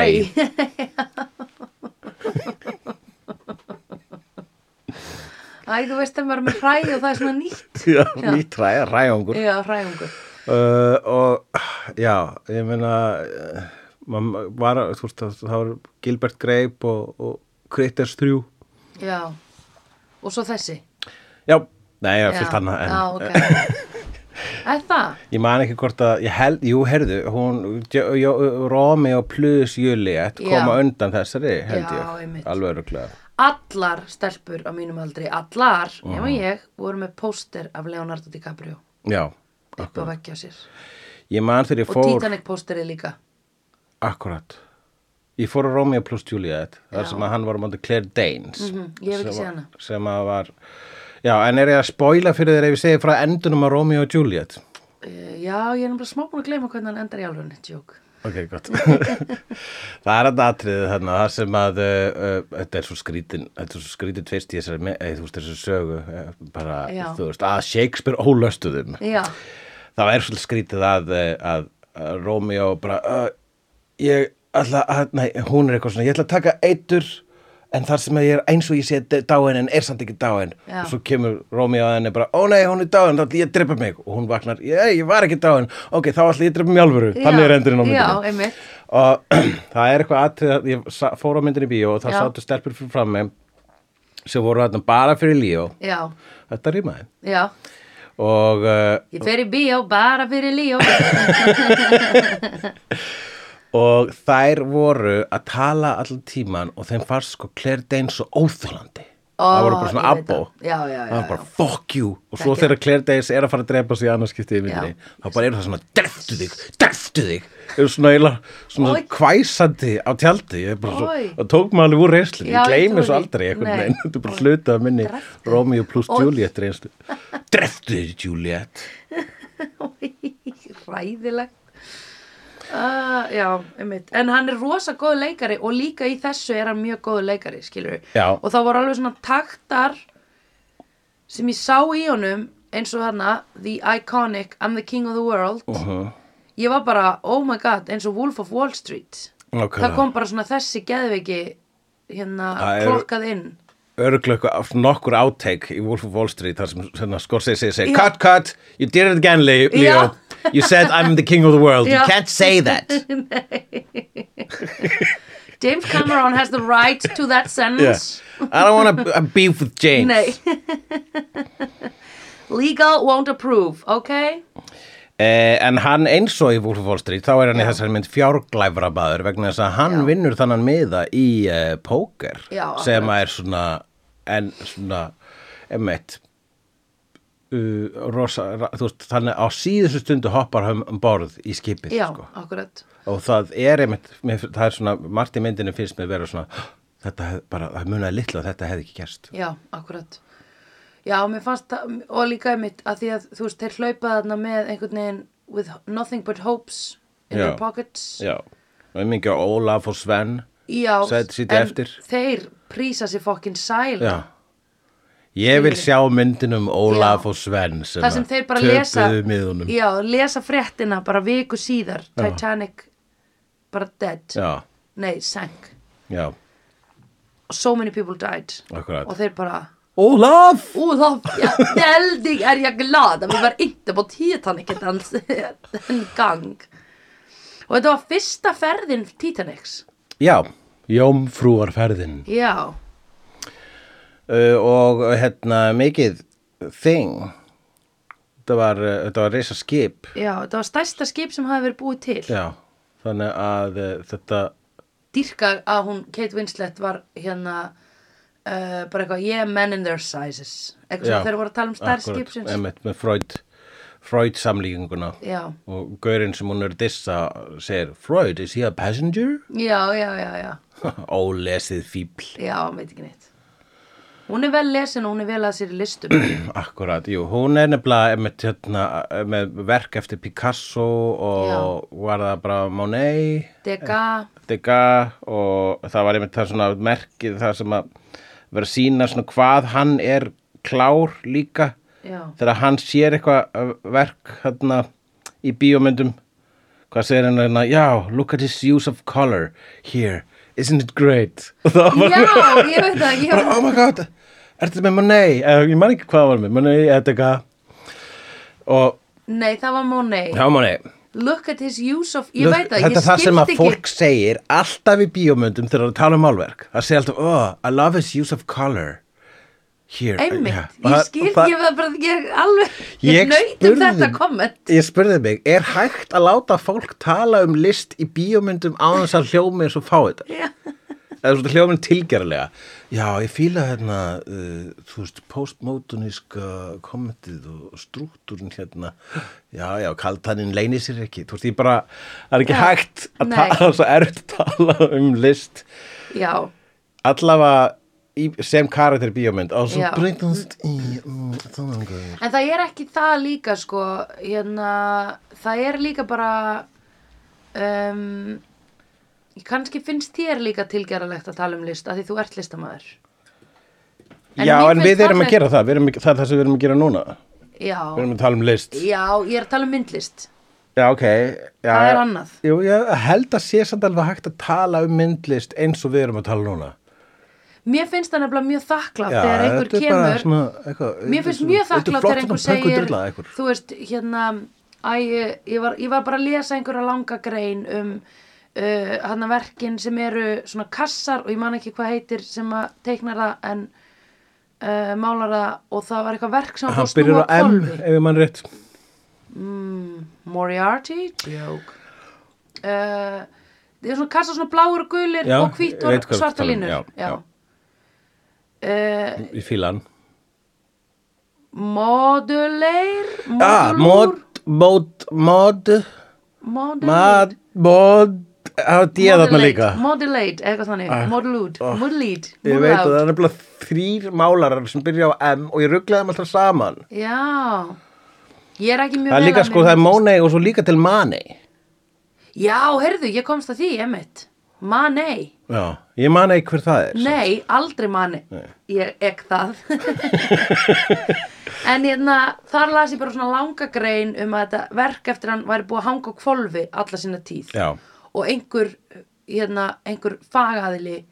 Speaker 2: Æ, þú veist að maður er með hræ og það er svona nýtt.
Speaker 1: Já, nýtt hræ, hræ ungur.
Speaker 2: Já, hræungur.
Speaker 1: Uh, og já, ég meina, uh, maður var, þú veist, það það var Gilbert Grape og, og Critters 3.
Speaker 2: Já. Og svo þessi.
Speaker 1: Já, nei, ég fyllt hana. en-
Speaker 2: Já, Ah, ok. Æ, það?
Speaker 1: Ég man ekki hvort að, ég held, jú, herðu, hún, J- J- Romy og plus Juliet
Speaker 2: Já.
Speaker 1: koma undan þessari, held
Speaker 2: Já,
Speaker 1: ég.
Speaker 2: einmitt.
Speaker 1: Alveg öruglega.
Speaker 2: Allar stelpur á mínum aldri, allar, nema ég, voru með póster af Leonardo DiCaprio
Speaker 1: Já,
Speaker 2: upp á vekkja sér.
Speaker 1: ég man þegar ég
Speaker 2: Og
Speaker 1: fór,
Speaker 2: Titanic pósterið líka.
Speaker 1: akkurat, ég fór á Romy og plus Juliet, þar sem að hann var á móti Claire Danes.
Speaker 2: Mhm, ég hef
Speaker 1: sem
Speaker 2: ekki séð
Speaker 1: að-
Speaker 2: hana.
Speaker 1: Sem að var, já, en er ég að spoila fyrir þér ef ég segi frá endunum á Romy og Juliet?
Speaker 2: Eh, Uh, já, ég er náttúrulega smá búin að gleyma hvernig hann endar í alveg neitt jók.
Speaker 1: ok, gott það er að atriðið þarna það sem að uh, uh, þetta er svo skrítin þetta er svo skrítin tvist í þessari me- eh, þú veist þessari sögu eh, bara,
Speaker 2: Já.
Speaker 1: þú veist, að Shakespeare ólöstuðum
Speaker 2: Já,
Speaker 1: það er svolítið skrítið að, eh, að, að Romeo bara uh, ég ætla að, nei, hún er eitthvað svona ég ætla að taka eitur en þar sem að ég er eins og ég sé d- dáin en er samt ekki dáin
Speaker 2: Já.
Speaker 1: og svo kemur Romeo að henni bara ó nei, hún er dáin, þá ætla ég að drepa mig og hún vaknar, ég, ég var ekki dáin ok, þá ætla ég að drepa mig í alvöru,
Speaker 2: Já.
Speaker 1: þannig er endurinn á myndinni
Speaker 2: Já, einmitt.
Speaker 1: og það er eitthvað atrið að ég sa- fór á myndinni í bíó og það
Speaker 2: Já.
Speaker 1: sátu stelpur fyrir fram með sem voru þarna bara fyrir líó
Speaker 2: já,
Speaker 1: þetta rýmaði
Speaker 2: já
Speaker 1: og uh,
Speaker 2: Ég fer í bíó bara fyrir líó
Speaker 1: og þær voru að tala allan tíman og þeim fannst sko Claire Danes svo óþjólandi
Speaker 2: Ó,
Speaker 1: það voru bara svona
Speaker 2: ég veit
Speaker 1: abbó
Speaker 2: það. Já, já, já,
Speaker 1: það var bara
Speaker 2: já.
Speaker 1: fuck you og svo
Speaker 2: Þekki
Speaker 1: þegar Claire Danes er að fara að drepa sig í annarskipti í myndinni þá bara eru það svona dreftu þig, dreftu þig eru svona, eila, svona
Speaker 2: Oj.
Speaker 1: hvæsandi á tjaldi Ég er bara svo,
Speaker 2: Oj.
Speaker 1: það tók maður alveg úr reynslinni
Speaker 2: Já,
Speaker 1: ég
Speaker 2: ég
Speaker 1: gleymi
Speaker 2: trúi
Speaker 1: svo
Speaker 2: því.
Speaker 1: aldrei einhvern
Speaker 2: Nei.
Speaker 1: veginn þetta er bara hluta af minni
Speaker 2: Drepptu þig.
Speaker 1: Romeo plus
Speaker 2: Oj.
Speaker 1: Juliet reynstu dreftu þig Juliet
Speaker 2: Ræðilegt Uh, já, einmitt en hann er rosa góð leikari og líka í þessu er hann mjög góð leikari skilur við
Speaker 1: Já.
Speaker 2: og þá voru alveg svona taktar sem ég sá í honum eins og þarna The Iconic, I'm the King of the World
Speaker 1: Mhm.
Speaker 2: ég var bara, oh my god eins og Wolf of Wall Street
Speaker 1: Nákvæmlega.
Speaker 2: það kom bara svona þessi geðveiki hérna,
Speaker 1: Það er-
Speaker 2: klokkað inn
Speaker 1: örglöku af nokkur átæk í Wolf of Wall Street þar sem svona, Scorsese segi
Speaker 2: Já.
Speaker 1: cut cut, you did it again Leo
Speaker 2: Já.
Speaker 1: you said I'm the king of the world
Speaker 2: Já.
Speaker 1: you can't say that
Speaker 2: James Cameron has the right to that
Speaker 1: yeah.
Speaker 2: sentence
Speaker 1: I don't want to beef with James
Speaker 2: Nei Legal won't approve, ok?
Speaker 1: Eh, en hann eins og í Wolf of Wall Street þá er hann í
Speaker 2: Já.
Speaker 1: þessari mynd fjárglæfra baður vegna þess að hann
Speaker 2: Já.
Speaker 1: vinnur þannan miða í uh, póker
Speaker 2: Já,
Speaker 1: sem
Speaker 2: akkurat.
Speaker 1: er svona en svona emmett uh, rosa, ra- þú veist, þannig á síðustu stundu hoppar hann um borð í skipið
Speaker 2: Já,
Speaker 1: sko.
Speaker 2: akkurat
Speaker 1: og það er einmitt, mér, það er svona, margt í myndinu finnst mér vera svona, þetta hef, bara, það munaði litla að þetta hefði ekki gerst.
Speaker 2: Já, akkurat Já, mér fannst það, og líka einmitt að því að þú veist, þeir hlaupa þarna með einhvern veginn with nothing but hopes in
Speaker 1: Já.
Speaker 2: their pockets
Speaker 1: Já, og ég mingi á Ólaf og Sven,
Speaker 2: Já,
Speaker 1: Sæt- sitja
Speaker 2: en
Speaker 1: eftir.
Speaker 2: þeir prísa sér fokkin sæl
Speaker 1: já. Ég vil sjá myndinum Ólaf
Speaker 2: Já.
Speaker 1: og Sven sem,
Speaker 2: Það sem
Speaker 1: að
Speaker 2: þeir bara lesa
Speaker 1: töpuðu miðunum.
Speaker 2: Já, lesa fréttina bara viku síðar Titanic bara dead
Speaker 1: Já,
Speaker 2: Nei, sank
Speaker 1: já,
Speaker 2: So many people died
Speaker 1: Akkurat.
Speaker 2: Og þeir bara
Speaker 1: Ólaf!
Speaker 2: Olof, jag, väldigt är jag glad att vi var inte på Titanic hérna ett ens en gång. Og þetta var fyrsta ferðin Titanics.
Speaker 1: Já, Jómfrúarferðin
Speaker 2: Já,
Speaker 1: uh, og hérna mikið þing, þetta var, uh, þetta var reisa skip,
Speaker 2: já, þetta var stærsta skip sem hafi verið búið til.
Speaker 1: já, þannig að uh, þetta,
Speaker 2: Dýrka að hún, Kate Winslet, var hérna uh, bara eitthvað, yeah, men in their sizes. Eitthvað
Speaker 1: já.
Speaker 2: sem þeir voru að tala um stærð
Speaker 1: akkurat,
Speaker 2: skipsins.
Speaker 1: einmitt, með Freud, Freud samlíkinguna.
Speaker 2: Já,
Speaker 1: og gaurinn sem hún er að dissa segir Freud, is he a passenger?
Speaker 2: já, já, já, já.
Speaker 1: Ólesið fíbl
Speaker 2: Já, veit ekki neitt. Hún er vel lesin og hún er vel að sér í listum.
Speaker 1: Akkurat, jú, hún er nefnilega einmitt, hérna, með verk eftir Picasso og var það bara Monet
Speaker 2: Degas.
Speaker 1: Degas og það var einmitt það svona merkið það sem að vera að sína svona hvað hann er klár líka
Speaker 2: Já.
Speaker 1: þegar hann sér eitthvað uh, verk hérna í bíómyndum hvað segir hann hérna, já, look at his use of color here, isn't it great og það var
Speaker 2: Já, ég veit það ekki.
Speaker 1: bara, oh my god, ertu með Monet Eh, ég man ekki hvað það var með, Monet eða Degas og
Speaker 2: Nei, það var Monet.
Speaker 1: já Monet
Speaker 2: Look at his use of... Ég
Speaker 1: Look,
Speaker 2: veit það,
Speaker 1: þetta
Speaker 2: ég
Speaker 1: er það sem að
Speaker 2: skipti
Speaker 1: fólk segir alltaf í bíómyndum þegar það tala um málverk það segir alltaf, oh, I love his use of color here
Speaker 2: ekki... Einmitt,
Speaker 1: Yeah. Og
Speaker 2: ég
Speaker 1: það-
Speaker 2: skil,
Speaker 1: og það-
Speaker 2: ég var bara ekki alveg... Ég,
Speaker 1: Ég
Speaker 2: ég naut um
Speaker 1: spurði-
Speaker 2: þetta komment.
Speaker 1: ég spurði mig, er hægt að láta fólk tala um list í bíómyndum á þess að hljómi eins og fá þetta
Speaker 2: Já,
Speaker 1: eða svona hljómin tilgerlega já, ég fíla hérna uh, þú veist, postmoderníska kommentið og strúktúrin hérna já, já, kaltaninn leynir sér ekki þú veist, ég bara, það er ekki
Speaker 2: Já,
Speaker 1: hægt að
Speaker 2: nei.
Speaker 1: tala svo erfitt að tala um list
Speaker 2: já,
Speaker 1: allavega í, sem karakter í bíómynd og svo
Speaker 2: Já.
Speaker 1: breytast í mm, þannig
Speaker 2: en það er ekki það líka, sko, hérna, það er líka bara... um, kannski finnst þér líka tilgerðalegt að tala um list af því þú ert listamaður En
Speaker 1: Já,
Speaker 2: mér
Speaker 1: en
Speaker 2: finnst
Speaker 1: við erum að
Speaker 2: fallegt-
Speaker 1: gera það, við erum, ekki- það er það sem við erum að gera núna Við
Speaker 2: já,
Speaker 1: erum að tala um list
Speaker 2: já, ég er að tala um myndlist
Speaker 1: Já, ok já,
Speaker 2: Það er annað.
Speaker 1: Jú, ég held að sé samt alveg hægt að tala um myndlist eins og við erum að tala núna
Speaker 2: Mér finnst það nefnilega mjög þakklátt
Speaker 1: Já,
Speaker 2: þegar einhver
Speaker 1: þetta er bara
Speaker 2: kemur
Speaker 1: svona eitthvað-
Speaker 2: Mér finnst
Speaker 1: svona-
Speaker 2: mjög
Speaker 1: þetta er
Speaker 2: þakklátt
Speaker 1: flott
Speaker 2: þegar einhver
Speaker 1: svona pönku
Speaker 2: segir
Speaker 1: drulla, einhver.
Speaker 2: Þú veist, hérna Æ, ég- ég var, ég var bara að lesa einhverja langa grein um uh, hann verkin sem eru svona kassar og ég man ekki hvað heitir sem að teiknar það en uh, málar það og það var eitthvað verk sem
Speaker 1: Hann
Speaker 2: fór að
Speaker 1: byrjar á
Speaker 2: snúa
Speaker 1: M,
Speaker 2: hvolfi.
Speaker 1: ef ég mann rétt
Speaker 2: Moriarty joke uh, það er svona kassa svona bláur og gulir
Speaker 1: Já,
Speaker 2: og hvít
Speaker 1: ég veit hvað þú ert
Speaker 2: og
Speaker 1: að
Speaker 2: svarta
Speaker 1: tala um,
Speaker 2: línur
Speaker 1: já,
Speaker 2: Uh,
Speaker 1: Í fílan
Speaker 2: moduleir
Speaker 1: Ah, mod,
Speaker 2: modulur
Speaker 1: mod, mod Mod,
Speaker 2: modulate,
Speaker 1: mod Á dýðarna líka
Speaker 2: modulate, eitthvað þannig modulud, modulid,
Speaker 1: Ég veit að það er nefnilega þrýr málarar sem byrja á M og ég rugglaði þeim alltaf saman
Speaker 2: já ég er ekki mjög
Speaker 1: Það er
Speaker 2: vel
Speaker 1: líka
Speaker 2: að
Speaker 1: sko,
Speaker 2: mér
Speaker 1: það er
Speaker 2: myndlist.
Speaker 1: Mónei og svo líka til Manei
Speaker 2: já, heyrðu, ég komst að því, emitt manei,
Speaker 1: Já, ég man ekki hver það er
Speaker 2: nei, aldrei manei ég ek það en hérna þar las ég bara svona langa grein um að þetta verk eftir hann væri búið að hanga á kvolfi alla sína tíð
Speaker 1: Já,
Speaker 2: og einhver, hérna, einhver fagaðili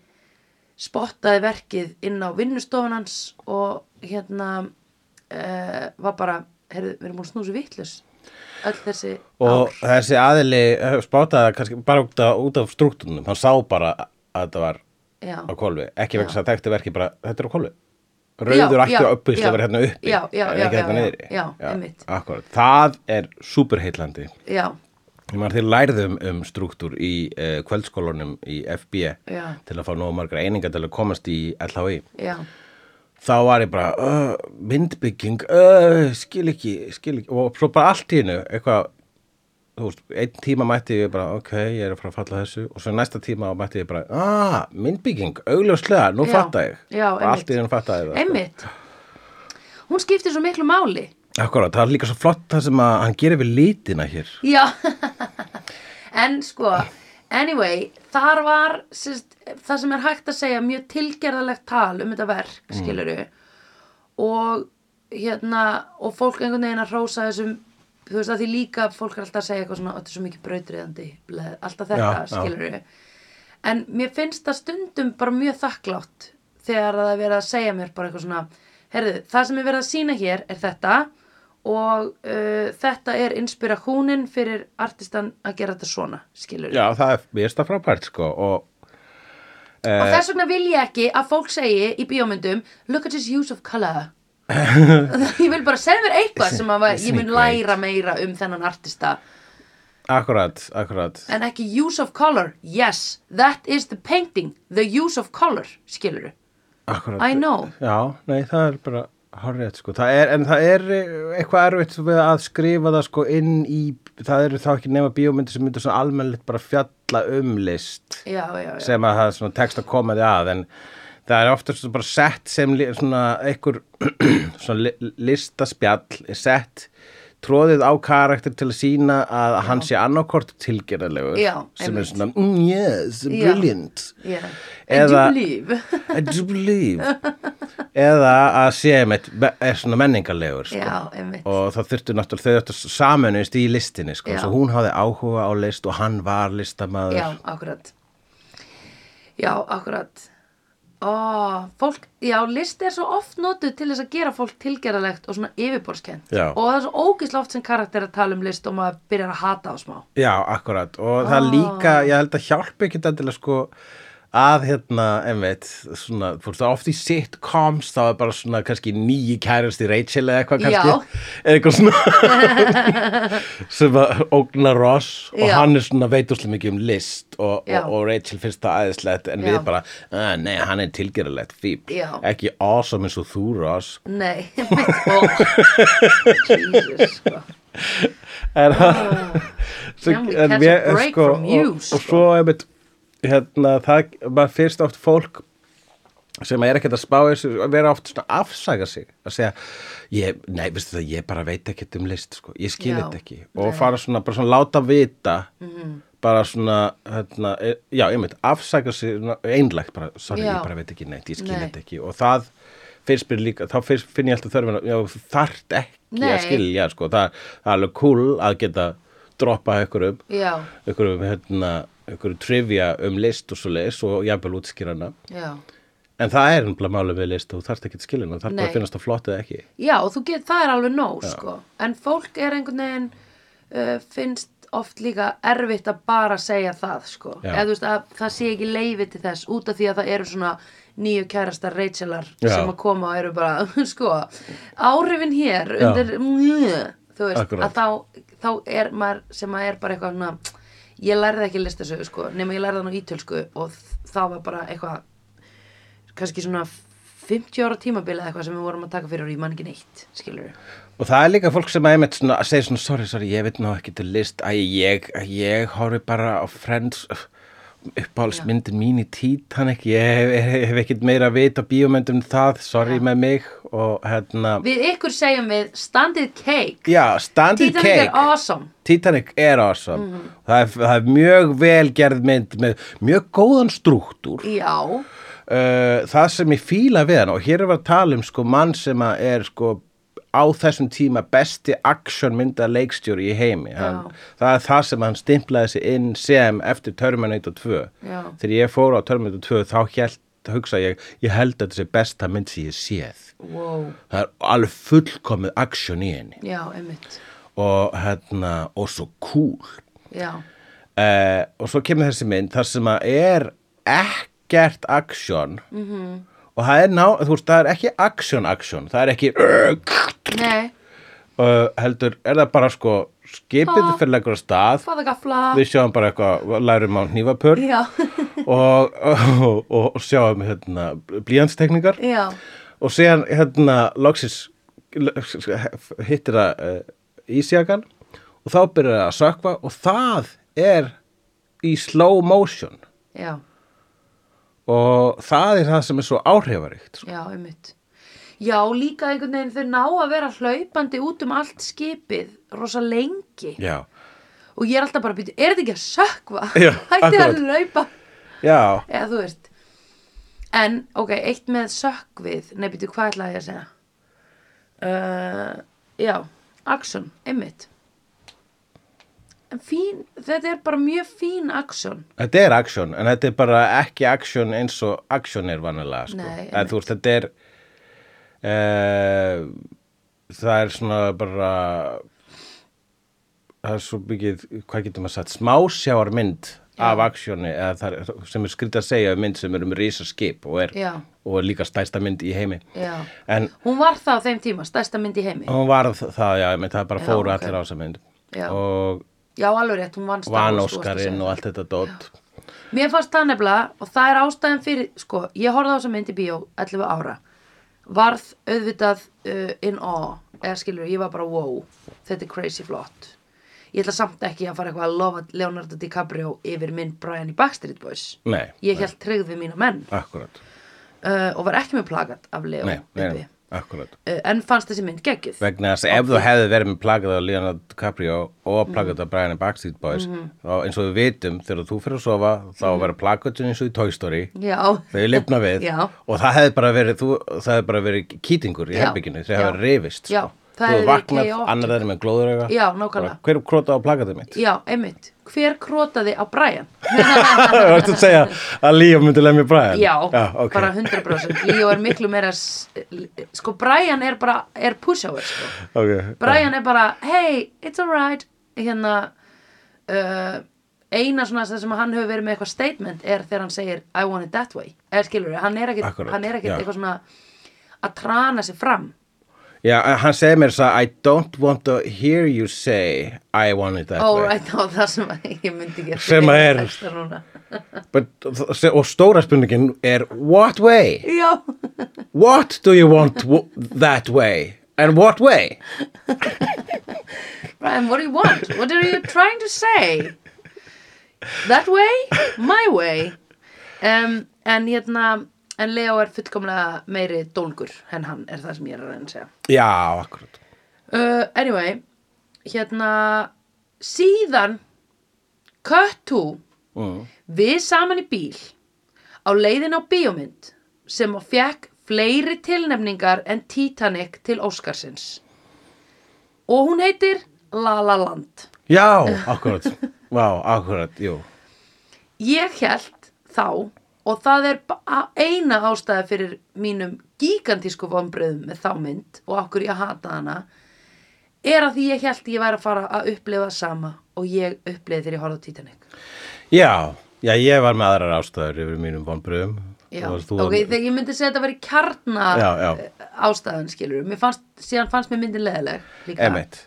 Speaker 2: spottaði verkið inn á vinnustofun hans og hérna uh, var bara, heyrðu, við erum búin að snúsa vittlus öll þessi
Speaker 1: og
Speaker 2: ár
Speaker 1: þessi aðili eh, spátaði það kannski bara út af, út af struktúrnum hann sá bara að þetta var
Speaker 2: já.
Speaker 1: á kolvi, ekki vegna
Speaker 2: Já.
Speaker 1: þess að þekkti verki bara, þetta er á kolvi
Speaker 2: Já,
Speaker 1: Rauður ætti
Speaker 2: já,
Speaker 1: að uppvísla
Speaker 2: já.
Speaker 1: að vera hérna uppi
Speaker 2: Já, já,
Speaker 1: en ekki
Speaker 2: já, já,
Speaker 1: hérna
Speaker 2: já.
Speaker 1: niðri
Speaker 2: Já, einmitt.
Speaker 1: akkúrat. Það er superheillandi
Speaker 2: já,
Speaker 1: Ég maður þeir lærðum um struktúr í uh, kvöldskólanum í FB
Speaker 2: Já.
Speaker 1: til að fá nóg margra eininga til að komast í LHI
Speaker 2: já,
Speaker 1: þá var ég bara uh, myndbygging, uh, skil ekki skil ekki, og svo bara allt í hennu eitthvað, þú veist, einn tíma mætti ég bara, ok, ég er að fara að falla að þessu og svo næsta tíma mætti ég bara, ah myndbygging, augljóslega, nú
Speaker 2: Já,
Speaker 1: fatta ég
Speaker 2: já,
Speaker 1: og allt í
Speaker 2: einmitt.
Speaker 1: hennu fatta ég það sko.
Speaker 2: einmitt hún skiptir svo miklu máli
Speaker 1: Akkúrat, það er líka svo flott það sem að hann gerir við litina hér
Speaker 2: Já, en sko, anyway, þar var sérst, það sem er hægt að segja mjög tilgerðalegt tal um þetta
Speaker 1: Mm.
Speaker 2: verk, skiluru, og hérna, og fólk einhvern veginn að hrósa þessum, þú veist að því líka fólk er alltaf að segja eitthvað svona, "Ó, þetta er svo mikið brautriðandi, bleð, alltaf þetta,
Speaker 1: Já, já.
Speaker 2: skiluru. En mér finnst það stundum bara mjög þakklátt þegar það er verið að segja mér bara eitthvað svona, herðu, það sem er verið að sína hér er þetta og uh, þetta er inspirasjónin fyrir artistan að gera þetta svona, skilur.
Speaker 1: Já, það er, mér er það frábært sko og
Speaker 2: Og þess vegna vil ég ekki að fólk segi í bíómyndum, look at his use of color. ég vil bara segja mér eitthvað sem að
Speaker 1: Isn't
Speaker 2: ég
Speaker 1: it
Speaker 2: mun
Speaker 1: great?
Speaker 2: læra meira um þennan artista.
Speaker 1: Akkurat, akkurat
Speaker 2: En ekki use of color, yes, that is the painting, the use of color, skilur.
Speaker 1: Akkurat.
Speaker 2: I know.
Speaker 1: Já, nei, það er bara horrið, sko. Það er, en það er eh, eitthvað erfitt við að skrifa það, sko, inn í, það eru þá ekki nema bíómyndir sem myndir svona almennilegt bara fjalla um list
Speaker 2: Já, já, já.
Speaker 1: sem að það er svona text að koma því að, en það er oftast bara sett sem li- svona einhver svona li- listaspjall er sett tróðið á karakter til að sína að hann sé annarkort tilgerðarlegur
Speaker 2: Já,
Speaker 1: sem er
Speaker 2: einmitt.
Speaker 1: svona, mm, yes,
Speaker 2: Já.
Speaker 1: brilliant
Speaker 2: Yeah.
Speaker 1: Eða-
Speaker 2: Eða... And you believe.
Speaker 1: I do believe eða að sé einmitt er svona menningarlegur sko.
Speaker 2: Já, einmitt.
Speaker 1: og það þurftu náttúrulega þau þetta samanust í listinni sko.
Speaker 2: Já.
Speaker 1: svo hún hafði áhuga á list og hann var listamaður
Speaker 2: Já, akkurat. Já, akkurat. Ó, fólk, já, list er svo oft notuð til þess að gera fólk tilgerðalegt og svona yfirborskend.
Speaker 1: Já.
Speaker 2: Og það er svo ógislega oft sem karakter að tala um list og maður byrjar að hata á smá.
Speaker 1: Já, akkurat og það líka,
Speaker 2: Ah.
Speaker 1: ég held að hjálpa ekki endilega sko að hérna, einmitt, svona, fórst það oft í sitcoms, þá er bara svona kannski nýji kærasti Rachel eða eitthvað kannski, eða eitthvað svona sem að ógna Ross og
Speaker 2: Já.
Speaker 1: hann er svona veituslega mikið um list og,
Speaker 2: Já.
Speaker 1: og, og Rachel finnst það æðislegt en
Speaker 2: Já.
Speaker 1: við bara, "Ah, nei, hann er tilgerðalegt fíbl,
Speaker 2: Já.
Speaker 1: ekki awesome eins og þú Ross
Speaker 2: Nei, mitt, ó, Jesus, sko.
Speaker 1: en svo,
Speaker 2: Can we
Speaker 1: en
Speaker 2: catch a
Speaker 1: mér,
Speaker 2: break
Speaker 1: sko,
Speaker 2: from you,
Speaker 1: og,
Speaker 2: sko?
Speaker 1: og svo einmitt, hérna, það, maður fyrst oft fólk sem er ekkert að spá í þessu, vera oft svona að afsaka sig að segja, ég, nei, veistu það ég bara veit ekkert um list, sko, ég skil
Speaker 2: Já, Mhm.
Speaker 1: þetta ekki og fara svona, bara svona láta vita bara svona hérna, e- já, einmitt, afsaka sig svona einlægt bara, sorry,
Speaker 2: Já.
Speaker 1: ég bara veit ekki neitt, ég skil
Speaker 2: Nei.
Speaker 1: þetta ekki og það fyrst byrja líka, þá fyrst finn ég alltaf þörfina já, þú þarft ekki
Speaker 2: Nei.
Speaker 1: að skilja sko, það, það er alveg cool að geta droppa einhverjum
Speaker 2: já,
Speaker 1: einhverjum, hérna, einhverjum trivia um list og svo list og jafnvel útskýrana
Speaker 2: já.
Speaker 1: en það er umlega málið við list og þú þarft ekki að skilja hana, þarft bara
Speaker 2: Nei.
Speaker 1: að finnast það flott eða ekki
Speaker 2: Já, og þú get, það er alveg nóg, sko. En fólk er einhvern veginn, uh, finnst oft líka erfitt að bara segja það, sko.
Speaker 1: Já.
Speaker 2: Eða þú veist að það sé ekki leifi til þess út af því að það eru svona nýju kærastar Rachelar
Speaker 1: Já.
Speaker 2: sem að koma og eru bara, sko, áhrifin hér undir, þú veist,
Speaker 1: Akkurat.
Speaker 2: að þá, þá er maður sem að er bara eitthvað svona, ég lærði ekki listasögu, sko, nema ég lærði hann á ítölsku sko, og það var bara eitthvað kannski svona 50 ára tímabili eða eitthvað sem við vorum að taka fyrir og ég man ekki neitt, skilur
Speaker 1: Og það er líka fólk sem að einmitt svona, segir svona, sorry, sorry, ég veit ná ekki til list, æ, ég, ég horfi bara á Friends, uppáhaldsmyndin mín í Titanic, ég hef, hef, hef ekkert meira að vita á bíómyndum en það, sorry með mig og hérna,
Speaker 2: Við ykkur segjum við standið cake
Speaker 1: já, standard
Speaker 2: Titanic
Speaker 1: cake.
Speaker 2: er awesome
Speaker 1: Titanic er awesome. það, er, það er mjög velgerð mynd með mjög góðan strúktúr.
Speaker 2: Já,
Speaker 1: Uh, það sem ég fíla við hann og hér er við að tala um sko mann sem að er sko á þessum tíma besti actionmynda leikstjóri í heimi hann, það er það sem hann stimplaði sig inn sem eftir Terminator 2
Speaker 2: Já.
Speaker 1: þegar ég fór á Terminator 2 þá held, hugsa ég, ég held að þetta sé besta mynd sem ég séð
Speaker 2: wow,
Speaker 1: það er alveg fullkomið action í henni
Speaker 2: já, einmitt
Speaker 1: og hérna, og svo cool
Speaker 2: Já,
Speaker 1: uh, og svo kemur þessi mynd þar sem að er ekkert aksjón -hmm. og það er, ná, þú veist, það er ekki aksjón aksjón, það er ekki
Speaker 2: nei,
Speaker 1: uh, heldur, er það bara sko skipið
Speaker 2: Ah.
Speaker 1: fyrir leggur á stað
Speaker 2: faða gafla
Speaker 1: við sjáum bara eitthvað, lærum á hnífapör
Speaker 2: Já,
Speaker 1: og, og, og sjáum hérna, blíjanstekningar
Speaker 2: já,
Speaker 1: og síðan hérna loksins hittir það uh, ísjakan og þá byrjar það að sökva og það er í slow motion
Speaker 2: já,
Speaker 1: og það er það sem er svo áhrifaríkt sko.
Speaker 2: já, einmitt Já, líka einhvern veginn þau ná að vera hlaupandi út um allt skipið rosa lengi
Speaker 1: já.
Speaker 2: og ég er alltaf bara að býta, er þetta ekki að sökva?
Speaker 1: Já,
Speaker 2: Hætti að
Speaker 1: akkurat.
Speaker 2: hlaupa
Speaker 1: já,
Speaker 2: eða þú veist en ok, eitt með sökvið nei, býtu, hvað ætlaði ég að segja uh, já action, einmitt en fín, þetta er bara mjög fín action
Speaker 1: þetta er aksjón en þetta er bara ekki aksjón eins og aksjón er vanilega sko.
Speaker 2: Nei,
Speaker 1: Eða, þú veist, þetta er uh, það er svona bara það er svo byggið, hvað getur maður sagt smásjáarmynd af aksjóni eða það er, sem er skrýtt að segja um mynd sem er um risaskip og er,
Speaker 2: Já.
Speaker 1: og er líka stærsta mynd í heimi
Speaker 2: Já.
Speaker 1: en
Speaker 2: hún var það á þeim tíma, stærsta mynd í heimi
Speaker 1: hún var það, já, einmitt, það bara
Speaker 2: Já,
Speaker 1: fóru
Speaker 2: ok.
Speaker 1: allir á þessa mynd
Speaker 2: Já.
Speaker 1: og
Speaker 2: já, alveg rétt, hún vann
Speaker 1: Van Óskarinn og allt þetta dót
Speaker 2: Mér fannst það nefnilega og það er ástæðan fyrir, sko, ég horfði á þessa mynd í bíó 11 ára, varð auðvitað uh, in awe, eða skilur, ég var bara wow, þetta er crazy flott. Ég ætla samt ekki að fara eitthvað að lofa Leonardo DiCaprio yfir mynd Brian í Backstreet Boys.
Speaker 1: Nei,
Speaker 2: Ég held tryggð við mína menn
Speaker 1: akkurat
Speaker 2: uh, og var ekki með plagat af Leo
Speaker 1: Nei, nei,
Speaker 2: uppi.
Speaker 1: nei, akkurat
Speaker 2: Uh, en fannst þessi mynd geggjuð.
Speaker 1: vegna þess að ef þú hefði verið með plagað á Leonardo DiCaprio og
Speaker 2: Mhm.
Speaker 1: plagað á Brian and Backstreet Boys þá eins og við vitum þegar þú fyrir að sofa þá
Speaker 2: Mhm.
Speaker 1: mm. verið plagaðin eins og í Toy Story
Speaker 2: Já,
Speaker 1: þau lifna við
Speaker 2: Já.
Speaker 1: og það hefði bara verið, þú, það hefði bara verið kýtingur í
Speaker 2: Já.
Speaker 1: herbygginu þau hefði
Speaker 2: Já.
Speaker 1: rifist sko.
Speaker 2: Já. Það
Speaker 1: þú
Speaker 2: hefði verið
Speaker 1: vaknað,
Speaker 2: chaotic.
Speaker 1: annar þeirra með glóðurauga
Speaker 2: Já, nákvæmlega.
Speaker 1: Bara, hver króta á plagaðið mitt?
Speaker 2: já, einmitt. Hver krótaði á Brian?
Speaker 1: Þú veist að segja að Leo myndi lemja Brian
Speaker 2: Já,
Speaker 1: ok.
Speaker 2: bara 100% Líó er miklu meira s- sko Brian er bara, er pushover sko.
Speaker 1: Ok.
Speaker 2: Brian er bara, hey, it's alright hérna uh, eina svona það sem hann hefur verið með eitthvað statement er þegar hann segir I want it that way, eða skilur við, hann er ekkit
Speaker 1: Akkúrat,
Speaker 2: hann er ekkit
Speaker 1: já.
Speaker 2: eitthvað svona að trana sig fram
Speaker 1: Já, eh, hann segir mér þess að I don't want to hear you say I want it that
Speaker 2: all
Speaker 1: way
Speaker 2: right, þá Oh, það sem að ég myndi gera
Speaker 1: Sem að er-
Speaker 2: Texta núna.
Speaker 1: But, og stóra spurningin er what way?
Speaker 2: já,
Speaker 1: What do you want w- that way? And what way?
Speaker 2: Brian, what do you want? What are you trying to say? That way? My way? Um, en hérna, en Leo er fullkomlega meiri dólgur en hann er það sem ég er að reyna að segja.
Speaker 1: Já, akkurat
Speaker 2: Uh, anyway, hérna, síðan Cut to
Speaker 1: Mm.
Speaker 2: Við saman í bíl á leiðin á bíómynd sem að fekk fleiri tilnefningar en Titanic til Óskarsins. Og hún heitir La La Land.
Speaker 1: Já, akkurat Vá, akkurat, jú
Speaker 2: Ég held þá og það er ba- eina ástæða fyrir mínum gigantísku vonbröðum með þá mynd og okkur ég hata hana er að því ég held ég væri að fara að upplifa sama og ég uppliði þegar ég horfði á Titanic.
Speaker 1: Já, já, ég var með aðrar ástæður yfir mínum vonbröðum
Speaker 2: Já,
Speaker 1: Og þú-
Speaker 2: ok, þegar ég myndi segja að þetta var í kjarna
Speaker 1: Já, já.
Speaker 2: eh, ástæðan, skilur mér fannst, síðan fannst mér myndin leðileg líka.
Speaker 1: Einmitt.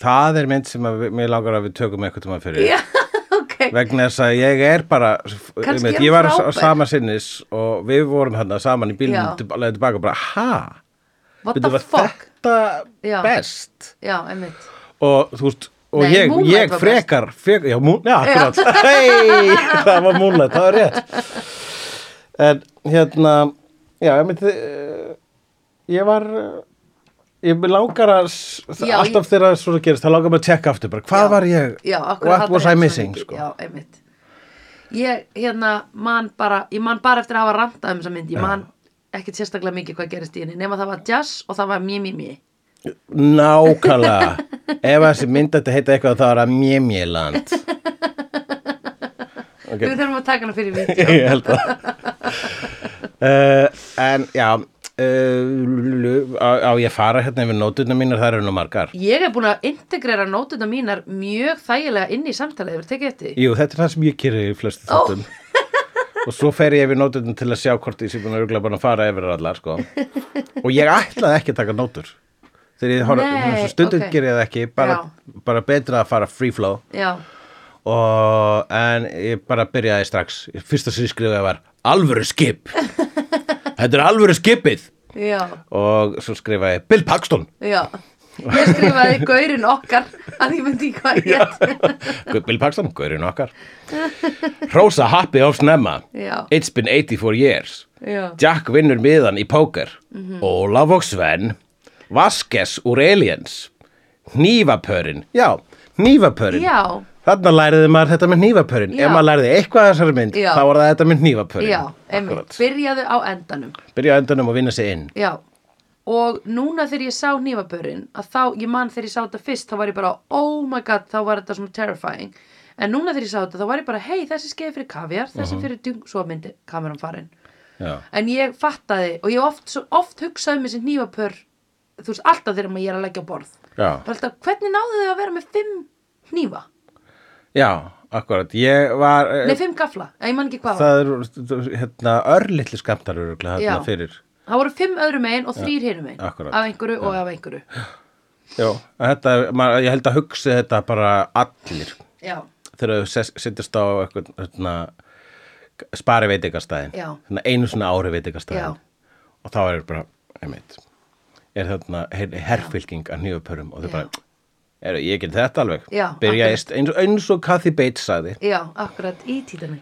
Speaker 1: Það er mynd sem að við- mér langar að við tökum eitthvað tíma fyrir
Speaker 2: Já, ok,
Speaker 1: vegna þess að ég er bara
Speaker 2: Kannski er
Speaker 1: einmitt,
Speaker 2: hún
Speaker 1: ég var
Speaker 2: frábær.
Speaker 1: á sama sinnis og við vorum hérna saman í bílnum
Speaker 2: Já.
Speaker 1: til- á leiðinni tilbaka og bara, ha?
Speaker 2: what
Speaker 1: Bíddu,
Speaker 2: the
Speaker 1: var
Speaker 2: fuck
Speaker 1: þetta
Speaker 2: Já.
Speaker 1: best
Speaker 2: Já, einmitt
Speaker 1: og þú veist og
Speaker 2: Nei,
Speaker 1: ég,
Speaker 2: Moonlight
Speaker 1: ég
Speaker 2: var
Speaker 1: frekar, frekar já, mún, já, akkurat hey, það var múnlega, það var rétt en hérna já, ég myndi ég var eh, ég mig langar að s-
Speaker 2: Já,
Speaker 1: alltaf þegar svona gerist, það langar mig að tjekka aftur bara, hvað var ég,
Speaker 2: Já, akkur
Speaker 1: what was I missing sko.
Speaker 2: Já, einmitt Ég, hérna, man bara ég man bara eftir að hafa rantað um þessa mynd ég man ekkert sérstaklega mikið hvað gerist í henni nema það var jazz og það var mjö, mjö, mjö
Speaker 1: nákvæmlega ef þessi mynd ætti að heita eitthvað þá er það mjemjeland ok,
Speaker 2: Við þurfum að taka hana fyrir við
Speaker 1: ég held það uh, en já uh, á, á ég að fara hérna yfir nótuna mínar það eru nú margar
Speaker 2: Ég er búin að integrera nótuna mínar mjög þægilega inn í samtalið, hefur tekið eftir því?
Speaker 1: jú þetta er það sem ég kýri í flestu
Speaker 2: Ó.
Speaker 1: þáttum og svo fer ég yfir nótuna til að sjá hvort ég sé búin að örgla bara að fara yfir allar sko. og ég ætlaði ekki að taka nótur þegar ég horf
Speaker 2: Nei,
Speaker 1: stundum
Speaker 2: ok.
Speaker 1: ger ég það ekki bara, bara betra að fara free flow
Speaker 2: Já,
Speaker 1: og en ég bara byrjaði strax fyrsta sem ég skrifaði var alvöru skip þetta er alvöru skipið
Speaker 2: já
Speaker 1: og svo skrifaði ég, Bill Paxton
Speaker 2: Já, ég skrifaði gaurinn okkar að ég myndi ekki hvað ég get
Speaker 1: Bill Paxton, gaurinn okkar Rosa happy of snemma
Speaker 2: Já.
Speaker 1: It's been 84 years
Speaker 2: Já,
Speaker 1: Jack vinnur miðan í póker Ólaf og Sven Vaskes úr Aliens Hnífapörin, já, hnífapörin
Speaker 2: Já.
Speaker 1: Þarna læriði maður þetta með hnífapörin
Speaker 2: Já.
Speaker 1: Ef maður læriði eitthvað af þessari mynd
Speaker 2: Já.
Speaker 1: Þá var það þetta með hnífapörin
Speaker 2: já einmitt, byrjaðu á endanum
Speaker 1: Byrja á endanum og vinna sig inn
Speaker 2: Já, og núna þegar ég sá hnífabörinn að þá, ég man þegar ég sá þetta fyrst þá var ég bara, oh my god, þá var þetta svona terrifying En núna þegar ég sá þetta þá var ég bara, hei, þessi skeið fyrir kaviar, þessi
Speaker 1: Mhm.
Speaker 2: fyrir dung, svo myndi kameran farin
Speaker 1: Já,
Speaker 2: En ég fattaði, og ég oft, svo oft hugsaði með þessi hnífapör, þú veist, alltaf þegar maður ég er að leggja á borð
Speaker 1: já,
Speaker 2: Bara alltaf, hvernig náðu þau að vera með fimm hnífa?
Speaker 1: já, akkurat Ég var, eh,
Speaker 2: Nei, fimm gafla, Nei, ég man ekki hvað það,
Speaker 1: það er hérna, örlitli skamtar örugglega
Speaker 2: Já.
Speaker 1: hérna fyrir
Speaker 2: var Það voru fimm öðrum megin og þrýr hinum megin
Speaker 1: akkurat.
Speaker 2: Af einhverju og af einhverju
Speaker 1: Já, þetta, maður, ég held að hugsi þetta bara allir
Speaker 2: Já,
Speaker 1: þegar þau ses- setjast á eitthvað hérna, spari veitingastæðin
Speaker 2: Já.
Speaker 1: hérna, einu svona ári
Speaker 2: Já.
Speaker 1: veitingastæðin og þá er bara, einmitt er þarna her, herfylking að nýjupörum og þau
Speaker 2: Já.
Speaker 1: bara, er, ég get þetta alveg
Speaker 2: Já,
Speaker 1: byrja
Speaker 2: akkurat.
Speaker 1: eist, eins, eins og Kathy Bates sagði
Speaker 2: já, akkurat í títanum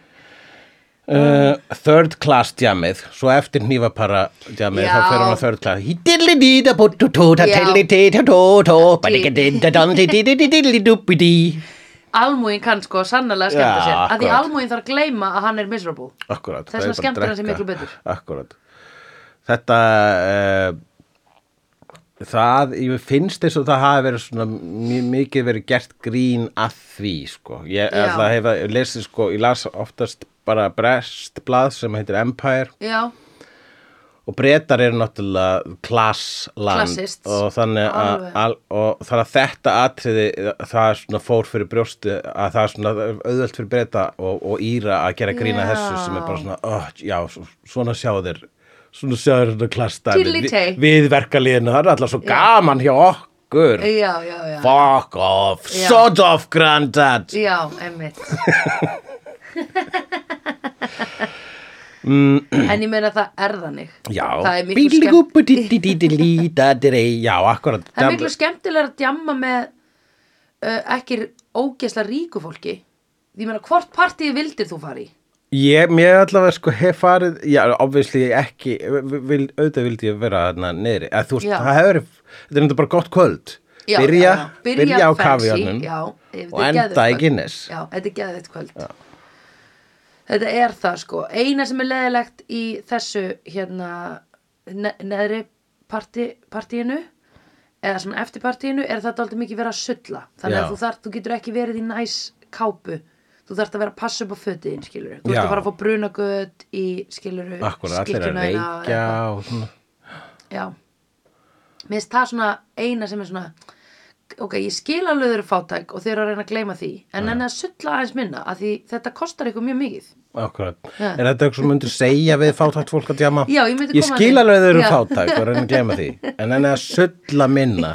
Speaker 1: uh, third class djamið svo eftir hnífapara djamið
Speaker 2: Já.
Speaker 1: þá fer hún á third class Hí-dilli-dí-da-bú-tú-tú-tá,
Speaker 2: Já.
Speaker 1: tilli-dí-tá-tó-tó, badikadindadandi-dí-dí-dí-dí-dí-dí-dí-dí-dí.
Speaker 2: Almúin kann sko sannlega skemmta
Speaker 1: Já,
Speaker 2: sér Af því
Speaker 1: akkurat.
Speaker 2: almúin þarf að gleyma að hann er miserable
Speaker 1: Akkúrat, það
Speaker 2: Þess
Speaker 1: er bara
Speaker 2: vegna skemmtir hann
Speaker 1: drekka.
Speaker 2: sér miklu betur
Speaker 1: Akkúrat. þetta uh, það, ég finnst þess að það hafi verið svona mjög mikið verið gert grín að því sko. ég
Speaker 2: Já.
Speaker 1: ætla að hefa, ég lesi sko ég las oftast bara brestblað sem heitir Empire
Speaker 2: Já,
Speaker 1: og breytar eru náttúrulega klassland
Speaker 2: Klassists.
Speaker 1: og þannig að,
Speaker 2: Alveg.
Speaker 1: al, og þannig að þetta atriði það er svona fór fyrir brjósti að það er svona auðvelt fyrir breyta og, og íra að gera grína
Speaker 2: Já.
Speaker 1: þessu sem er bara svona, oh, já, svo- svona sjá þeir svona sjá þeir svona klassdæmi
Speaker 2: Tiddly-tay.
Speaker 1: við, við verkaliðinu, það er alltaf svo gaman hjá okkur
Speaker 2: já, já, já
Speaker 1: fuck off,
Speaker 2: Já.
Speaker 1: sod off granddad
Speaker 2: Já, einmitt En ég meina það er þannig
Speaker 1: Mm. já,
Speaker 2: Það er miklu skemmt
Speaker 1: skemmt já, akkurat
Speaker 2: Það er miklu skemmtilega að djamma með uh, ekki ógesla ríku fólki. Því meina, hvort partíi vildir þú fara í?
Speaker 1: Ég, mér allavega sko hef farið, já, obviously ekki, vil, auðvitað vildi ég vera þarna niðri, að þú veist,
Speaker 2: Já.
Speaker 1: það hefur, þetta er enda bara gott kvöld,
Speaker 2: Já,
Speaker 1: byrja,
Speaker 2: já, já.
Speaker 1: byrja á
Speaker 2: fancy,
Speaker 1: kaviarnum
Speaker 2: já, ef
Speaker 1: og
Speaker 2: þetta er
Speaker 1: enda
Speaker 2: geðveikt
Speaker 1: í
Speaker 2: kvöld.
Speaker 1: Guinness.
Speaker 2: já, þetta er geðið kvöld þetta er það sko eina sem er leðilegt í þessu hérna ne neðri parti, partíinu eða sem eftir partíinu er þetta aldrei mikið verið að sulla þannig
Speaker 1: Já.
Speaker 2: að þú, þarf, þú getur ekki verið í næs kápu þú þarft að vera að passa upp á fötin skilur, þú
Speaker 1: Já.
Speaker 2: þarft að fara að fá brunagöð í skilur,
Speaker 1: Akkur allir að reykja og svona.
Speaker 2: Já Mér finnst það svona eina sem er svona Ok, ég skil alveg þau eru fátæk og þau eru að reyna að gleyma því En enn að sulla aðeins minna að því þetta kostar ykkur mjög mikið
Speaker 1: Akkurat.
Speaker 2: Já.
Speaker 1: Er þetta eitthvað sem myndir segja við fátækt fólk að djama?
Speaker 2: Já, ég myndi
Speaker 1: Ég
Speaker 2: koma að
Speaker 1: skil
Speaker 2: því.
Speaker 1: alveg að þau eru
Speaker 2: Já.
Speaker 1: fátækt og reyna að glema því. En en að sulla minna.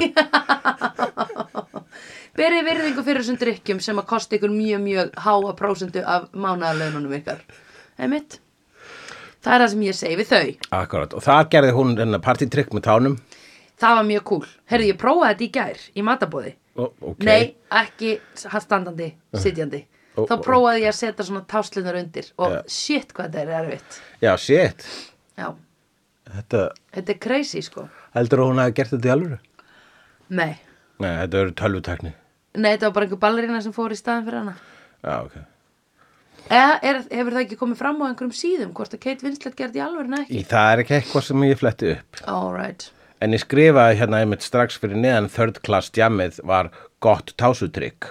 Speaker 2: Berið virðingu fyrir þessum drikkjum sem að kosta ykkur mjög mjög háa prósentu af mánaðarlaununum ykkar Einmitt Það er það sem ég segi við þau
Speaker 1: Akkurat. Og það gerði hún hennar partytrykk með tánum.
Speaker 2: Það var mjög cool Herðu, ég prófaði þetta í gær í matabóði
Speaker 1: Ó, ok. Eh.
Speaker 2: Nei, ekki hann standandi, sitjandi
Speaker 1: Ó,
Speaker 2: Þá
Speaker 1: ó, ó.
Speaker 2: prófaði ég að setja svona táslinar undir og
Speaker 1: Já.
Speaker 2: shit hvað þetta er erfitt
Speaker 1: Já, shit.
Speaker 2: Já,
Speaker 1: Þetta,
Speaker 2: þetta er crazy sko
Speaker 1: heldur hún hafi gert þetta í alvöru?
Speaker 2: Nei,
Speaker 1: Nei, þetta eru tölvutekni.
Speaker 2: nei, þetta var bara einhver ballerína sem fór í staðin fyrir hana
Speaker 1: Já, ok.
Speaker 2: Eða er, hefur það ekki komið fram á einhverjum síðum hvort að Kate Winslet gerði í alvörinu ekki
Speaker 1: Í, það er ekki eitthvað sem ég fletti upp.
Speaker 2: Alright,
Speaker 1: En ég skrifaði hérna einmitt strax fyrir neðan third class djamið var gott tásutrykk.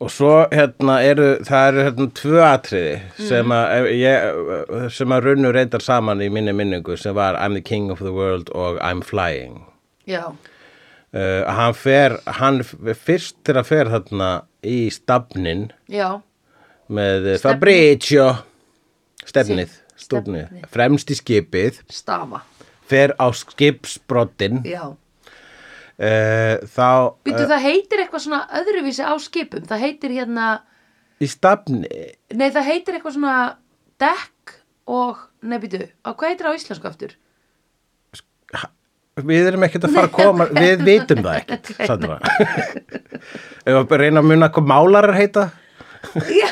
Speaker 1: Og svo hérna eru, það eru hérna tvö atriði
Speaker 2: Mm.
Speaker 1: sem að, ef ég, sem að runnu reyndar saman í minni minningu sem var I'm the king of the world og I'm flying.
Speaker 2: já,
Speaker 1: Uh, hann fer, hann f- fyrst þegar að fer þarna í stafnin
Speaker 2: já
Speaker 1: með Stefni. Fabricio stefnið,
Speaker 2: Sí,
Speaker 1: stofnið,
Speaker 2: stefnið.
Speaker 1: fremst í skipið
Speaker 2: Stafa,
Speaker 1: fer á skipsbrottin uh,
Speaker 2: já
Speaker 1: eh, þá
Speaker 2: Býtu, það heitir eitthvað svona öðruvísi á skipum Það heitir hérna,
Speaker 1: í stafni
Speaker 2: nei það heitir eitthvað svona dekk og, nei býtu, á hvað heitir það á íslensku aftur?
Speaker 1: við erum ekkert að fara að koma við vitum það ekkert Sandra. ef að bara reyna að muna hvað málarar heita
Speaker 2: Já,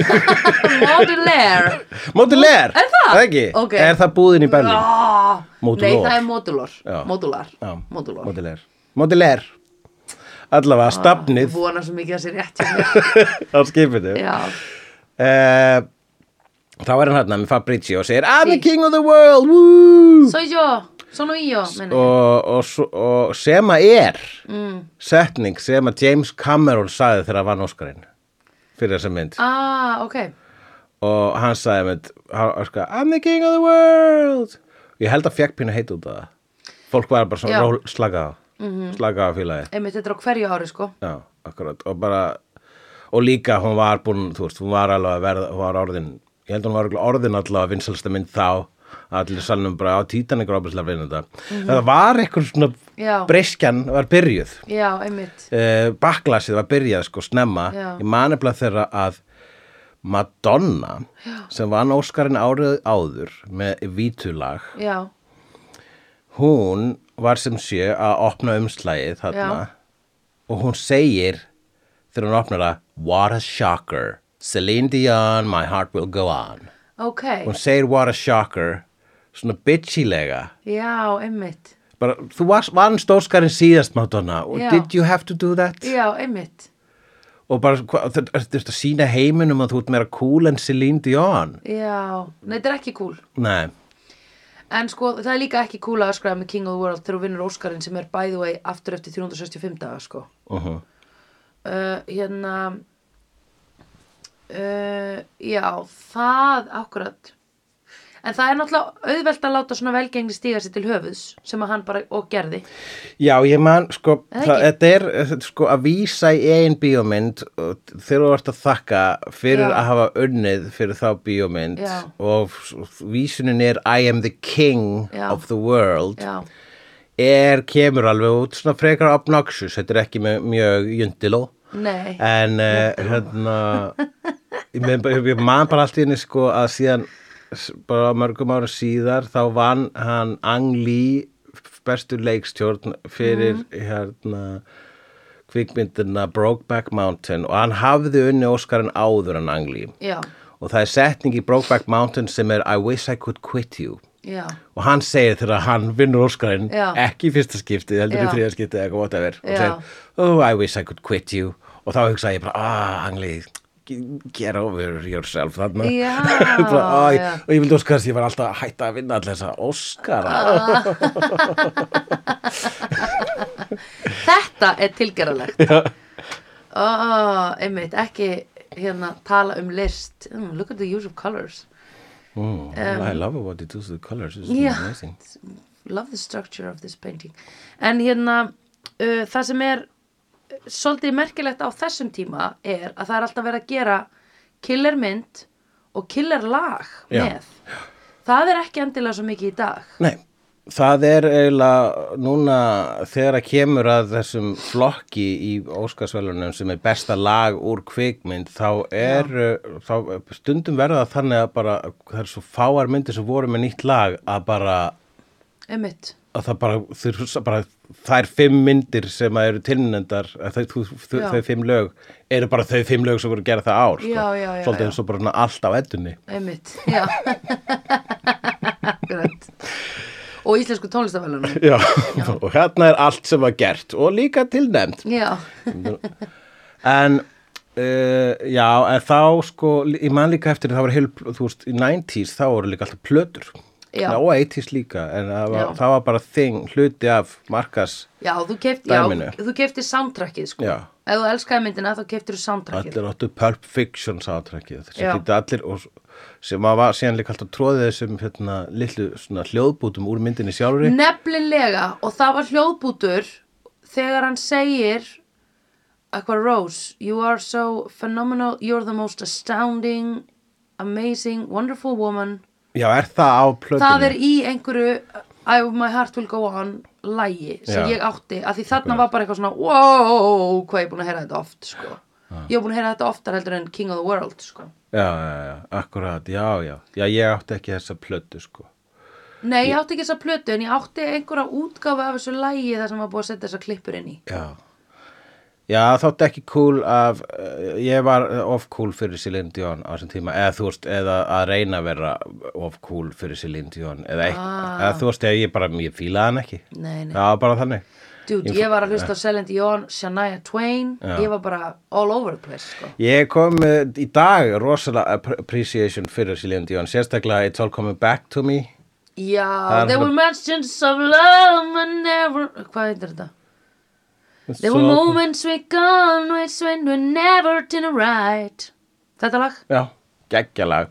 Speaker 2: modular
Speaker 1: Modular,
Speaker 2: Er það?
Speaker 1: ekki?
Speaker 2: Ok.
Speaker 1: er það búðin í Berlín?
Speaker 2: oh,
Speaker 1: Modular.
Speaker 2: Nei, það er modular,
Speaker 1: Já.
Speaker 2: modular,
Speaker 1: Já,
Speaker 2: modular.
Speaker 1: modular modular
Speaker 2: Ah,
Speaker 1: allavega
Speaker 2: Ég
Speaker 1: stafnið
Speaker 2: vona svo mikið að sé rétt hjá mér.
Speaker 1: á skipinu
Speaker 2: Já,
Speaker 1: Eh, Þá er hann hérna með Fabrizio og segir I'm the
Speaker 2: Sí.
Speaker 1: king of the world woo!
Speaker 2: soy yo, sono yo meina ég.
Speaker 1: og, og, svo- og sem að er setning sem að James Cameron sagði þegar hann vann Óskarinn fyrir þessa mynd
Speaker 2: Ah, ok
Speaker 1: og hann sagði mynd hann, hann sko, I'm the king of the world ég held að fekk pínu heit út af það fólk var bara
Speaker 2: Já.
Speaker 1: svona ról, slagað mm slagað af félagi
Speaker 2: Einmitt, þetta er á hverju ári sko
Speaker 1: Já, akkurat og bara og líka hún var búin, þú veist, hún var alveg að verða, hún var orðin ég held hún var örugglega orðin allavega vinsalsta mynd þá allir salnum bara á títanik rápislega vinna þetta. Þetta var eitthvað svona
Speaker 2: Mhm. Já.
Speaker 1: breyskjan var byrjuð
Speaker 2: Já, einmitt
Speaker 1: uh, baklasið var byrjað sko snemma
Speaker 2: Já.
Speaker 1: ég manifla þeirra að Madonna Já. sem vann Óskarinn árið áður með vítulag
Speaker 2: Já,
Speaker 1: hún var sem sé að opna umslægið þarna
Speaker 2: Já.
Speaker 1: og hún segir þegar hún opnar það What a shocker, Celine Dion, my heart will go on
Speaker 2: ok
Speaker 1: hún segir what a shocker svona bitchylega
Speaker 2: Já, einmitt
Speaker 1: bara þú varst, vann stórskarinn síðast Madonna og
Speaker 2: Já.
Speaker 1: did you have to do that
Speaker 2: Já, einmitt
Speaker 1: og bara hva- þú þú- þú ert að sína heiminum að þú ert meira cool en Celine Dion
Speaker 2: Já, nei, þetta er ekki cool
Speaker 1: nei,
Speaker 2: En sko, það er líka ekki cool að öskraða með King of the World þegar þú vinnur Óskarinn sem er by the way aftur eftir 365 daga sko
Speaker 1: uh
Speaker 2: uh, Hérna uh, Já, það akkurat En það er náttúrulega auðvelt að láta svona velgengni stíga sér til höfuðs sem að hann bara og gerði
Speaker 1: Já, ég man, sko,
Speaker 2: Er það
Speaker 1: það,
Speaker 2: ekki?
Speaker 1: þetta er þetta, er, sko, að vísa í einn bíómynd og þegar þú ert að þakka fyrir
Speaker 2: Já.
Speaker 1: að hafa unnið fyrir þá bíómynd
Speaker 2: Já.
Speaker 1: og s- vísunin er I am the king
Speaker 2: Já.
Speaker 1: of the world
Speaker 2: Já,
Speaker 1: er, kemur alveg út svona frekar obnoxious, þetta er ekki mjög, mjög jundiló
Speaker 2: nei
Speaker 1: en uh, hérna ég, men, ég, ég man bara allt í henni sko að síðan s- bara mörgum ára síðar þá vann hann Ang Lee bestu leikstjórn fyrir hérna kvikmyndina Brokeback Mountain og hann hafði unni Óskarinn áður en Ang Lee
Speaker 2: Já,
Speaker 1: og það er setning í Brokeback Mountain sem er I wish I could quit you
Speaker 2: já,
Speaker 1: og hann segir þegar hann vinnur Óskarinn
Speaker 2: Já.
Speaker 1: ekki í fyrsta skipti, heldur
Speaker 2: Já.
Speaker 1: í þriða skipti eða whatever og
Speaker 2: Já.
Speaker 1: segir, oh I wish I could quit you og þá hugsa ég bara, ah, Angli g- get over yourself þarna
Speaker 2: Já,
Speaker 1: bara, ah,
Speaker 2: já.
Speaker 1: og ég vildi Óskars, ég var alltaf að hætta að vinna allir þessa Óskara
Speaker 2: þetta er tilgerðalegt oh, einmitt, ekki hérna tala um list mm, look at the use of colors
Speaker 1: oh, I love what it does to the colors it's
Speaker 2: Já.
Speaker 1: amazing
Speaker 2: love the structure of this painting en hérna uh, það sem er uh, svolítið merkilegt á þessum tíma er að það er alltaf verið að gera killermynd og killerlag
Speaker 1: Já.
Speaker 2: með það er ekki endilega svo mikið í dag
Speaker 1: Nei, það er eiginlega núna þegar að kemur að þessum flokki í Óskarsvælunum sem er besta lag úr kvikmynd þá er uh, þá, stundum verða það þannig að bara það er svo fáar myndir sem voru með nýtt lag að bara
Speaker 2: einmitt,
Speaker 1: að það bara, þeir, hugsa bara þær fimm myndir sem að eru tilnendar þau, þau, þau,
Speaker 2: Já.
Speaker 1: þau fimm lög eru bara þau fimm lög sem voru gerð það ár sko.
Speaker 2: Já, já, já,
Speaker 1: svolítið
Speaker 2: já.
Speaker 1: eins og bara svona allt á eddunni
Speaker 2: einmitt já Akkurat. og íslensku tónlistafælunum
Speaker 1: já. og hérna er allt sem var gert og líka tilnend
Speaker 2: já,
Speaker 1: En Uh, já, en þá sko, ég man líka eftir að það var heil, þú veist, í 90s þá voru líka alltaf plötur
Speaker 2: Já.
Speaker 1: og 80s líka, en það var,
Speaker 2: Já.
Speaker 1: það var bara þing, hluti af markas
Speaker 2: já, þú kefti já,
Speaker 1: Dæminu.
Speaker 2: þú kefti soundtrackið sko
Speaker 1: Já.
Speaker 2: ef þú elskaði myndina þá keftir þú soundtrackið
Speaker 1: allir áttu Pulp Fiction sáttrækið sem
Speaker 2: Já.
Speaker 1: þýtti allir og s- sem að var síðan líka alltaf tróðið þessum hérna, litlu svona hljóðbútum úr myndinni sjálfri
Speaker 2: Mm. Nefnilega og það var hljóðbútur þegar hann segir Aqua Rose, you are so phenomenal, you're the most astounding, amazing, wonderful woman
Speaker 1: Já, er það á plötunni?
Speaker 2: Það er í einhverju I, My Heart Will Go On lægi sem
Speaker 1: Já.
Speaker 2: ég átti af því þarna var bara eitthvað svona wow, hvað ég er búin að heyra þetta oft sko. Ég er búin að heyra þetta oftar heldur en King of the World sko.
Speaker 1: Já, já, já, akkurat, já, já Já, ég átti ekki þessa plötu, sko
Speaker 2: Nei, ég átti ekki þessa plötu en ég átti einhverja útgáfu af þessu lægi þar sem var búið að setja þessa klippur inn í
Speaker 1: Já. Já, þátti ekki cool af, uh, ég var uh, of cool fyrir Celine Dion á þessum tíma, eða þú veist, eða að reyna að vera of cool fyrir Celine Dion, eða, eitt, eða þú veist, eða ég bara, ég fílaði hann ekki.
Speaker 2: Nei, nei.
Speaker 1: Já, bara þannig.
Speaker 2: Dude, ég var að hlusta á Celine Dion, Shania Twain, ég var bara all over the place, sko.
Speaker 1: Ég kom uh, í dag rosalega app- appreciation fyrir Celine Dion, sérstaklega It's All Coming Back to Me.
Speaker 2: Já,
Speaker 1: er
Speaker 2: there
Speaker 1: svona-
Speaker 2: were mentions of love and never... Hvað heitir þetta? There were moments we gone ways when we never did it right. Þetta lag?
Speaker 1: Já, geggjalag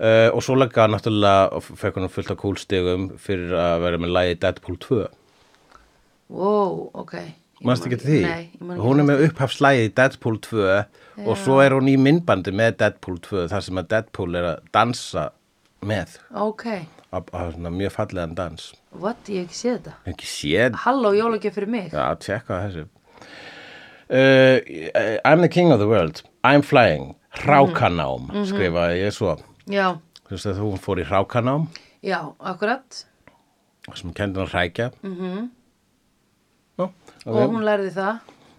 Speaker 1: uh, og svo lega náttúrulega fekk hann fullt af kúlstigum fyrir að vera með lagið Deadpool 2
Speaker 2: Wow, ok. Ég
Speaker 1: Manstu
Speaker 2: man
Speaker 1: ekki til því?
Speaker 2: Nei, ég man ekki.
Speaker 1: hún er með upphafslægið í Deadpool 2 og svo er hún í myndbandi með Deadpool 2 þar sem að Deadpool er að dansa með
Speaker 2: Ok,
Speaker 1: á, á svona mjög fallegan dans
Speaker 2: what? Ég hef ekki séð þetta.
Speaker 1: ekki séð
Speaker 2: Halló, jólagjöf fyrir mig.
Speaker 1: að tjekka á þessu uh, I'm the king of the world I'm flying
Speaker 2: Mhm.
Speaker 1: Hrákanám skrifaði ég svo
Speaker 2: Já,
Speaker 1: þú veist að hún fór í Hrákanám
Speaker 2: já, akkurat.
Speaker 1: sem kendi hann að hrækja mm -hmm.
Speaker 2: Mhm. Og hún lærði það.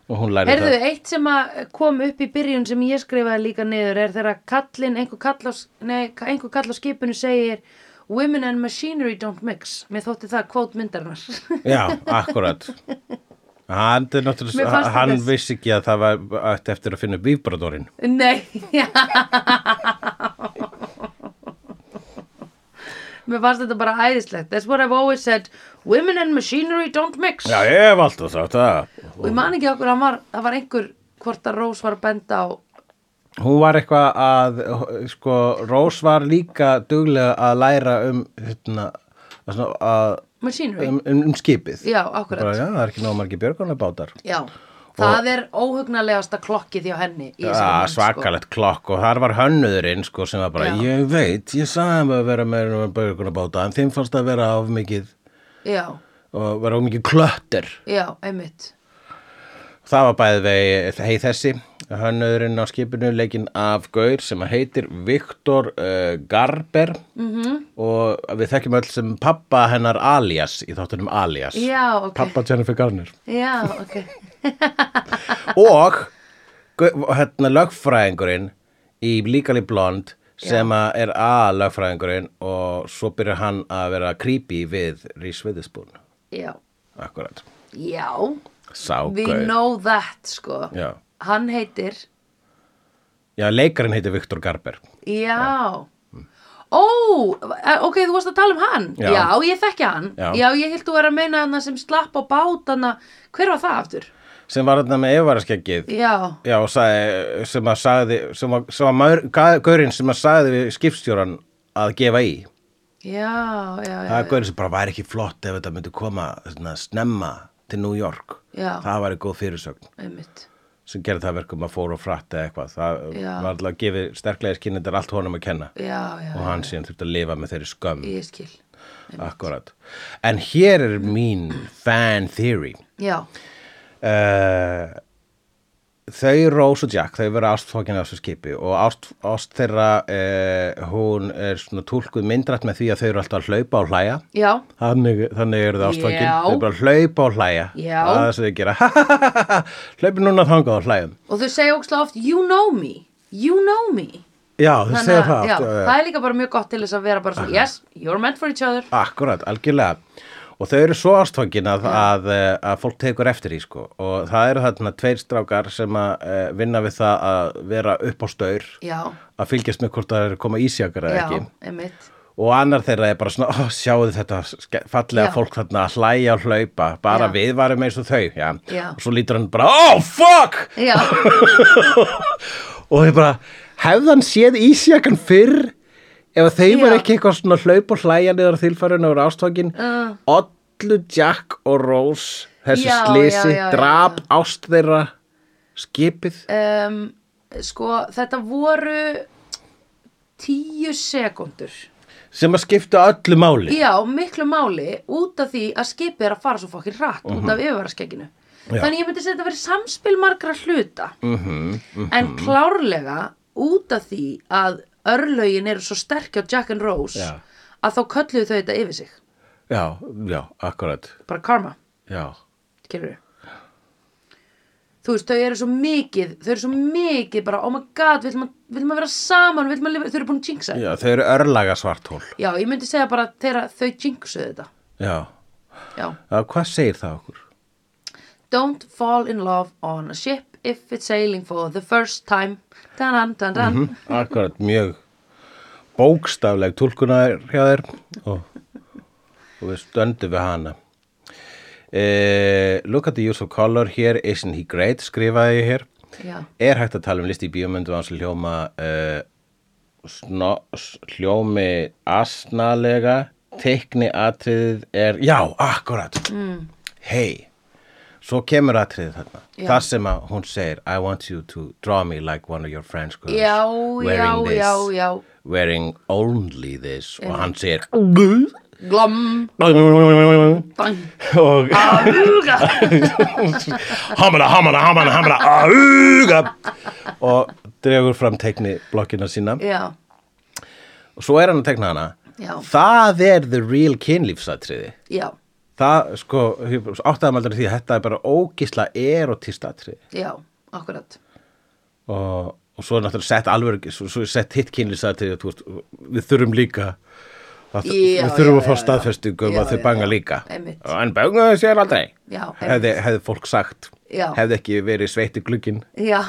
Speaker 1: og hún læri
Speaker 2: Herðu,
Speaker 1: það
Speaker 2: eitt sem að kom upp í byrjun sem ég skrifaði líka niður er þegar kallin, einhver kall, á, nei, einhver kall á skipinu segir Women and machinery don't mix. Mér þótti það kvót myndarinnar.
Speaker 1: já, akkurat hann, er
Speaker 2: Mér fannst
Speaker 1: náttúrulega-
Speaker 2: það
Speaker 1: hann
Speaker 2: best.
Speaker 1: vissi ekki að það var ætti eftir að finna upp víbradorinn
Speaker 2: nei, já. Mér fannst þetta bara æðislegt. That's what I've always said. Women and machinery don't mix.
Speaker 1: já, ég hef alltaf sagt það
Speaker 2: Og ég man ekki okkur, hann var, það var einhver hvort að Rós var að benda á.
Speaker 1: hún var eitthvað að sko, Rós var líka duglega að læra um hérna, að svona, að,
Speaker 2: Machinery.
Speaker 1: um, um, um skipið
Speaker 2: já, akkurat.
Speaker 1: Bara, já, það er ekki nóg margir björgunarbátar
Speaker 2: Já, það er óhugnalegasta klokkið hjá henni í þessari
Speaker 1: Já,
Speaker 2: mynd,
Speaker 1: svakalegt klokk og þar var hönnuðurinn sko sem var bara,
Speaker 2: sko. Já.
Speaker 1: ég veit, ég sagði þeim að vera með björgunarbáta en þeim fannst að vera of mikið
Speaker 2: Sko. Já,
Speaker 1: og vera of mikið klöttir
Speaker 2: já, einmitt.
Speaker 1: það var bæði vegi heið þessi hönnuðurinn á skipinu leikinn af Gaur sem að heitir Viktor uh, Garber -hmm.
Speaker 2: Mhm.
Speaker 1: og við þekkjum öll sem pappa hennar alias í þáttunum alias
Speaker 2: Já, ok.
Speaker 1: pappa Jennifer Garner
Speaker 2: Já, ok.
Speaker 1: og Gau- hérna lögfræðingurinn í líkali blond sem að er að lögfræðingurinn og svo byrjar hann að vera creepy við Reese Witherspoon
Speaker 2: já,
Speaker 1: akkurat,
Speaker 2: já we
Speaker 1: sákau
Speaker 2: know that sko
Speaker 1: Já.
Speaker 2: hann heitir
Speaker 1: já, leikarinn heitir Viktor Garber
Speaker 2: já ó, eh, ok, þú varst að tala um hann
Speaker 1: Já.
Speaker 2: ég þekki hann
Speaker 1: Já.
Speaker 2: ég held þú vera að meina hann sem slapp á bát hann hver var það aftur?
Speaker 1: sem var þarna með yfirvaraskeggið
Speaker 2: já,
Speaker 1: já, og sagði, sem að sagði sem að, sem að maður, ga- gaurinn sem að sagði við skipstjóran að gefa í
Speaker 2: já, já, já,
Speaker 1: það er gaurinn sem bara væri ekki flott ef þetta myndi koma svona, snemma til New York
Speaker 2: Já.
Speaker 1: það væri góð fyrirsögn
Speaker 2: einmitt
Speaker 1: sem gerði það verkum að fór og fratt eða eitthvað það
Speaker 2: Já.
Speaker 1: var alltaf að gefi sterklega skinnindar allt honum að kenna
Speaker 2: já, já,
Speaker 1: og hann síðan þurfti að lifa með þeirri skömm
Speaker 2: ég skil
Speaker 1: akkurat en hér er mín fan theory
Speaker 2: já,
Speaker 1: uh, þau Rose og Jack þau vera ástfókin af þessu skipi og ást, ást þeirra uh, hún er svona túlkuð myndrætt með því að þau eru alltaf að hlaupa og hlæja
Speaker 2: já,
Speaker 1: Þannig, þannig eru það ástfangin,
Speaker 2: Já.
Speaker 1: þau bara hlaupa og hlæja
Speaker 2: Já.
Speaker 1: Það er þess að þau gera Hlaupin núna þangað og hlæjum
Speaker 2: og þau segja ógstlega oft you know me, you know me
Speaker 1: Já, þau
Speaker 2: Þannig
Speaker 1: segja
Speaker 2: að-
Speaker 1: það
Speaker 2: já,
Speaker 1: aftur,
Speaker 2: það er líka bara mjög gott til þess að vera bara svona yes, you're meant for each other
Speaker 1: Akkurat, algjörlega Og þau eru svo ástfangin að, að, eh, að fólk tekur eftir í sko Og það eru þarna tveir strákar sem að eh, vinna við það að vera upp á staur
Speaker 2: já,
Speaker 1: Að fylgjast með hvort það er að koma ísjakar eða
Speaker 2: já,
Speaker 1: ekki
Speaker 2: einmitt
Speaker 1: Og annar þeirra er bara svona, ó, sjáu þetta ske- fallega
Speaker 2: Já.
Speaker 1: fólk þarna að hlæja og hlaupa, bara
Speaker 2: Já.
Speaker 1: við varum eins og þau, já.
Speaker 2: Já.
Speaker 1: Og svo lítur hann bara, ó, fuck!
Speaker 2: já,
Speaker 1: og ég bara hefði hann séð ísjakan fyrr ef að þau
Speaker 2: Já.
Speaker 1: var ekki eitthvað svona hlaup og hlæja niður á þilfærinu og rástfókin
Speaker 2: Mm.
Speaker 1: Ollu, Jack og Rose þessu
Speaker 2: Já,
Speaker 1: slisi,
Speaker 2: já, já, já,
Speaker 1: drap ást þeirra skipið
Speaker 2: um, sko þetta voru tíu sekundur
Speaker 1: sem að skipta öllu máli
Speaker 2: já, miklu máli út af því að skipið er að fara svo fokkin rætt út af yfirvaraskegginu
Speaker 1: Mhm. Já. Mhm,
Speaker 2: þannig ég myndi segja þetta verið samspil margra hluta en klárlega út af því að örlögin eru svo sterk á Jack and Rose
Speaker 1: Já.
Speaker 2: að þá kölluðu þau þetta yfir sig
Speaker 1: já, já, akkurat
Speaker 2: bara karma
Speaker 1: já,
Speaker 2: skilur þú veist, þau eru svo mikið þau eru svo mikið bara, oh my god vill maður vill mað vera saman, vill maður lifa þau eru búin að jinxa já.
Speaker 1: já, þau eru örlaga svartól
Speaker 2: já, ég myndi segja bara þeirra, þau jinxuðu þetta
Speaker 1: já,
Speaker 2: já,
Speaker 1: já hvað segir það okkur?
Speaker 2: don't fall in love on a ship if it's sailing for the first time dan dan dan
Speaker 1: Mhm.
Speaker 2: dan
Speaker 1: akkurat, mjög bókstafleg tólkunar hjá þér og, og við stöndum við hana uh, Look at the use of color here, isn't he great skrifaði ég hér
Speaker 2: já,
Speaker 1: Er hægt að tala um listi í bíómyndu hans hljóma uh, sno, s- hljómi asnalega teikni atriðið er já, akkurat mm. hei, svo kemur atriðið þarna
Speaker 2: Já.
Speaker 1: það sem að hún segir I want you to draw me like one of your friends girls
Speaker 2: já, já,
Speaker 1: wearing this
Speaker 2: já, já
Speaker 1: wearing only this og hann segir og
Speaker 2: glom, bang huga,
Speaker 1: hamana, hamana, hamana, hamana auga og dregur fram teikni blokkina sína
Speaker 2: já,
Speaker 1: og svo er hann að tekna hana
Speaker 2: Já.
Speaker 1: það er the real kynlífsatriði
Speaker 2: já
Speaker 1: það sko, áttaðum aldrei því að þetta er bara ógisla erotist atriði
Speaker 2: já, akkurat
Speaker 1: og, og svo er náttúrulega sett alveg svo, svo er sett hitt kynlífsatriði þú veist, við þurfum líka að,
Speaker 2: Já,
Speaker 1: við þurfum
Speaker 2: já,
Speaker 1: að fá
Speaker 2: já, já.
Speaker 1: staðfestingu um
Speaker 2: Já,
Speaker 1: að þau
Speaker 2: já,
Speaker 1: banga
Speaker 2: já.
Speaker 1: líka
Speaker 2: Einmitt.
Speaker 1: en bangaðu sér aldrei
Speaker 2: Já, einmitt.
Speaker 1: hefði, hefði fólk sagt
Speaker 2: Já.
Speaker 1: hefði ekki verið sveitt í glugginn
Speaker 2: já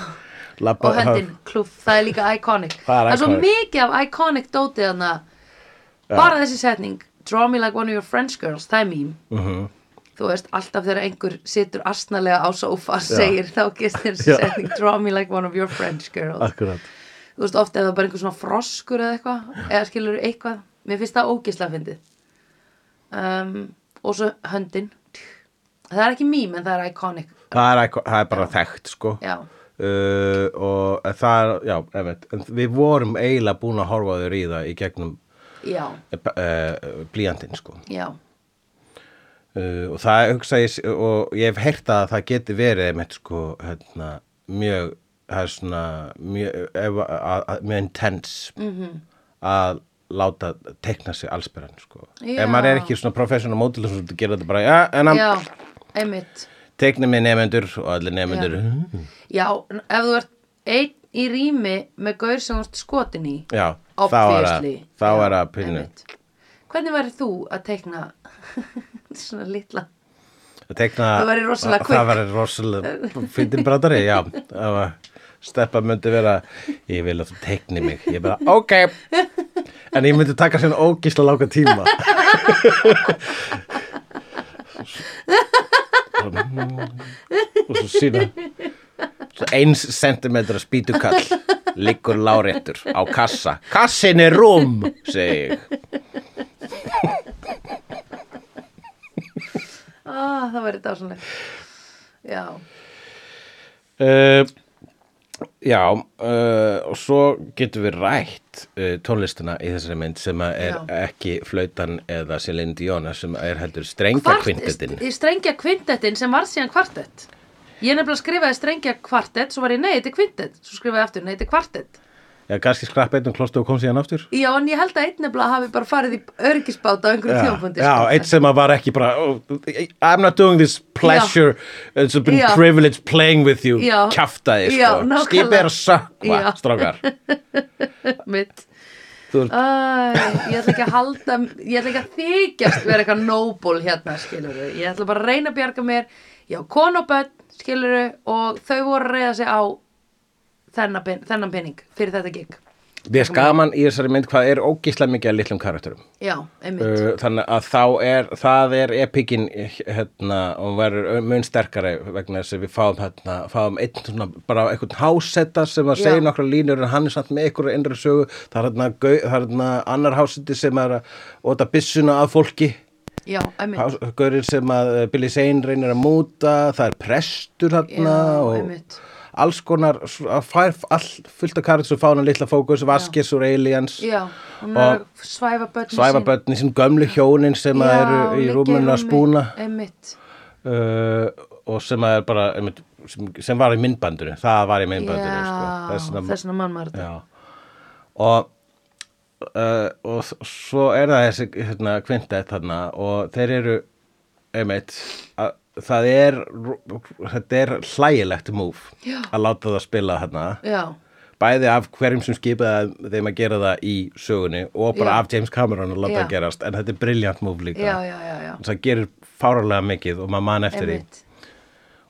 Speaker 1: labba-
Speaker 2: og hendin klúf, það er líka iconic
Speaker 1: Það er
Speaker 2: svo
Speaker 1: iconic.
Speaker 2: mikið af iconic dótið hana bara þessi setning draw me like one of your French girls, það er mím
Speaker 1: Mhm.
Speaker 2: þú veist, alltaf þegar einhör situr astnalega á sofa segir þá gist þessi
Speaker 1: Já.
Speaker 2: setning draw me like one of your French girls
Speaker 1: Akkurat.
Speaker 2: þú veist, ofta ef það er bara einhver svona froskur eða eitthvað, eða skilur eitthvað mér finnst það ógislega fyndið um, og svo höndin það er ekki mím en það er iconic
Speaker 1: það er, eitthvað- það er bara þekkt sko
Speaker 2: já,
Speaker 1: uh, og það er, já, einmitt en við vorum eiginlega búin að horfa á þau ríða í gegnum
Speaker 2: já,
Speaker 1: uh, blíjandinn sko
Speaker 2: já,
Speaker 1: uh, og það hugsa ég s- og ég hef heyrt að það geti verið einmitt sko hérna, mjög það er svona mjög, ef, að, að, mjög intense
Speaker 2: Mhm.
Speaker 1: -hmm. að láta tekna sig allsperann sko
Speaker 2: Já.
Speaker 1: ef maður er ekki svona professional model svo gerir þetta bara, ja, en hann
Speaker 2: já einmitt
Speaker 1: teknir mig nefendur og allir nefendur
Speaker 2: Já, en ef þú ert einn í rými með gaur sem hún skotin í
Speaker 1: já, þá er að,
Speaker 2: Obviously
Speaker 1: þá
Speaker 2: Já,
Speaker 1: er að pinnu
Speaker 2: einmitt. Hvernig væri þú að teikna svona litla
Speaker 1: að tekna,
Speaker 2: Það væri rosalega
Speaker 1: það
Speaker 2: quick.
Speaker 1: væri rosalega fyndin brátari, já það var- steppa myndi vera ég vil að þú tekni mig, ég bara ok en ég myndi taka sér ógísla lága tíma Bara, mm, og svo sína svo eins sentimetra spýtukall liggur láréttur á kassa kassin er rúm, segi ég
Speaker 2: ah, Það væri dásanleg Já,
Speaker 1: Uh, já, uh, og svo getum við rætt uh, tónlistina í þessari mynd sem að er
Speaker 2: Já.
Speaker 1: ekki flautan eða Celine Dion sem er heldur
Speaker 2: Kvart-
Speaker 1: strengjakvindetin.
Speaker 2: st- strengja kvintettin sem var síðan kvartett Ég nefnilega skrifaði strengja kvartett Svo var ég nei, þetta er kvintett Svo skrifaði ég aftur, nei, þetta er kvartett
Speaker 1: Já, kannski skrapp einn og klostu og kom síðan aftur.
Speaker 2: Já, en ég held að einn nefnilega hafi bara farið í örgisbáta á einhverju
Speaker 1: Já,
Speaker 2: tímapunkti
Speaker 1: já
Speaker 2: sko.
Speaker 1: eitt sem að var ekki bara oh, I'm not doing this pleasure it's been
Speaker 2: Já.
Speaker 1: privilege playing with you
Speaker 2: Já.
Speaker 1: kjaftaði,
Speaker 2: Já,
Speaker 1: sko.
Speaker 2: nákvæmlega.
Speaker 1: skipið er að sökva,
Speaker 2: Já.
Speaker 1: strákar
Speaker 2: Mitt.
Speaker 1: Þú ert-
Speaker 2: Æ, ég ætla ekki að halda ég ætla ekki að þykjast vera eitthvað noble hérna skilur ég ætla bara að reyna að bjarga mér já, konu og börn skilur og þau voru að reyða sig á þennan, pen, þennan pening fyrir þetta gig
Speaker 1: Við er skaman í þessari mynd hvað er ógislega mikið að litlum karakterum
Speaker 2: já, einmitt
Speaker 1: Uh, þannig að þá er það er epikin hérna og hún verður mun sterkari vegna þess að við fáum hérna, fáum einn svona bara einhvern hásetta sem að
Speaker 2: Já.
Speaker 1: segja nokkra línur en hann er samt með einhverju innri sögu það er hérna, gau- það er hérna annar hásetti sem er að óta byssuna að fólki Eh,
Speaker 2: já, einmitt,
Speaker 1: gaurinn sem að eh, Billy Zane reynir að múta það er prestur hérna
Speaker 2: Já, einmitt.
Speaker 1: og alls konar svo- að fær all fullt af karat sem fá hann litla fókus vaskis úr aliens
Speaker 2: já hún er
Speaker 1: Og-
Speaker 2: að svæfa börn
Speaker 1: svæfa börni sín gömlu hjónin sem að eru í rúmunu að spúna
Speaker 2: einmitt,
Speaker 1: uh, og sem að er bara einmitt, sem, sem var í myndbandinu það var í
Speaker 2: já,
Speaker 1: myndbandinu sko.
Speaker 2: þess
Speaker 1: Þess vegna-
Speaker 2: vegna mann maður þetta
Speaker 1: Já. og uh, og s- svo er það þessi hérna, kvintett þarna og þeir eru einmitt að, það er þetta er hlægilegt múf
Speaker 2: Já.
Speaker 1: að láta það spila þarna
Speaker 2: já,
Speaker 1: bæði af hverjum sem skipaði þeim að gera það í sögunni og bara
Speaker 2: Já.
Speaker 1: af James Cameron að láta
Speaker 2: Já.
Speaker 1: það gerast en þetta er briljant múf líka
Speaker 2: já, já, já, já.
Speaker 1: það gerir fáralega mikið og maður man eftir því
Speaker 2: einmitt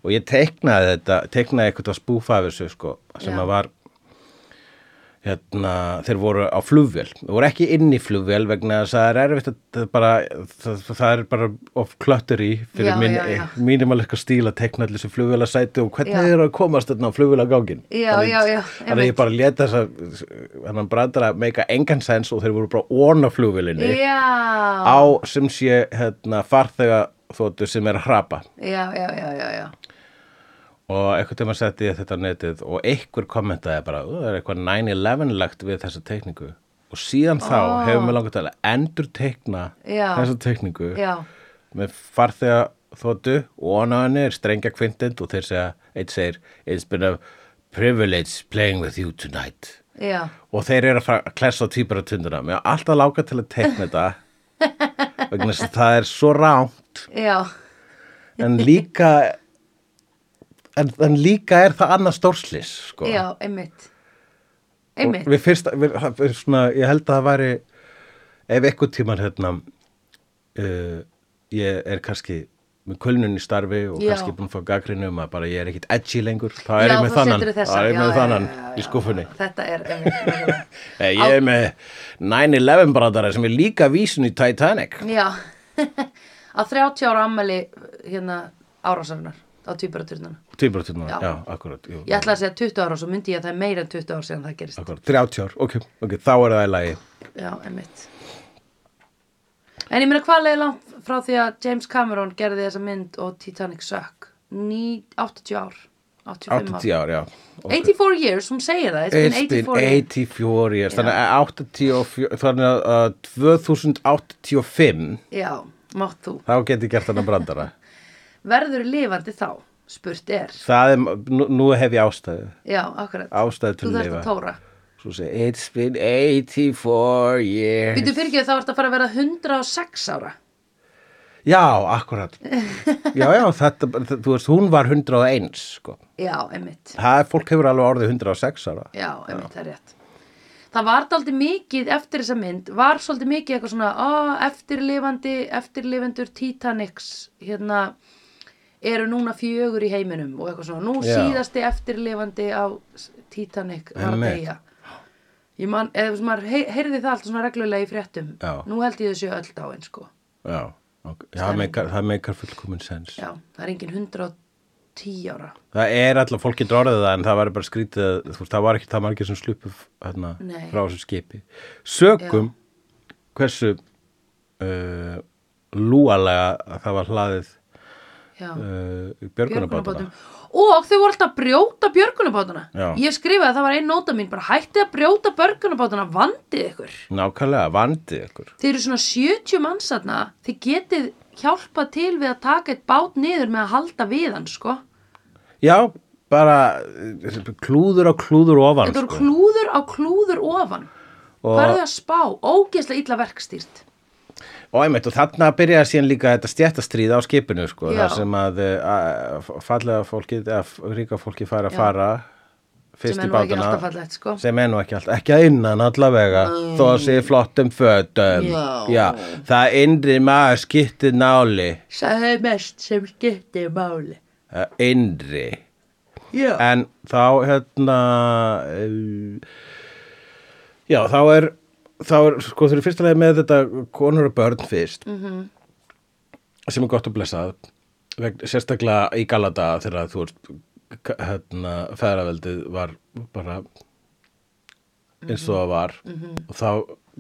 Speaker 1: og ég teiknaði þetta, teiknaði eitthvað að spúfa af þessu sko, sem
Speaker 2: Já.
Speaker 1: að var hérna, þeir voru á flugvél, þeir voru ekki inn í flugvél vegna þess að það er erfitt að það, bara, það, það er bara of klöttur í fyrir
Speaker 2: Já,
Speaker 1: minn,
Speaker 2: já, já.
Speaker 1: mínum alveg stíl að teikna allir þessu flugvélasæti og hvernig
Speaker 2: Já.
Speaker 1: þeir eru að komast þarna á flugvélagangin
Speaker 2: Já, já,
Speaker 1: þannig
Speaker 2: já,
Speaker 1: að
Speaker 2: einmitt.
Speaker 1: ég bara leta þess að hann brandar að meika engan sens og þeir voru bara orna flugvélinni
Speaker 2: já,
Speaker 1: á sem sé hérna, farþega þóttu sem er að hrapa
Speaker 2: já, já, já, já, já.
Speaker 1: og einhvern tímann setti ég þetta á netið og einhver kommentaði bara, "Ú, það er eitthvað 9-11-lagt við þessa tekningu og síðan þá hefur mér langar til að endur tekna
Speaker 2: Ah. Já.
Speaker 1: þessa tekningu
Speaker 2: Já,
Speaker 1: með farþega þóttu og hann á henni er strengja kvindind og þeir segja, eitt segir it's been a privilege playing with you tonight
Speaker 2: já,
Speaker 1: og þeir eru að fara að klessa á týpur á tunduna mér er alltaf láka til að tekna þetta vegna þess að það er svo rámt
Speaker 2: já,
Speaker 1: en líka en, en líka er það annað stórslis sko.
Speaker 2: já, einmitt.
Speaker 1: Og
Speaker 2: Einmitt,
Speaker 1: við fyrst, við, það er svona, ég held að það væri ef eitthvað tíman hérna uh, ég er kannski með kulnun í starfi og
Speaker 2: Já.
Speaker 1: kannski búin að fá gagrinu um að bara ég er ekkit edgy lengur þá
Speaker 2: já,
Speaker 1: er ég með
Speaker 2: þá
Speaker 1: þannan,
Speaker 2: seturðu
Speaker 1: þá
Speaker 2: þessa.
Speaker 1: er ég
Speaker 2: Já,
Speaker 1: með
Speaker 2: já,
Speaker 1: þannan
Speaker 2: já, já,
Speaker 1: í skuffunni
Speaker 2: já, Þetta er, einmitt, nákvæmlega.
Speaker 1: Eh, ég er með 9-11 brandara sem er líka vísun í Titanic
Speaker 2: já, á 30 ára ammæli hérna árásarinnar á tvíbaraturnana.
Speaker 1: týpuraturnum, já,
Speaker 2: Já.
Speaker 1: já, akkurat jú,
Speaker 2: Ég ætla að segja 20 ára og svo myndi ég að það er meira en 20 ára síðan það gerist.
Speaker 1: akkurat, 30 ár, ok, ok, þá er það í lagi
Speaker 2: Já, einmitt. En ég meina hvað leiði langt frá því að James Cameron gerði þessa mynd og Titanic sökk? Ní- 80 ár, 85 ár.
Speaker 1: 80 ár, já Ok.
Speaker 2: 84 years, hún segir það It's been 84 years
Speaker 1: 84 years þannig að 84 þannig að uh, 2085
Speaker 2: Já, mátt þú
Speaker 1: þá geti ég gert þannig brandara
Speaker 2: Verður lifandi þá, spurt er
Speaker 1: það er, nú, nú hef ég ástæðu
Speaker 2: Já, akkurat
Speaker 1: ástæðu til
Speaker 2: Þú
Speaker 1: að
Speaker 2: þarft
Speaker 1: lifa
Speaker 2: að tóra
Speaker 1: svo segi it's been 84 years
Speaker 2: Býtu fyrir þá ertu að fara að vera 106 ára
Speaker 1: Já, akkurat. Já, já, þetta, þú veist, hún var 101, sko.
Speaker 2: já, einmitt
Speaker 1: Það er, fólk hefur alveg orðið 106 ára.
Speaker 2: já, einmitt, það er rétt það var daldið mikið eftir þessa mynd var svolítið mikið eitthvað svona á, eftirlifandi, eftirlifendur Titanics hérna eru núna fjögur í heiminum og eitthvað svona, nú
Speaker 1: Já.
Speaker 2: síðasti eftirlifandi á s- Titanic var að
Speaker 1: Einmitt.
Speaker 2: deyja ég man, eða þú veist, maður hey, heyrði það allt svona reglulega í fréttum
Speaker 1: Já.
Speaker 2: nú held ég þessu öll dáin sko
Speaker 1: Já, ok. Já, það meikar- það meikar fullkominn sens.
Speaker 2: já, það er engin 110 ára
Speaker 1: Það er alltaf, fólk getur orðið það en það var bara skrítið, að- þú veist, það var ekki það margir sem slupu hérna,
Speaker 2: Nei.
Speaker 1: frá þessu skipi. Sökum hversu uh, lúalega að það var hlaðið
Speaker 2: já,
Speaker 1: uh, björgunabátana.
Speaker 2: og þau voru alltaf að brjóta björgunabátana
Speaker 1: Já.
Speaker 2: ég skrifaði að það var ein nóta mín bara hættið að brjóta björgunabátana vandið ykkur
Speaker 1: Nákvæmlega, vandið ykkur.
Speaker 2: þeir eru svona 70 mannsatna þið getið hjálpað til við að taka eitt bát niður með að halda við hann sko
Speaker 1: Já, bara eh, klúður á klúður ofan. sko.
Speaker 2: þetta voru klúður á klúður ofan
Speaker 1: Og-
Speaker 2: og... hvað er þau að spá, ógeðslega illa verkstýrt
Speaker 1: Og einmitt, og þarna byrjaði síðan líka þetta stjættastríð á skipinu, sko,
Speaker 2: Já.
Speaker 1: þar sem að, eh, að fallega fólkið, eða ríka fólkið fær að
Speaker 2: Já.
Speaker 1: fara fyrst
Speaker 2: Sem er
Speaker 1: í
Speaker 2: nú ekki
Speaker 1: bátana,
Speaker 2: alltaf fallegt, sko.
Speaker 1: sem er nú ekki alltaf, ekki að innan allavega, þó að sé í flottum fötum,
Speaker 2: Já.
Speaker 1: það innri maður skiptið náli,
Speaker 2: sagði mest sem skipti máli
Speaker 1: Eh, innri,
Speaker 2: já,
Speaker 1: en þá, hérna, eh, já, þá er, þá er, sko, þau eru fyrsta leið með þetta konur og börn fyrst, sem er gott að blessað vegna- sérstaklega í Galata þegar þú veist k- hérna, feðraveldið var bara eins og það var og þá,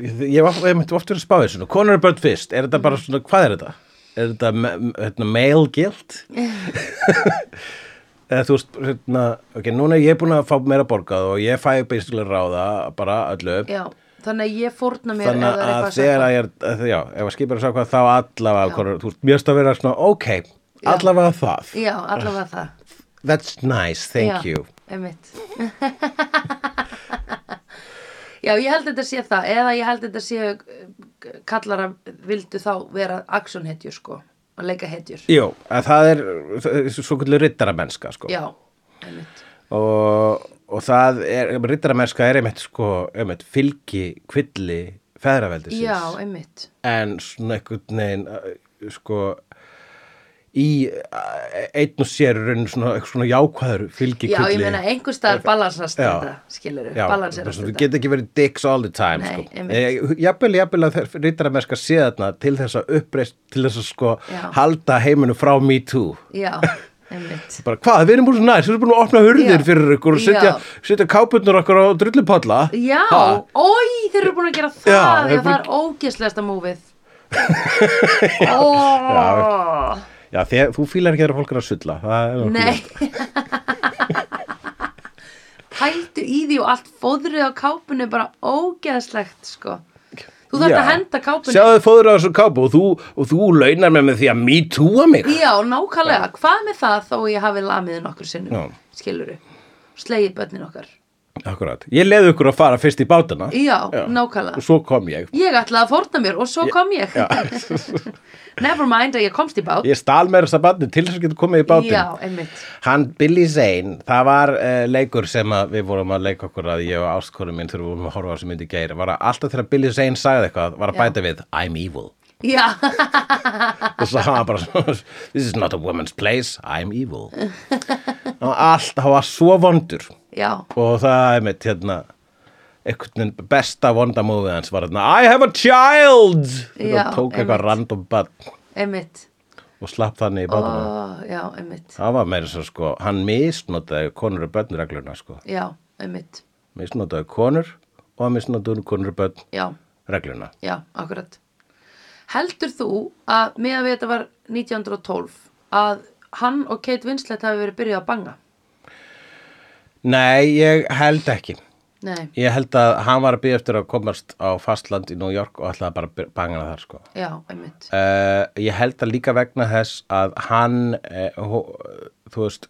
Speaker 1: ég, ég, var- ég myndi oft verið að spá þessu, konur er börn fyrst er þetta bara svona, hvað er þetta? er þetta me- m- hérna, male guilt? eða þú veist, hérna ok, núna er ég búin að fá meira borgað og ég fæ basically ráða bara öllu
Speaker 2: já, þannig að ég fórna mér ef
Speaker 1: þannig
Speaker 2: það er
Speaker 1: að
Speaker 2: eitthvað sagt.
Speaker 1: þegar að ég er, að- já, ef að skipur að sá hvað þá allavega, konur, þú veist, mjögst að vera svona, ok, allavega það
Speaker 2: já, allavega það
Speaker 1: that's nice, thank
Speaker 2: já,
Speaker 1: you
Speaker 2: einmitt já, ég held þetta sé það eða ég held þetta sé eh, kallara vildu þá vera actionhetjur sko, að leika hetjur
Speaker 1: Jú, að það er það er svo kvöldu riddaramennska sko.
Speaker 2: já, einmitt
Speaker 1: og, og það er, riddaramennska er einmitt sko, einmitt fylgi kvilli feðraveldisins
Speaker 2: já, einmitt
Speaker 1: en svona einhvern veginn uh, sko í uh, einn og sér í rauninni svona, einhver svona jákvæður fylgi
Speaker 2: já, ég
Speaker 1: kvilli
Speaker 2: meina einhver staðar balansast
Speaker 1: Já.
Speaker 2: þetta, skilur
Speaker 1: Já,
Speaker 2: balanserast
Speaker 1: þú
Speaker 2: þetta
Speaker 1: getur ekki verið dicks all the time
Speaker 2: Nei,
Speaker 1: sko.
Speaker 2: einmitt.
Speaker 1: Eh, jafnvel, jafnvel að rítaramennska sé þarna til þess að uppreist til þess að sko
Speaker 2: Já.
Speaker 1: halda heiminu frá me too
Speaker 2: já, einmitt
Speaker 1: bara hvað, við erum búin svo næst, við erum búin að opna hurðir
Speaker 2: Já.
Speaker 1: fyrir ykkur og setja,
Speaker 2: Já.
Speaker 1: setja kápurnar okkar á drullupalla
Speaker 2: já,
Speaker 1: Ha?
Speaker 2: oi, þeir eru búin að gera það
Speaker 1: Já,
Speaker 2: já,
Speaker 1: þeir eru
Speaker 2: það er ógeðslegasta múfið óóóó
Speaker 1: Já, þér, þú fílar ekki þegar fólk er að sulla það er
Speaker 2: Nei Pældu í því og allt fóðrið á kápunni er bara ógeðslegt sko Þú þarft
Speaker 1: Já.
Speaker 2: að henda kápunni
Speaker 1: Sjáðu fóður á þessu kápu og þú, og þú launar með með því að me too-a mig
Speaker 2: Já, nákvæmlega, hvað með það þó ég hafi lamið nokkur sinnum,
Speaker 1: Já.
Speaker 2: skiluru Slegið börnin okkar
Speaker 1: Akkurat, ég leði ykkur að fara fyrst í bátana
Speaker 2: Já,
Speaker 1: og
Speaker 2: nákvæmlega
Speaker 1: svo kom ég
Speaker 2: Ég ætlaði að fórna mér og svo kom ég Never mind að ég komst í bát
Speaker 1: Ég stal mér þess að batni til þess að geta komið í bátinn
Speaker 2: Já, einmitt
Speaker 1: Hann Billy Zane, það var uh, leikur sem að við vorum að leika okkur að ég og áskonum minn þurfum vorum að horfa á þessu myndi geir var að alltaf þegar Billy Zane sagði eitthvað var að
Speaker 2: Já.
Speaker 1: bæta við I'm evil
Speaker 2: Já,
Speaker 1: og svo hann var bara svona This is not a woman's place, I'm evil og allt, hann var svo vondur
Speaker 2: já,
Speaker 1: og það er mitt hérna einhvern veginn besta vondamófið hans var hérna I have a child og
Speaker 2: Já,
Speaker 1: tók
Speaker 2: einmitt.
Speaker 1: eitthvað random bann
Speaker 2: einmitt
Speaker 1: og slapp þannig í
Speaker 2: Ó,
Speaker 1: bátana
Speaker 2: Já, einmitt
Speaker 1: það var meira svo sko hann misnotaði konur og börn regluna sko
Speaker 2: Já, einmitt
Speaker 1: misnotaði konur og misnotaði konur og börn
Speaker 2: Já,
Speaker 1: regluna
Speaker 2: Já, akkurat. Heldur þú að með að við þetta var 1912 að hann og Kate Winslet hafi verið byrjuð að banga?
Speaker 1: nei ég held ekki
Speaker 2: Nei,
Speaker 1: ég held að hann var að býja eftir að komast á fastland í New York og ætlaði bara að byr- banga hana þar sko Eh,
Speaker 2: já, einmitt.
Speaker 1: uh, ég held að líka vegna þess að hann uh, eh, þú veist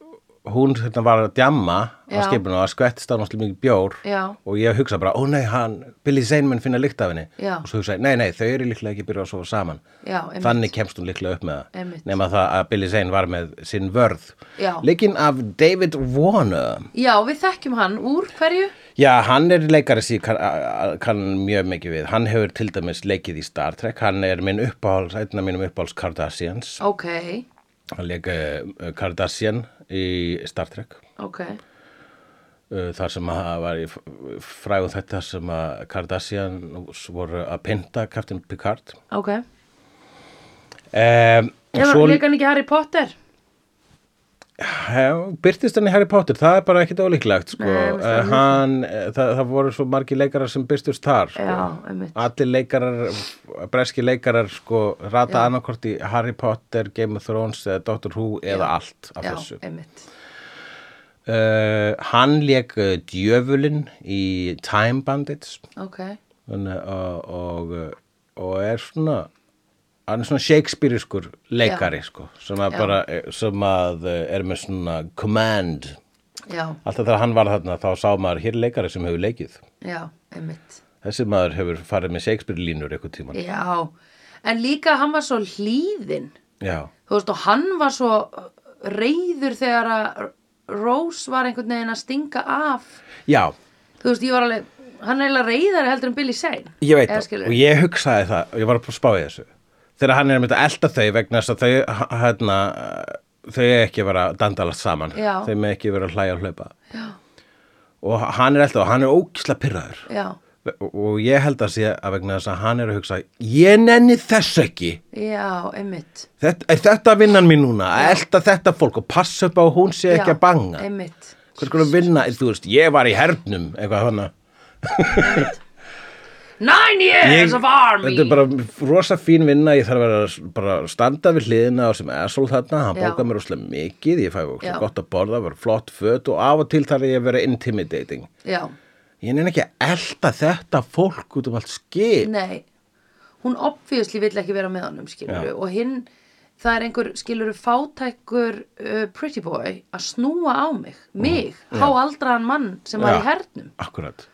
Speaker 1: hún hérna, var að djamma á
Speaker 2: Já.
Speaker 1: skipinu og það skvettist á náttúrulega mikið bjór
Speaker 2: Já.
Speaker 1: og ég hugsa bara, ó nei, hann, Billy Zane mun finna lykt af henni
Speaker 2: Já.
Speaker 1: og svo hugsa ég, nei, nei, þau eru líklega ekki byrjað að sofa saman
Speaker 2: Já, einmitt.
Speaker 1: þannig kemst hún líklega upp með það
Speaker 2: Einmitt.
Speaker 1: nema það að Billy Zane var með sinn vörð
Speaker 2: Já.
Speaker 1: leikinn af David Warner
Speaker 2: Já, við þekkjum hann úr hverju?
Speaker 1: Já, hann er leikari sem ég kann, a- a- kann mjög mikið við. Hann hefur til dæmis leikið í Star Trek. Hann er minn uppáhals, einn af mínum uppáhals Kardashians.
Speaker 2: Ok,
Speaker 1: Hann leik uh, Kardashian í Star Trek.
Speaker 2: ok,
Speaker 1: Uh, þar sem að það var í fræðu þetta sem að Kardashian voru að pynta Captain Picard.
Speaker 2: ok.
Speaker 1: Um,
Speaker 2: Hefur svo... leika hann ekki Harry Potter?
Speaker 1: Hef, byrtist hann í Harry Potter, það er bara ekkit ólíklegt sko.
Speaker 2: Nei, mér finnst
Speaker 1: Nei,
Speaker 2: það
Speaker 1: hann, eh, það, það voru svo margi leikarar sem byrstust þar sko.
Speaker 2: Já, einmitt.
Speaker 1: allir leikarar, breski leikarar sko, rata annarkort í Harry Potter Game of Thrones eða Doctor Who eða allt af
Speaker 2: Já,
Speaker 1: þessu
Speaker 2: einmitt.
Speaker 1: uh, hann leik eh, djöfulinn í Time Bandits
Speaker 2: Ok,
Speaker 1: þannig, og, og, eh, og er svona hann er svona Shakespeareiskur leikari sko, sem að,
Speaker 2: Já.
Speaker 1: bara, sem að eh, er með svona command
Speaker 2: já,
Speaker 1: Alltaf þegar hann var þarna þá sá maður hér er leikari sem hefur leikið.
Speaker 2: já, einmitt.
Speaker 1: Þessi maður hefur farið með Shakespeare línur eitthvað tíman.
Speaker 2: Já, en líka hann var svo hlýðinn.
Speaker 1: Já,
Speaker 2: Þú veist, og hann var svo reyður þegar að Rose var einhvern veginn að stinga af.
Speaker 1: já,
Speaker 2: Þú veist, ég var alveg, hann er eiginlega reyðari heldur en Billy Zane.
Speaker 1: ég veit
Speaker 2: Eða
Speaker 1: það.
Speaker 2: skilurðu.
Speaker 1: Og ég hugsaði það, ég var að spá í þessu. Þegar hann er að mynda að elda þau vegna þess að þau, hérna, þau er ekki að vera að dandalast saman.
Speaker 2: Já.
Speaker 1: Þau með ekki vera að hlæja og hlaupa. Já. Og hann er alltaf, hann er ókisla pyrraður.
Speaker 2: Já,
Speaker 1: Og ég held að sé að vegna þess að hann er að hugsa, ég nenni þess ekki.
Speaker 2: já, einmitt.
Speaker 1: Þetta, er þetta vinnan mín núna? Að elda þetta fólk og passa upp á að hún sé ekki
Speaker 2: Já,
Speaker 1: að banga.
Speaker 2: Einmitt.
Speaker 1: Hvers konar vinna, þú veist, ég var í hernum, eitthvað hana.
Speaker 2: Nine years
Speaker 1: Ég,
Speaker 2: of army!
Speaker 1: þetta er bara rosa fín vinna, ég þarf að vera s- bara að standa við hliðina á sem asshole þarna, hann
Speaker 2: Já.
Speaker 1: bókað mér rosalega mikið, ég fæ ógeðslega
Speaker 2: Já.
Speaker 1: gott að borða, var flott föt og af og til þarf ég að vera intimidating.
Speaker 2: Já,
Speaker 1: Ég neina ekki að elda þetta fólk út um allt skip.
Speaker 2: nei. Hún obviously vill ekki vera með honum, skilur Og hinn, það er einhver, skilur fátækur uh, pretty boy að snúa á mig, mig, mm. háaldraðan mann sem var í
Speaker 1: Já.
Speaker 2: hernum.
Speaker 1: Akkurat.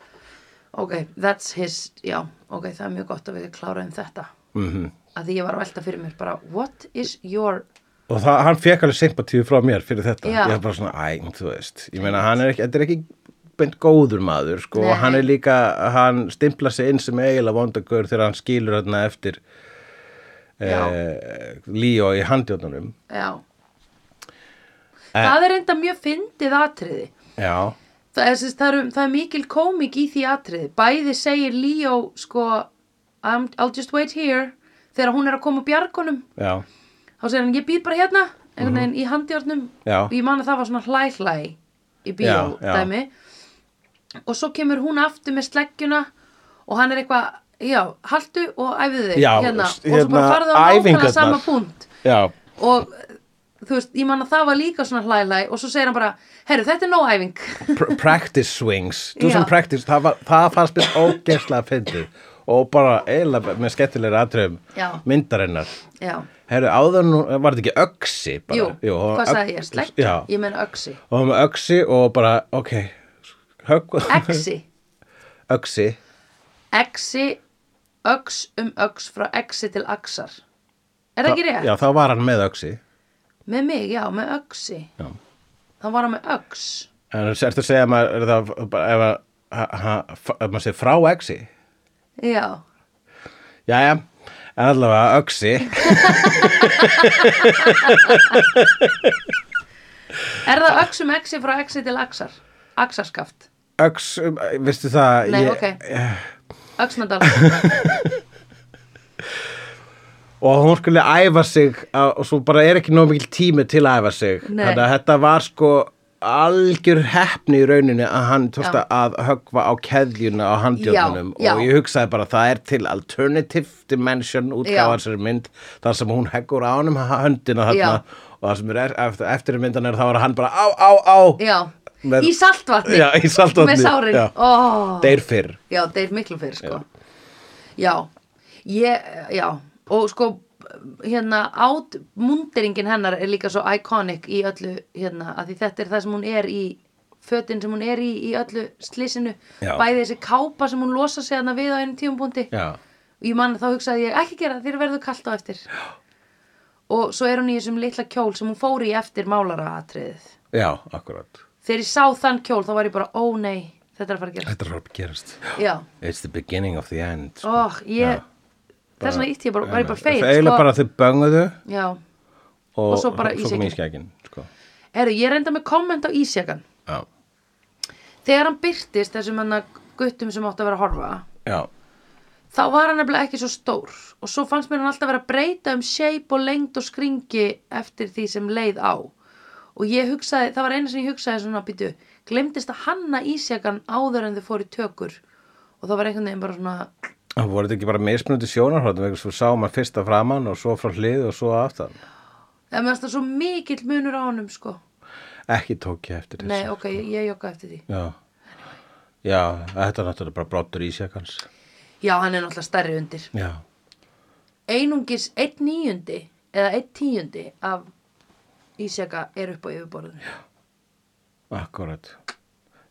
Speaker 2: Ok, that's his, já, ok, það er mjög gott að við kláraðum þetta. Mm
Speaker 1: Mhm.
Speaker 2: -hmm. Að því ég var að velta fyrir mér bara, what is your,
Speaker 1: Og það, hann fekk alveg sympatíu frá mér fyrir þetta.
Speaker 2: Já.
Speaker 1: Ég er bara svona, æ, þú veist. Ég meina, hann er ekki, þetta er ekki beint góður maður, sko.
Speaker 2: Nei.
Speaker 1: Og hann er líka, hann stimpla sig inn sem eiginlega vondagur þegar hann skilur þarna eftir eh, Líó í handjóðnunum.
Speaker 2: já. það er enda mjög fyndið atriði.
Speaker 1: Já,
Speaker 2: Það er, sérst, það, er, það er mikil komik í því atriði. Bæði segir Leo, sko, I'm, I'll just wait here, þegar hún er að koma bjargunum.
Speaker 1: já,
Speaker 2: Þá segir hann, ég býð bara hérna, einhvern veginn í handjárnum.
Speaker 1: Mhm. Já.
Speaker 2: Og ég man að það var svona hlæ-hlæ í
Speaker 1: Já,
Speaker 2: bíó,
Speaker 1: já.
Speaker 2: dæmi. Og svo kemur hún aftur með sleggjuna og hann er eitthvað, já, haltu og æfðu þig
Speaker 1: Já,
Speaker 2: hérna.
Speaker 1: s-
Speaker 2: Og svo bara
Speaker 1: hérna,
Speaker 2: farðu á nákvæmlega
Speaker 1: æfingarnar.
Speaker 2: sama punkt
Speaker 1: já,
Speaker 2: og þú veist, ég man að það var líka svona hlælæ og svo segir hann bara, herru, þetta er nóæfing
Speaker 1: Pr practice swings. Do some
Speaker 2: Já.
Speaker 1: practice, það, var, það fannst mér ógeðslega fyndið. Og bara eiginlega með skemmtilega atriðum
Speaker 2: Já.
Speaker 1: myndarinnar.
Speaker 2: já,
Speaker 1: Herru, áður nú, var þetta ekki öksi? Bara?
Speaker 2: jú,
Speaker 1: og
Speaker 2: hvað
Speaker 1: öx-
Speaker 2: sagði ég, slegg
Speaker 1: Já,
Speaker 2: ég meina öxi,
Speaker 1: og var með öksi og bara, ok högg,
Speaker 2: exi
Speaker 1: öksi
Speaker 2: exi, öx um öx frá exi til axar er það ekki rétt?
Speaker 1: já, þá var hann með öksi
Speaker 2: með mig, já, með öxi
Speaker 1: Já.
Speaker 2: þá var hann með öx
Speaker 1: en sérstu að segja að maður er það, bara ef, að- ha- ha- ef maður segir frá öksi
Speaker 2: já,
Speaker 1: jæja, en allavega öksi
Speaker 2: er það öx um exi frá exi til axar axarskaft,
Speaker 1: öks, veistu það
Speaker 2: nei,
Speaker 1: ég,
Speaker 2: ok öxnadal,
Speaker 1: og hún skulle æfa sig að, og svo bara er ekki nóg mikil tími til að æfa sig
Speaker 2: Nei.
Speaker 1: þannig að þetta var sko algjör heppni í rauninu að hann tókst
Speaker 2: Já.
Speaker 1: að höggva á keðjuna á handjörnunum
Speaker 2: Já, já.
Speaker 1: og ég hugsaði bara það er til alternative dimension
Speaker 2: Já.
Speaker 1: útgáfa þessari mynd þar sem hún heggur á honum höndina þarna
Speaker 2: Já.
Speaker 1: og það sem er eftir, eftir myndan er þá er hann bara á, á, á
Speaker 2: já
Speaker 1: Með-
Speaker 2: í saltvatni,
Speaker 1: Já, í saltvatni,
Speaker 2: með sárin
Speaker 1: já.
Speaker 2: oh.
Speaker 1: deyr fyrr
Speaker 2: Já, þeir miklu fyrr, sko. Já. Ég, já, og sko, hérna átmunderingin hennar er líka svo iconic í öllu hérna að því þetta er það sem hún er í fötin sem hún er í í öllu slísinu
Speaker 1: Já.
Speaker 2: bæði þessi kápa sem hún losa sig hérna við á einum tíumbúndi
Speaker 1: Já.
Speaker 2: ég man að þá hugsaði ég ekki gera það þér verður kalt á eftir Já. og svo er hún í þessum litla kjól sem hún fór í eftir málaraatriðið
Speaker 1: Já, akkurat.
Speaker 2: þegar ég sá þann kjól þá var ég bara ó nei þetta er að fara að gera
Speaker 1: Þetta er að gerast.
Speaker 2: Já,
Speaker 1: It's the beginning of the end. sko.
Speaker 2: og ég
Speaker 1: Já.
Speaker 2: þess vegna ítti ég bara, sko. var ég bara
Speaker 1: Það
Speaker 2: feil
Speaker 1: eiginlega bara þau bönguðu
Speaker 2: Já,
Speaker 1: og,
Speaker 2: Og svo bara í
Speaker 1: kom
Speaker 2: sekkinn.
Speaker 1: í skækin. Sko.
Speaker 2: Herru, ég reynda með komment á ísjakan.
Speaker 1: Já.
Speaker 2: Þegar hann byrtist þessum hann guttum sem átti að vera að horfa,
Speaker 1: Já.
Speaker 2: þá var hann nefnilega ekki svo stór og svo fannst mér hann alltaf vera að breyta um shape og lengd og skringi eftir því sem leið á. Og ég hugsaði, það var eina sem ég hugsaði svona býtu, glemdist að hanna ísjakan áður en þau fóru í tökur og það var einhvern veginn bara svona,
Speaker 1: Það voru þetta ekki bara mismunandi sjónarhóttum vegna svo sá maður fyrst að framann og svo frá hlið og svo aftan.
Speaker 2: það meðast það svo mikill munur á honum sko.
Speaker 1: Ekki tók ég eftir þessu.
Speaker 2: Nei, ok, ég, ég jogga eftir því.
Speaker 1: Já. Já, þetta er náttúrulega bara brottur ísjakans.
Speaker 2: Já, hann er náttúrulega stærri undir.
Speaker 1: Já.
Speaker 2: einungis einn níundi eða einn tíundi af ísjaka er upp á yfirborðinu.
Speaker 1: Akkurat.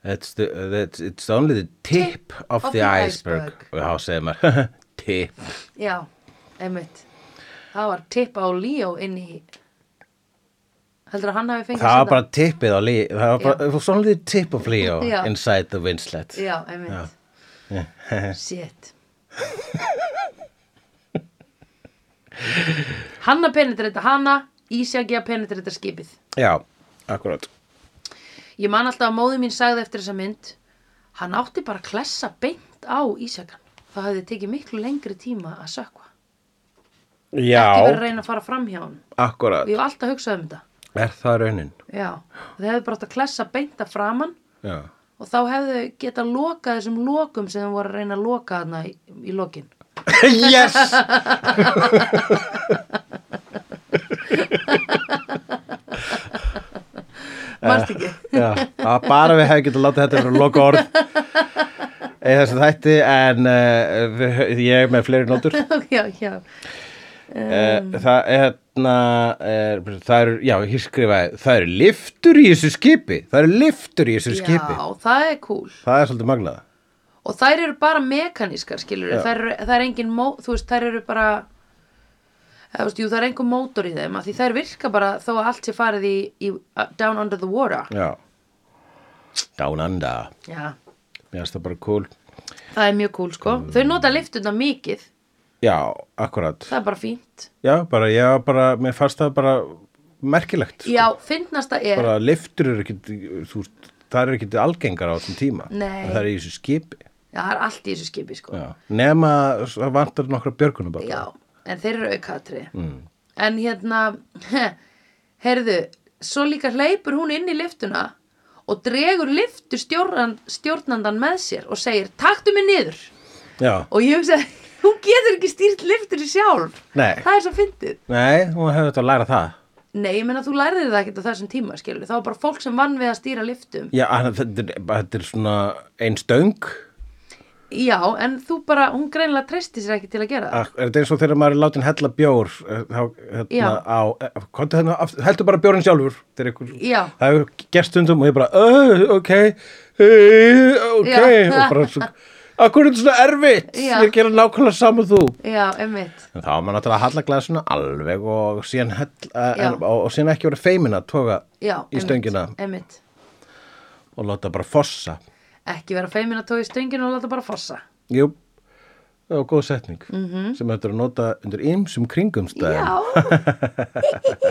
Speaker 1: It's, the, that's, it's only the tip, of, the, iceberg. Og þá segir maður, tip.
Speaker 2: Já, einmitt. Það var tippa á Leo inn í... Heldur að hann hafi fengið
Speaker 1: Það var
Speaker 2: senda-
Speaker 1: bara tippið á líf. Það var bara, it was only the tip of Leo
Speaker 2: Já.
Speaker 1: inside the winslet.
Speaker 2: Já, einmitt. Shit. Hanna penetreita hanna, ísjaki að penetreita skipið.
Speaker 1: Já, akkurat.
Speaker 2: Ég man alltaf að móði mín sagði eftir þessa mynd Hann átti bara að klessa beint á ísjakan. Það hefði tekið miklu lengri tíma að sökva. Ekki verið að
Speaker 1: Já,
Speaker 2: reyna að fara fram hjá hann.
Speaker 1: akkurat.
Speaker 2: Við hefum alltaf hugsað um þetta.
Speaker 1: Er það raunin?
Speaker 2: Já. Og þau hefðu bara átt að klessa beint að framann
Speaker 1: Já.
Speaker 2: og þá hefðu getað lokað þessum lokum sem þau voru að reyna að loka þarna í, í lokin.
Speaker 1: yes!
Speaker 2: Marst ekki?
Speaker 1: Já, það var bara við hefum getað látið þetta vera loka orð í þessu þætti en uh, við- ég er með fleiri nótur
Speaker 2: já, já.
Speaker 1: um. það er hérna er, það eru, já, hér skrifaði það eru liftur í þessu skipi það eru liftur í þessu skipi
Speaker 2: Já, það er cool.
Speaker 1: það er svolítið magnað
Speaker 2: Og þær eru bara mekanískar, skilur við. Þær, eru- það er engin, mó, þú veist, þær eru bara, eða, þú veist, jú, það er engin mótor í þeim að því þær virka bara þó að allt sé farið í, í uh, down under the water.
Speaker 1: já, down under
Speaker 2: Já,
Speaker 1: mér finnst það bara cool
Speaker 2: það er mjög cool, sko.
Speaker 1: Mm.
Speaker 2: Þau nota liftuna mikið,
Speaker 1: já, akkurat
Speaker 2: það er bara fínt.
Speaker 1: já, bara, já, bara, mér fannst það bara merkilegt sko.
Speaker 2: Já, fyndnasta er
Speaker 1: bara liftur eru ekkit þú veist, það eru ekkit algengar á þessum tíma
Speaker 2: Nei.
Speaker 1: það eru í þessu skipi
Speaker 2: Já, það er allt í þessu skipi sko Já,
Speaker 1: já. nema það vantar nokkra björgunabata
Speaker 2: en þeir eru aukatri mm. En hérna Herðu, svo líka hleypur hún inn í liftuna og dregur liftu stjórnan, stjórnandan með sér og segir, taktu mig niður
Speaker 1: já.
Speaker 2: og ég hugsa, hún getur ekki stýrt liftur sjálf
Speaker 1: Nei.
Speaker 2: það er svo fyndið
Speaker 1: nei, hún hefur þetta að læra það
Speaker 2: Nei, ég menna þú lærðir það ekkert á þessum tíma skilur, það var bara fólk sem vann við að stýra liftum
Speaker 1: já, hann, þetta, er, bara- þetta er svona ein stöng
Speaker 2: Já, en þú bara, hún greinlega treysti sér ekki til að gera það
Speaker 1: Ak- er þetta eins og þegar maður er látin hella bjór eh, þá,
Speaker 2: Já.
Speaker 1: hérna, á, eh, komdu hérna, aft- heldur bara bjórin sjálfur þegar ykkur,
Speaker 2: Já.
Speaker 1: það hefur gerst stundum og ég bara, "Ö, ok eh, ok,
Speaker 2: Já.
Speaker 1: og bara svo Akkur er þetta svona erfitt,
Speaker 2: Já.
Speaker 1: ég gera nákvæmlega saman þú
Speaker 2: Já, emmitt
Speaker 1: En þá á maður náttúrulega að halla glasinu alveg og síðan, hell,
Speaker 2: Já.
Speaker 1: en, og, og síðan ekki voru feimin að toga
Speaker 2: Já,
Speaker 1: í stöngina
Speaker 2: einmitt.
Speaker 1: og láta bara fossa.
Speaker 2: Ekki vera feimin að tóa í stöngina og láta bara fossa.
Speaker 1: Jú, það var góð setning sem þetta er að nota undir ymsum kringumstæðum.
Speaker 2: Mhm. Já.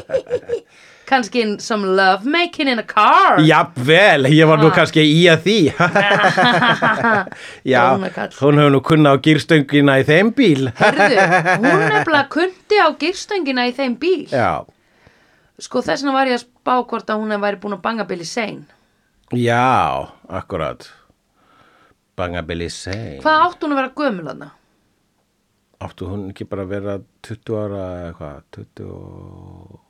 Speaker 2: Kanski in some love making in a car.
Speaker 1: Jafnvel, ég var
Speaker 2: Ah.
Speaker 1: nú kannski í að því. Já,
Speaker 2: Dónakall.
Speaker 1: hún hefur nú kunna á gýrstöngina í þeim bíl.
Speaker 2: Herðu, hún nefnilega kundi á girstöngina í þeim bíl.
Speaker 1: Já,
Speaker 2: Sko þess vegna var ég að spá hvort að hún hef væri búin að banga Billy Sein.
Speaker 1: já, akkurat. Bangabili sein.
Speaker 2: Hvað átt hún að vera gömul hana?
Speaker 1: Áttu hún ekki bara að vera 20 ára eða hvað, 20 og...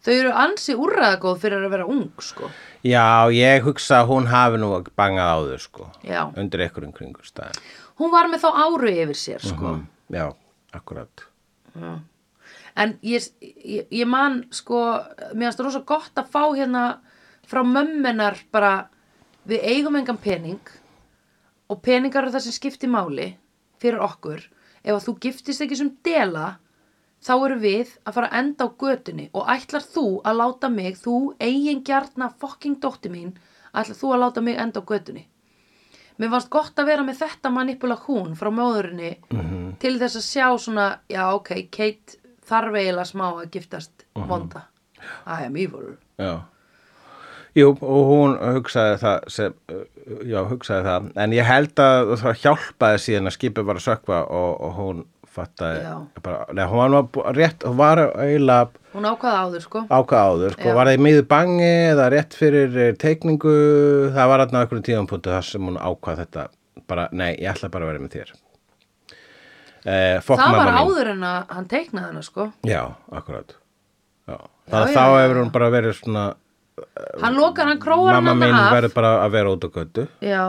Speaker 2: Þau eru ansi úrraðagóð fyrir að vera ung, sko.
Speaker 1: Já, ég hugsa að hún hafi nú bangað áður sko
Speaker 2: Já.
Speaker 1: undir einhverjum kringur staðin
Speaker 2: Hún var með þá áru yfir sér, sko.
Speaker 1: Já, akkurat
Speaker 2: En ég, ég, ég man sko, mér finnst rosa gott að fá hérna frá mömmenar bara við eigum engan pening og peningar eru það sem skipti máli fyrir okkur. Ef að þú giftist ekki sem dela þá eru við að fara að enda á götunni og ætlar þú að láta mig, þú eigin gjarna fokking dótti mín, ætlar þú að láta mig enda á götunni. Mér fannst gott að vera með þetta manipulakún frá móðurinni
Speaker 1: Mhm.
Speaker 2: til þess að sjá svona, já ok, Kate þarf eiginlega smá að giftast
Speaker 1: Mhm.
Speaker 2: vonda. I am evil.
Speaker 1: Já. Jú, og hún hugsaði það sem, uh, já, hugsaði það, en ég held að það hjálpaði síðan að skipið var að sökva og, og hún fattaði,
Speaker 2: Já.
Speaker 1: bara, neða, hún var nú að bú- rétt, hún var eiginlega
Speaker 2: Hún ákvaða áður sko.
Speaker 1: ákvað áður, sko,
Speaker 2: Já.
Speaker 1: var það í miður bangi eða rétt fyrir eh, teikningu, það var aðna einhverjum tíðanpuntu þar sem hún ákvað þetta, bara, nei, ég ætla bara að vera með þér. Eh, fokk
Speaker 2: það
Speaker 1: mamma
Speaker 2: var
Speaker 1: mín.
Speaker 2: áður en að hann teiknaði hana sko.
Speaker 1: Já, akkurat já. Það,
Speaker 2: já,
Speaker 1: Þá
Speaker 2: já,
Speaker 1: hefur
Speaker 2: já.
Speaker 1: hún bara verið svona
Speaker 2: Hann lokar, hann króar hann
Speaker 1: Mamma mín
Speaker 2: hana af.
Speaker 1: verður bara að vera út á götu
Speaker 2: Já,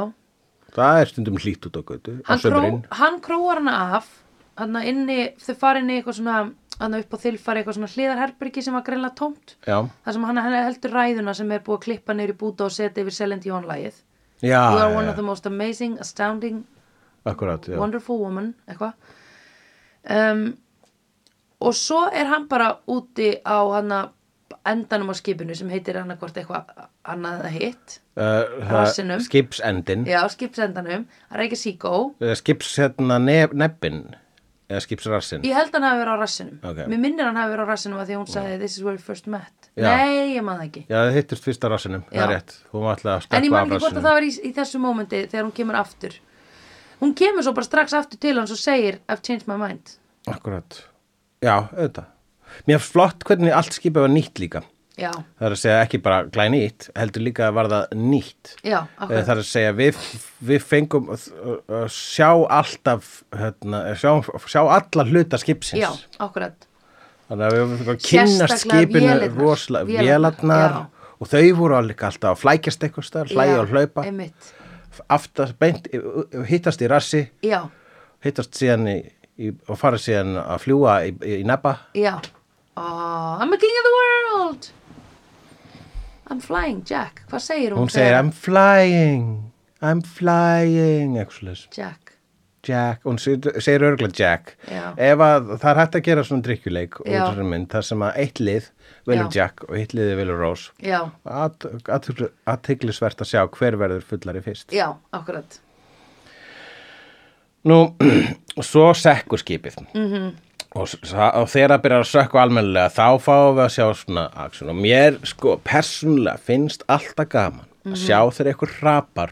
Speaker 1: Það er stundum hlýtt út á götu á
Speaker 2: hann, kró,
Speaker 1: sumrin.
Speaker 2: hann króar hana af. Hanna inni, þau fara inn í eitthvað svona, hanna upp á þilfari eitthvað svona hliðarherbyrgi sem var greinlega tómt.
Speaker 1: Já,
Speaker 2: Það sem hann hann heldur ræðuna sem er búið að klippa niður í búta og setja yfir Selendi Jónlægið.
Speaker 1: já,
Speaker 2: You
Speaker 1: Ah,
Speaker 2: are
Speaker 1: já,
Speaker 2: one of
Speaker 1: já.
Speaker 2: the most amazing, astounding
Speaker 1: akkurat já.
Speaker 2: Wonderful Woman, eitthvað um, og svo er hann bara úti á hana endanum á skipinu sem heitir hann hvort eitthvað annað eða hitt
Speaker 1: Uh,
Speaker 2: Rassinum.
Speaker 1: það- Skipsendin
Speaker 2: já, skipsendanum, hann er ekki síkó
Speaker 1: yeah. Skips hérna nef, nebbin eða skipsrassin
Speaker 2: ég held hann hafi verið á rassinum
Speaker 1: Ok.
Speaker 2: mér minnir hann hafi verið á rassinum að því að hún sagði this is where we first met
Speaker 1: Já.
Speaker 2: nei, ég man það ekki
Speaker 1: Já, það hittist fyrsta rassinum, það er
Speaker 2: Já.
Speaker 1: rétt Hún var alltaf að
Speaker 2: en ég
Speaker 1: stökkva
Speaker 2: man
Speaker 1: af
Speaker 2: ekki hvort
Speaker 1: rassinum
Speaker 2: að það var í, í þessu mómenti þegar hún kemur aftur hún kemur svo bara strax aftur til hans og segir I've changed my mind
Speaker 1: Akkurat, já, auðvitað Mér er flott hvernig allt skipið var nýtt líka
Speaker 2: já,
Speaker 1: Það er að segja ekki bara glænýtt, heldur líka var það nýtt
Speaker 2: já,
Speaker 1: Okay.
Speaker 2: akkurat
Speaker 1: Það er að segja, við, við fengum að að sjá alltaf, hérna, sjá, sjá alla hluta skipsins.
Speaker 2: já, akkurat
Speaker 1: Þannig að við fengum að kynna
Speaker 2: Sérstaklega
Speaker 1: skipinu
Speaker 2: vélarnar.
Speaker 1: rosalega,
Speaker 2: Vélarnar,
Speaker 1: vélarnar
Speaker 2: já.
Speaker 1: og þau voru alveg alltaf að flækjast eitthvað stöðar, hlæja
Speaker 2: Já,
Speaker 1: og hlaupa,
Speaker 2: einmitt.
Speaker 1: aftast, beint, eh, hittast í rassi,
Speaker 2: já,
Speaker 1: hittast síðan í, í, og fara síðan að fljúa í, í nebba.
Speaker 2: já oh, I'm a king of the world I'm flying Jack hvað segir hún?
Speaker 1: Hún segir,
Speaker 2: þegar-
Speaker 1: I'm flying, I'm flying, eitthvað slags.
Speaker 2: Jack
Speaker 1: Jack, hún segir segir örugglega Jack
Speaker 2: Já.
Speaker 1: ef að það er hægt að gera svona drikkjuleik og
Speaker 2: Já.
Speaker 1: þessari mynd, þar sem að eitt lið velur
Speaker 2: Já.
Speaker 1: Jack og eitt liði velur Rose
Speaker 2: já,
Speaker 1: At- athygli- athyglisvert að sjá hver verður fullari fyrst
Speaker 2: já, akkurat
Speaker 1: nú, svo sekkur skipið -hmm.
Speaker 2: Mhm.
Speaker 1: og, s- sa- og þegar það byrjar að sökku almennilega þá fáum við að sjá svona action og mér sko persónulega finnst alltaf gaman
Speaker 2: Mhm.
Speaker 1: að sjá þegar eitthvað rapar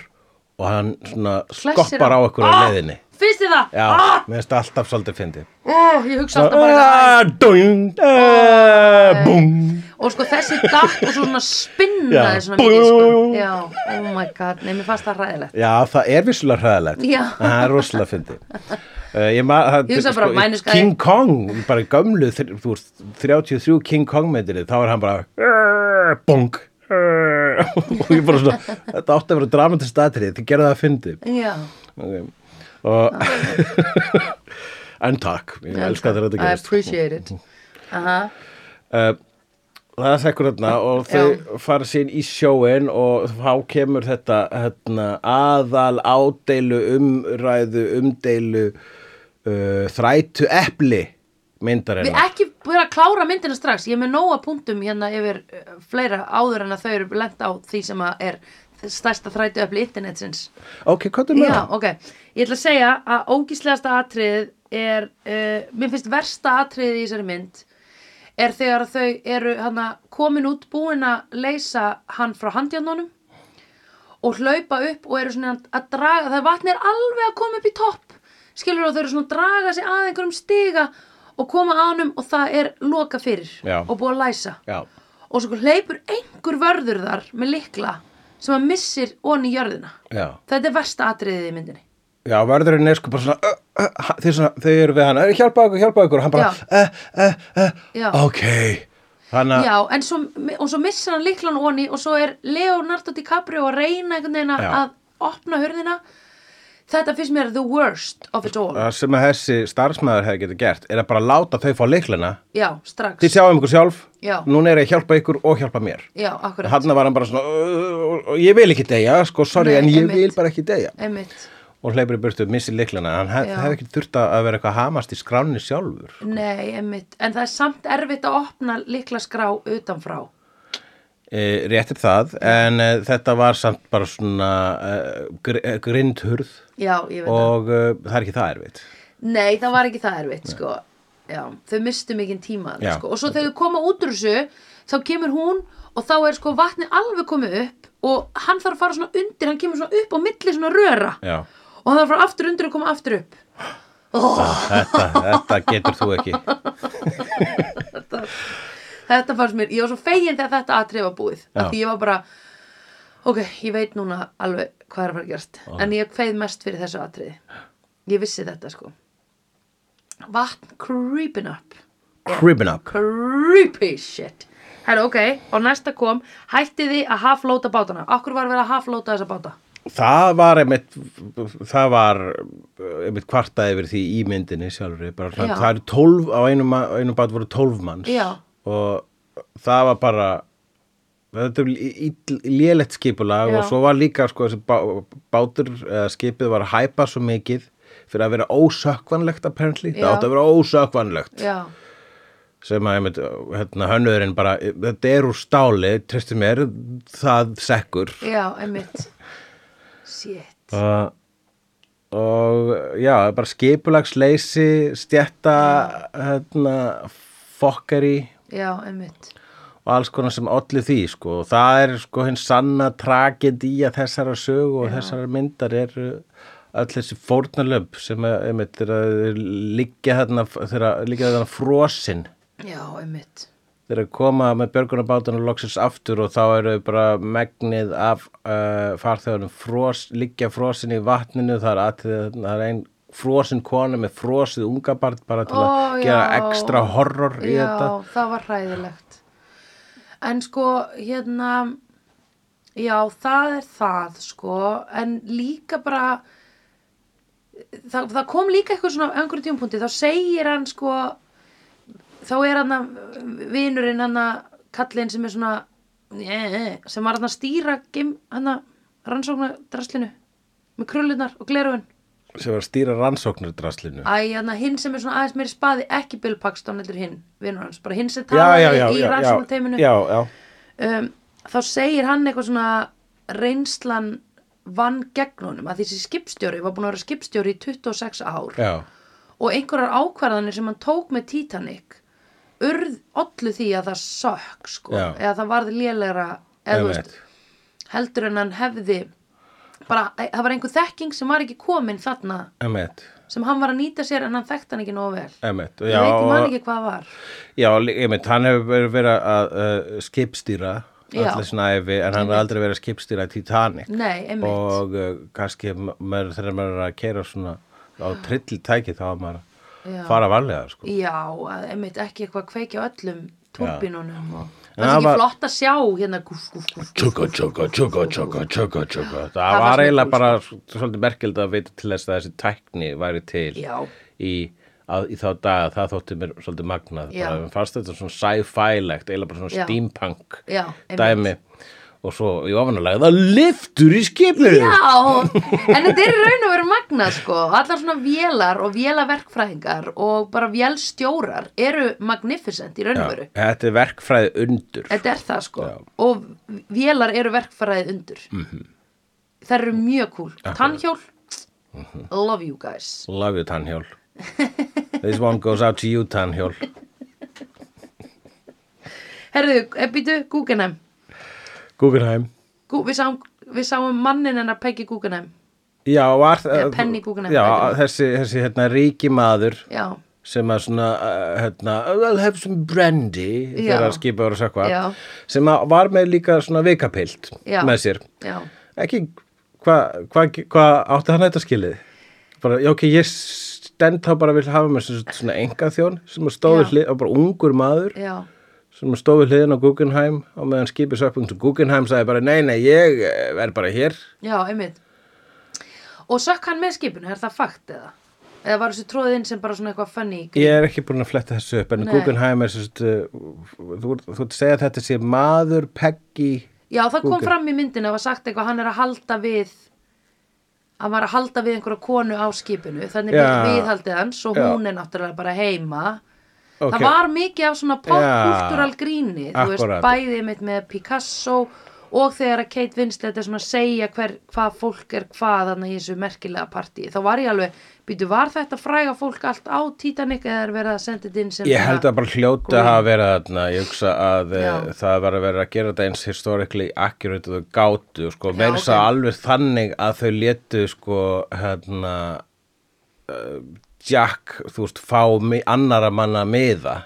Speaker 1: og hann svona
Speaker 2: Flessir
Speaker 1: skoppar á
Speaker 2: hann.
Speaker 1: eitthvað á
Speaker 2: Ah,
Speaker 1: leiðinni
Speaker 2: finnst þið það?
Speaker 1: Já,
Speaker 2: Ah,
Speaker 1: mér finnst alltaf svolítið fyndið Ah,
Speaker 2: oh, ég hugsa alltaf bara eitthvað
Speaker 1: Búm
Speaker 2: aðeins. og sko þessi datt og svo svona spinna
Speaker 1: Já.
Speaker 2: þið svona mikið sko. já, oh my god, nei, mér fannst það hræðilegt
Speaker 1: Já, það er vissulega hræðilegt
Speaker 2: Já.
Speaker 1: En Það er rosalega fyndið uh, Ég, ma, það, sko,
Speaker 2: Ég hugsa bara, mænus gæi.
Speaker 1: King Kong, bara í gömlu þr- Þú ert 33 King Kong meitirið Þá er hann bara Bung Og ég bara svona Þetta átti að vera dramatist aðrið Þið gerðu það að fyndið
Speaker 2: já,
Speaker 1: okay. Og En takk, ég elska þegar þetta
Speaker 2: I
Speaker 1: gerist
Speaker 2: appreciate it aha,
Speaker 1: Eh, það er sekkur hérna og þau fara sín í sjóin og þá kemur þetta hérna, aðal ádeilu umræðu umdeilu uh, þrætu epli
Speaker 2: Við
Speaker 1: myndarinnar
Speaker 2: ekki búin að klára myndina strax Ég er með nóga punktum hérna yfir uh, fleira áður en að þau eru lent á því sem að er stærsta þrætu öfli internetsins
Speaker 1: ok, hvað er með
Speaker 2: Já,
Speaker 1: það?
Speaker 2: ok Ég ætla að segja að ógíslegasta atriðið er uh, Mér finnst versta atriðið í þessari mynd er þegar þau eru hana, komin út búin að leysa hann frá handjánunum og hlaupa upp og eru svona að draga það vatn er alveg að koma upp í topp skilur og þau eru svona að draga sig að einhverjum stiga og koma ánum og það er loka fyrir
Speaker 1: Já.
Speaker 2: og búið að læsa
Speaker 1: Já.
Speaker 2: og svo hleypur einhver vörður þar með likla sem að missir onni í jörðina
Speaker 1: Já.
Speaker 2: þetta er versta atriðið í myndinni
Speaker 1: Já, verðurinn er sko bara svona uh, uh, þau, svona, þau eru við hann, "Eh, hjálpa okkur, hjálpa okkur og hann bara, uh, uh,
Speaker 2: Já.
Speaker 1: uh, ok þannig að
Speaker 2: Já, en svo, og svo missir hann líklan onni og svo er Leonardo DiCaprio að reyna einhvern veginn
Speaker 1: Já.
Speaker 2: að opna hurðina Þetta finnst mér the worst of it all.
Speaker 1: Það sem að þessi starfsmæður hefði getið gert er að bara láta þau fá leiklina
Speaker 2: Já, strax.
Speaker 1: Þið sjáum ykkur sjálf,
Speaker 2: Já.
Speaker 1: núna er ég að hjálpa ykkur og hjálpa mér
Speaker 2: Já, akkurat.
Speaker 1: Hanna var hann bara svona, "Ö, ö, ö, ég vil ekki deyja, sko, sorry,
Speaker 2: Nei,
Speaker 1: en ég
Speaker 2: einmitt.
Speaker 1: vil bara ekki deyja
Speaker 2: Einmitt.
Speaker 1: Og hleypur í burtu, missir leiklina, hann hef,
Speaker 2: Já.
Speaker 1: hefði ekki þurft að að vera eitthvað að hamast í skránni sjálfur
Speaker 2: Nei, einmitt. En það er samt erfitt að opna líkla skrá utanfrá.
Speaker 1: e, Réttir það, en e, þetta var samt bara svona e, gr e, grindhurð
Speaker 2: Já, ég veit það.
Speaker 1: og e, það er ekki það erfitt
Speaker 2: Nei, það var ekki það erfitt, sko. Já, þau mistu mikinn tíma, þarna,
Speaker 1: Já.
Speaker 2: sko. Og svo þegar þau koma út úr þessu, þá kemur hún og þá er sko vatni alveg komið upp og hann þarf að fara svona undir, hann kemur svona upp á milli svona röra.
Speaker 1: Já,
Speaker 2: Og hann þarf að fara aftur undir og koma aftur upp.
Speaker 1: þetta, þetta getur þú ekki
Speaker 2: Þetta fannst mér, ég var svo fegin þegar þetta atrið var búið.
Speaker 1: Já.
Speaker 2: Af því ég var bara, ok, ég veit núna alveg hvað er að fara að gerast. En ég feið mest fyrir þessu atriði. Ég vissi þetta, sko. Vatn creeping up.
Speaker 1: Cribbin up
Speaker 2: creepy shit Herra, ok, og næsta kom hættiði að haflóta bátana Akkur var verið að haflóta þessa báta
Speaker 1: Það var einmitt, það var einmitt kvartað yfir því í myndinni sjálfri, bara
Speaker 2: Já.
Speaker 1: svona, það eru tólf, á einum, ma- á einum bát voru tólf manns
Speaker 2: Já.
Speaker 1: og það var bara, þetta var lélegt skipulag
Speaker 2: Já.
Speaker 1: og svo var líka sko þessi bá, bátur eða skipið var að hæpa svo mikið fyrir að vera ósökkvanlegt apparently,
Speaker 2: Já.
Speaker 1: það átti að vera ósökkvanlegt
Speaker 2: Já,
Speaker 1: sem að einmitt, hérna, hönnurinn bara, þetta er úr stáli, treystu mér, það sekkur.
Speaker 2: já, einmitt Shit
Speaker 1: Uh, og já, bara skipulagsleysi, stjætta, hérna, fokkari
Speaker 2: Já, einmitt
Speaker 1: og alls konar sem olli því, sko. Og það er sko hinn sanna tragedía þessara sögu og þessara myndar eru öll þessi fórnalöf sem að, einmitt, þeir að liggja þarna, þeir að liggja þarna frosin
Speaker 2: Já, einmitt
Speaker 1: þeir að koma með björgunarbátun og loksins aftur og þá eru bara megnið af uh, farþjóðunum fros, liggja frosin í vatninu það er, atrið, það er ein frosin kona með frosið ungabart bara til
Speaker 2: Ó,
Speaker 1: að gera
Speaker 2: já.
Speaker 1: ekstra horror í
Speaker 2: Já,
Speaker 1: þetta
Speaker 2: það var hræðilegt En sko, hérna Já, það er það, sko En líka bara Það, það kom líka eitthvað svona á einhverjum tímpúnti, þá segir hann sko þá er hann að vinurinn hann að kallinn sem er svona eh, sem var hann að stýra gim, hann að rannsóknadraslinu með krullunar og glerun
Speaker 1: sem var að stýra rannsóknardraslinu
Speaker 2: Æ, hann hinn sem er svona aðeins meiri spaði, ekki Bill Paxton heldur hinn, vinnur hans, bara hinn sem
Speaker 1: já, já,
Speaker 2: talaði
Speaker 1: já,
Speaker 2: í
Speaker 1: já, já,
Speaker 2: rannsóknarteiminu
Speaker 1: já, já.
Speaker 2: um, þá segir hann eitthvað svona reynslan vann gegn honum að þessi skipstjóri var búin að vera skipstjóri í 26 ár
Speaker 1: Já,
Speaker 2: og einhverjar ákvarðanir sem hann tók með Titanic urð ollu því að það sökk sko,
Speaker 1: Já.
Speaker 2: eða það varð lélegra eða þú
Speaker 1: einmitt.
Speaker 2: veist, heldur en hann hefði bara, e, það var einhver þekking sem var ekki komin þarna
Speaker 1: Emmett,
Speaker 2: sem hann var að nýta sér en hann þekkt hann ekki nógu vel
Speaker 1: Emmett
Speaker 2: ég veit ég man ekki hvað var
Speaker 1: Já, einmitt, hann hefur verið verið að uh, skipstýra
Speaker 2: Já.
Speaker 1: allir sinna æfi, en hann hefur aldrei verið að skipstýra Titanic
Speaker 2: nei, einmitt
Speaker 1: og uh, kannski ma- maður, þegar maður er að keira svona á trilltæki þá á maður að
Speaker 2: Já.
Speaker 1: fara varlega sko.
Speaker 2: Já, að einmitt ekki eitthvað kveikja á öllum turbinunum og það
Speaker 1: En
Speaker 2: er
Speaker 1: það
Speaker 2: ekki
Speaker 1: var-
Speaker 2: flott að sjá hérna gúf, gúf, gúf, gúf,
Speaker 1: tjóka, tjóka, tjóka, tjóka, tjóka, tjóka
Speaker 2: Það
Speaker 1: það
Speaker 2: fannst
Speaker 1: var
Speaker 2: mér
Speaker 1: eiginlega
Speaker 2: kúl,
Speaker 1: bara s- svolítið merkild að vita til þess að þessi tækni væri til
Speaker 2: Já.
Speaker 1: í, að, í þá daga það þótti mér svolítið magnað
Speaker 2: Já.
Speaker 1: bara, mér fannst þetta svona sci-fi-legt eiginlega bara svona
Speaker 2: Já.
Speaker 1: steampunk
Speaker 2: Já, einmitt.
Speaker 1: dæmi og svo í ofanulega það liftur í skipnir
Speaker 2: Já, en þetta er í raun að vera magna sko, allar svona vélar og vélaverkfræðingar og bara vélstjórar eru magnificent í raun og veru.
Speaker 1: þetta er verkfræði undur
Speaker 2: Þetta er það sko
Speaker 1: Já. Mhm.
Speaker 2: og vélar eru verkfræði undur. Mm -hmm. Það eru mjög cool. Tannhjól,
Speaker 1: Mhm.
Speaker 2: love you guys.
Speaker 1: Love you, Tannhjól. This one goes out to you, Tannhjól.
Speaker 2: Herðu, býtu, Guggenheim.
Speaker 1: Guggenheim.
Speaker 2: Gú, við, sáum, við sáum mannin hennar Peggy Guggenheim.
Speaker 1: Já, var
Speaker 2: Já,
Speaker 1: það...
Speaker 2: Penny Guggenheim,
Speaker 1: Já,
Speaker 2: heitir
Speaker 1: þessi, þessi hérna, ríki maður
Speaker 2: Já,
Speaker 1: sem að svona, uh, hérna, I'll have some brandy
Speaker 2: Já.
Speaker 1: þegar að skipa voru að sökva.
Speaker 2: Já.
Speaker 1: Sem að var með líka svona vikapilt
Speaker 2: Já.
Speaker 1: með sér.
Speaker 2: já.
Speaker 1: Ekki, hvað hva, hva átti hann þetta skilið? Bara, já, ok, ég stend þá bara vil hafa með svona enga þjón sem að stóðu
Speaker 2: Já.
Speaker 1: hlið, og bara ungur maður.
Speaker 2: Já,
Speaker 1: sem stóð við hliðin á Guggenheim og meðan skipið sökpum til Guggenheim sagði bara nei, nei, ég eh, verð bara hér
Speaker 2: já, einmitt. Og Og sökk hann með skipinu, er það fakt eða? Eða var þessu tróðið inn sem bara svona eitthvað funny grín?
Speaker 1: Ég er ekki búin að fletta þessu upp en
Speaker 2: Nei.
Speaker 1: Guggenheim er svo þú, þú, þú ert að segja að þetta sé maður Peggy
Speaker 2: Já, það kom
Speaker 1: Google.
Speaker 2: fram í myndinu að var sagt eitthvað, hann er að halda við hann var að halda við einhverja konu á skipinu þannig
Speaker 1: Já.
Speaker 2: ja. viðhaldið hans og
Speaker 1: Já.
Speaker 2: hún er náttúrulega bara heima
Speaker 1: Ok.
Speaker 2: það var mikið af svona popkultúral
Speaker 1: Já.
Speaker 2: gríni þú veist,
Speaker 1: Akkúrat.
Speaker 2: bæðið mitt með Picasso og þegar að Kate Winslet er svona að segja hver, hvað fólk er hvað þannig í þessu merkilega partí þá var ég alveg, býtu, var þetta fræga fólk allt á Titanic eða er verið að senda þetta inn sem
Speaker 1: Ég held að bara hljóta að hafa verið þarna ég hugsa að Já.
Speaker 2: Já.
Speaker 1: það var að vera að gera þetta eins historically accurate og þau gátu sko,
Speaker 2: Já,
Speaker 1: meira þess að
Speaker 2: ok.
Speaker 1: alveg þannig að þau létu sko hérna uh, Jack, þú veist, fá mi- annara manna miða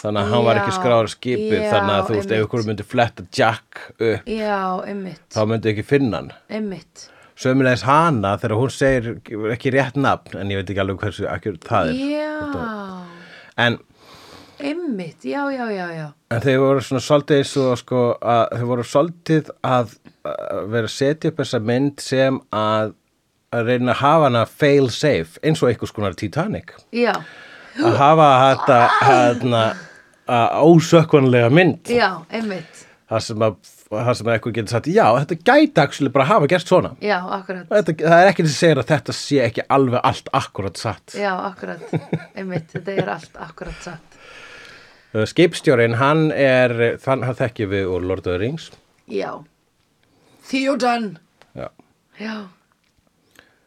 Speaker 1: þannig að hann var ekki
Speaker 2: Já.
Speaker 1: skráður skipið
Speaker 2: Já,
Speaker 1: þannig að þú veist, ef
Speaker 2: einmitt.
Speaker 1: ykkur myndi fletta Jack upp,
Speaker 2: Já, einmitt,
Speaker 1: þá myndi ekki finna hann
Speaker 2: einmitt
Speaker 1: sömulegis hana þegar hún segir ekki rétt nafn, en ég veit ekki alveg hversu ekki það er,
Speaker 2: Já,
Speaker 1: en
Speaker 2: einmitt, já, já, já, já.
Speaker 1: En þeir voru svona svolítið eins og sko að þeir voru svolítið að, að vera að setja upp þessa mynd sem að, að reyna að hafa hana fail safe eins og einhvers konar Titanic.
Speaker 2: Já,
Speaker 1: Að hafa þetta hérna að ósökkvanlega mynd
Speaker 2: já, einmitt,
Speaker 1: þar sem að, þar sem að eitthvað getur sagt já þetta gæti actually bara að hafa gerst svona.
Speaker 2: já, akkurat,
Speaker 1: Þetta, það er ekki sem segir að þetta sé ekki alveg allt akkurat satt.
Speaker 2: já, akkurat, einmitt, þetta er allt akkurat satt.
Speaker 1: Uh, Skipstjórinn hann er, þann, hann þekkjum við úr Lord of the Rings.
Speaker 2: Já, Theoden,
Speaker 1: Já.
Speaker 2: já.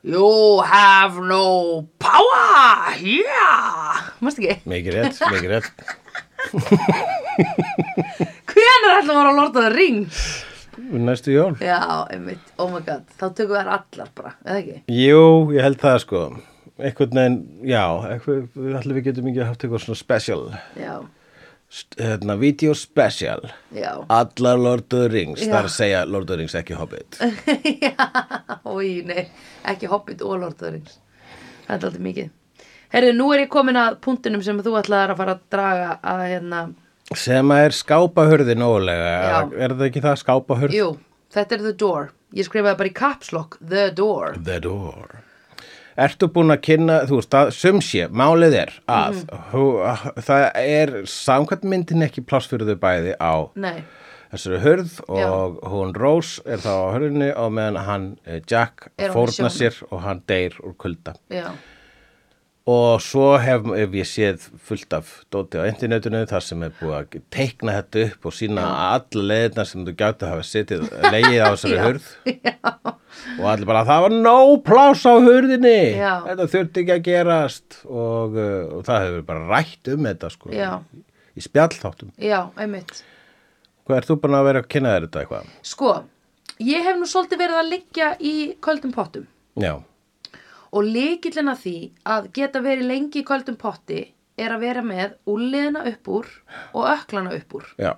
Speaker 2: You have no power, yeah, mást ekki,
Speaker 1: Mikið rétt, mikið rétt.
Speaker 2: hvenær ætlum að vera að lorta það ring?
Speaker 1: Næstu jól.
Speaker 2: Já, einmitt, oh my god, þá tökum við þær allar bara, eða ekki?
Speaker 1: Jú, ég held það sko einhvern veginn, já eitthvað, við ætlum við getum ekki haft eitthvað svona special
Speaker 2: Já,
Speaker 1: st- hérna, video special
Speaker 2: já,
Speaker 1: allar Lord of the Rings,
Speaker 2: Já.
Speaker 1: það er að segja Lord of the Rings ekki Hobbit
Speaker 2: Ói, nei, ekki Hobbit og Lord of the Rings. Það er alltaf mikið. Herðu, nú er ég komin að punktinum sem þú ætlaðir að fara að draga að hérna,
Speaker 1: sem að er skápahörði nógulega
Speaker 2: Já.
Speaker 1: er það ekki það skápahörð?
Speaker 2: jú, þetta er The Door. Ég skrifaði bara í caps lock, The Door.
Speaker 1: The Door Ertu búin að kynna, þú veist, það sumsé, málið er að
Speaker 2: Mhm.
Speaker 1: hú, það er samkvæmt myndin ekki pláss fyrir þau bæði á
Speaker 2: Nei,
Speaker 1: þessari hurð
Speaker 2: Já.
Speaker 1: og hún Rose er þá á hurðinni og meðan hann eh, Jack
Speaker 2: Er hún í
Speaker 1: fórna
Speaker 2: sjónum?
Speaker 1: sér og hann deyr úr kulda
Speaker 2: já,
Speaker 1: og svo hef, hef ég séð fullt af dóti á internetinu þar sem er búið að teikna þetta upp og sína alla leiðina sem þú gæti að hafa sittið leiðið á þessari hurð og allir bara það var nóg pláss á hurðinni
Speaker 2: Já.
Speaker 1: þetta þurfti ekki að gerast og, eh, og það hefur bara rætt um þetta sko
Speaker 2: Já.
Speaker 1: í, í spjallþáttum
Speaker 2: já, einmitt.
Speaker 1: Hvað ert þú búin að vera að kynna þér þetta eitthvað?
Speaker 2: Sko, ég hef nú svolítið verið að liggja í köldum pottum
Speaker 1: Já,
Speaker 2: og líkillin að því að geta verið lengi í köldum potti er að vera með úliðina upp úr og öklana upp úr.
Speaker 1: já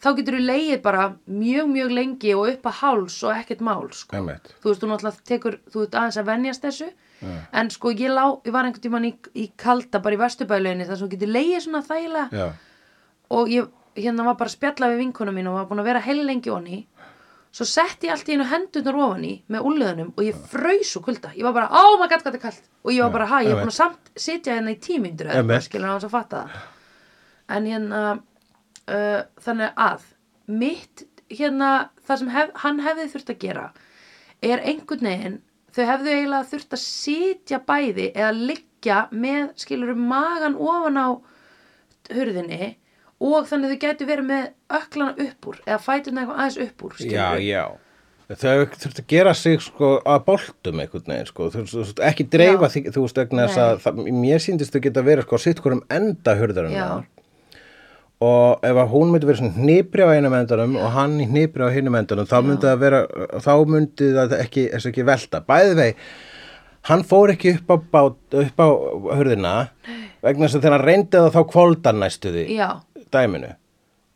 Speaker 2: þá getur þú leið bara mjög, mjög lengi og upp að háls og ekkert mál, sko.
Speaker 1: Einmitt.
Speaker 2: Þú veist, þú náttúrulega tekur, þú ert aðeins að venjast þessu, en sko, ég lá, ég var einhvern tímann í, í kalda bara í vesturbæðleginni þar sem þú getur leið svona þægilega
Speaker 1: Já,
Speaker 2: og ég, hérna var bara að spjalla við vinkona mín og var búin að vera heil lengi onni, svo sett ég allt í einu hendunar ofan í með úlliðunum og ég fraus og kulda. Ég var bara, ó, maður gætt hvað þetta er kalt og ég var bara, hæ, ég er
Speaker 1: einmitt.
Speaker 2: búin að samt sitja hérna í tímyndur eða
Speaker 1: Einmitt.
Speaker 2: eitthvað, skilur hans að fatta það en hérna uh, þannig að mitt hérna það sem hef, hann hefði þurft að gera er einhvern veginn þau hefðu eiginlega þurft að sitja bæði eða liggja með skilur magan ofan á hurðinni og þannig þau gætu verið með öklana upp úr eða fætuna eitthvað aðeins upp úr skilurðu.
Speaker 1: já, já. Þau þurftu að gera sig sko að boltum einhvern veginn sko, þú þú veist ekki dreifa
Speaker 2: Já.
Speaker 1: þig, þú veist vegna þess að
Speaker 2: Nei.
Speaker 1: það, mér síndist þau geta verið sko á sitt hverjum enda hurðarum
Speaker 2: Já.
Speaker 1: og ef að hún myndi verið svona hnipri á einum endanum og hann í hnipri á hinum endanum þá myndi það vera, þá myndi það ekki, þessu ekki velta, bæði vei hann fór ekki upp á, bát, upp á hurðina vegna þess að þegar hann reyndi það þá kvóldan næstu því
Speaker 2: já,
Speaker 1: dæminu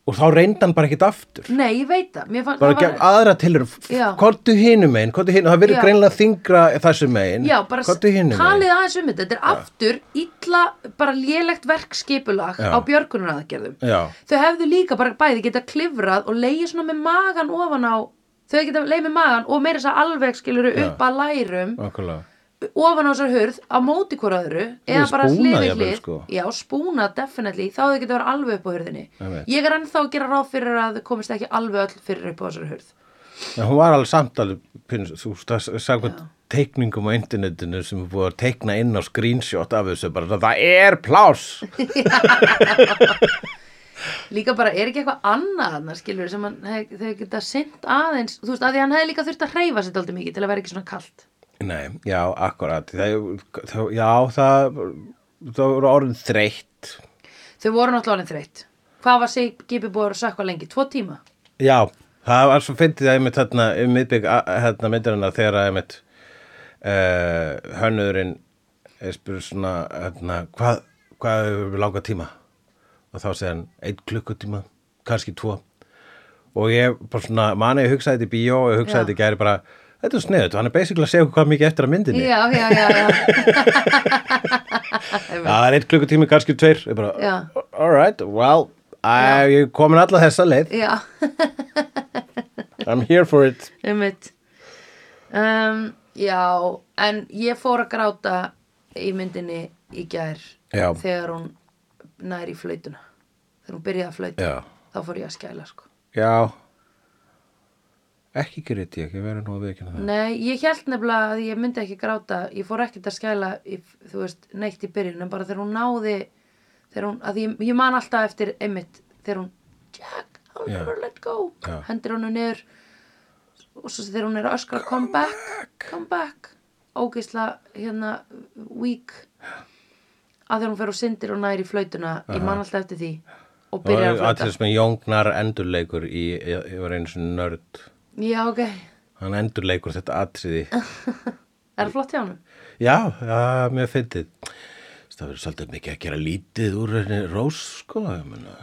Speaker 1: og þá reyndi hann bara ekkit aftur
Speaker 2: nei, ég veit það Mér fann,
Speaker 1: bara
Speaker 2: það var-
Speaker 1: gef aðra tilur
Speaker 2: Já.
Speaker 1: kontu hinu megin, kontu hinu það verður
Speaker 2: Já.
Speaker 1: greinlega þingra þessu megin
Speaker 2: Já, bara
Speaker 1: kontu hinu
Speaker 2: talið aðeins um þetta. Þetta er aftur illa, bara lélegt verkskipulag
Speaker 1: Já.
Speaker 2: á björgunaraðgerðum.
Speaker 1: megin já,
Speaker 2: Þau hefðu líka bara bæði geta klifrað og leiði svona með magan ofan á þau þau geta leið með magan og meira þess að segja alveg skilur upp að lærum
Speaker 1: okkurlega
Speaker 2: ofan á þessar hurð á móti hvora öðru eða
Speaker 1: Við
Speaker 2: bara
Speaker 1: spúna
Speaker 2: hlið við
Speaker 1: jafnvel,
Speaker 2: hlið
Speaker 1: sko.
Speaker 2: já, spúna definitely, þá þau geta verið alveg upp á hurðinni
Speaker 1: Einmitt.
Speaker 2: ég er ennþá að gera ráð fyrir að þau komist ekki alveg öll fyrir upp á þessar hurð
Speaker 1: En hún var alveg samt alveg, pins, þú veist, sagði teikningum á internetinu sem er búið að teikna inn á screenshot af þessu, bara svona, það er pláss.
Speaker 2: líka bara er ekki eitthvað annað annars skilur sem hann, hef- þau geta sint aðeins þú veist, að því hann hefði líka þurft að hreyfa sér daldið mikið til að vera ekki svona kalt
Speaker 1: Nei, já, akkurat. Það, það, já, það, það voru orðin þreytt.
Speaker 2: þau voru náttúrulega orðin þreytt hvað var sig Gibi búið að vera að sökva lengi, tvo tíma
Speaker 1: Já, það var svo fyndið að einmitt þarna um miðbygg hérna myndirina þegar að einmitt uh, hönnurinn spyrir eh, svona, hérna, hvað, hvað hefur langa tíma? Og þá segir hann, einn klukkutíma, kannski tvo. Og ég bara svona, mani, ég hugsaði þetta í bíó og ég hugsaði
Speaker 2: Já.
Speaker 1: þetta í gæri bara, þetta er sniðut, hann er basically að segja okkur hvað mikið eftir að myndinni.
Speaker 2: já, já, já, já.
Speaker 1: Já, það er einn klukkutími, kannski tveir. Ég bara,
Speaker 2: Já.
Speaker 1: all right, well, I, ég er komin alla þessa leið.
Speaker 2: já.
Speaker 1: I'm here for it.
Speaker 2: Einmitt. um já, en ég fór að gráta í myndinni í gær
Speaker 1: Já.
Speaker 2: þegar hún næri í flöytuna þegar hún byrjaði að flöyta
Speaker 1: Já.
Speaker 2: þá fór ég að skæla sko
Speaker 1: Já Ekki grét ég, ég verið nú að veikina það
Speaker 2: Nei, ég held nefnilega að ég myndi ekki gráta ég fór ekkert að skæla í, þú veist, neitt í byrjun en bara þegar hún náði þegar hún, að ég, ég man alltaf eftir einmitt þegar hún, Jack, I'll
Speaker 1: Já.
Speaker 2: never let go
Speaker 1: Já.
Speaker 2: hendur hún niður og svo þegar hún er að öskra come, back, come back ógisla hérna weak að þegar hún fer og syndir og næri í flautuna ég man alltaf eftir því og byrjar að
Speaker 1: Og
Speaker 2: flauta
Speaker 1: allir sem jóngnar endurleikur í, ég, ég var einu sinni nörd
Speaker 2: Já, ok,
Speaker 1: Hann endurleikur þetta atriði
Speaker 2: Ah. er það flott hjá hann?
Speaker 1: Já, já, mér fyndið Það verður svolítið mikið að gera lítið úr henni rós, sko ég meina.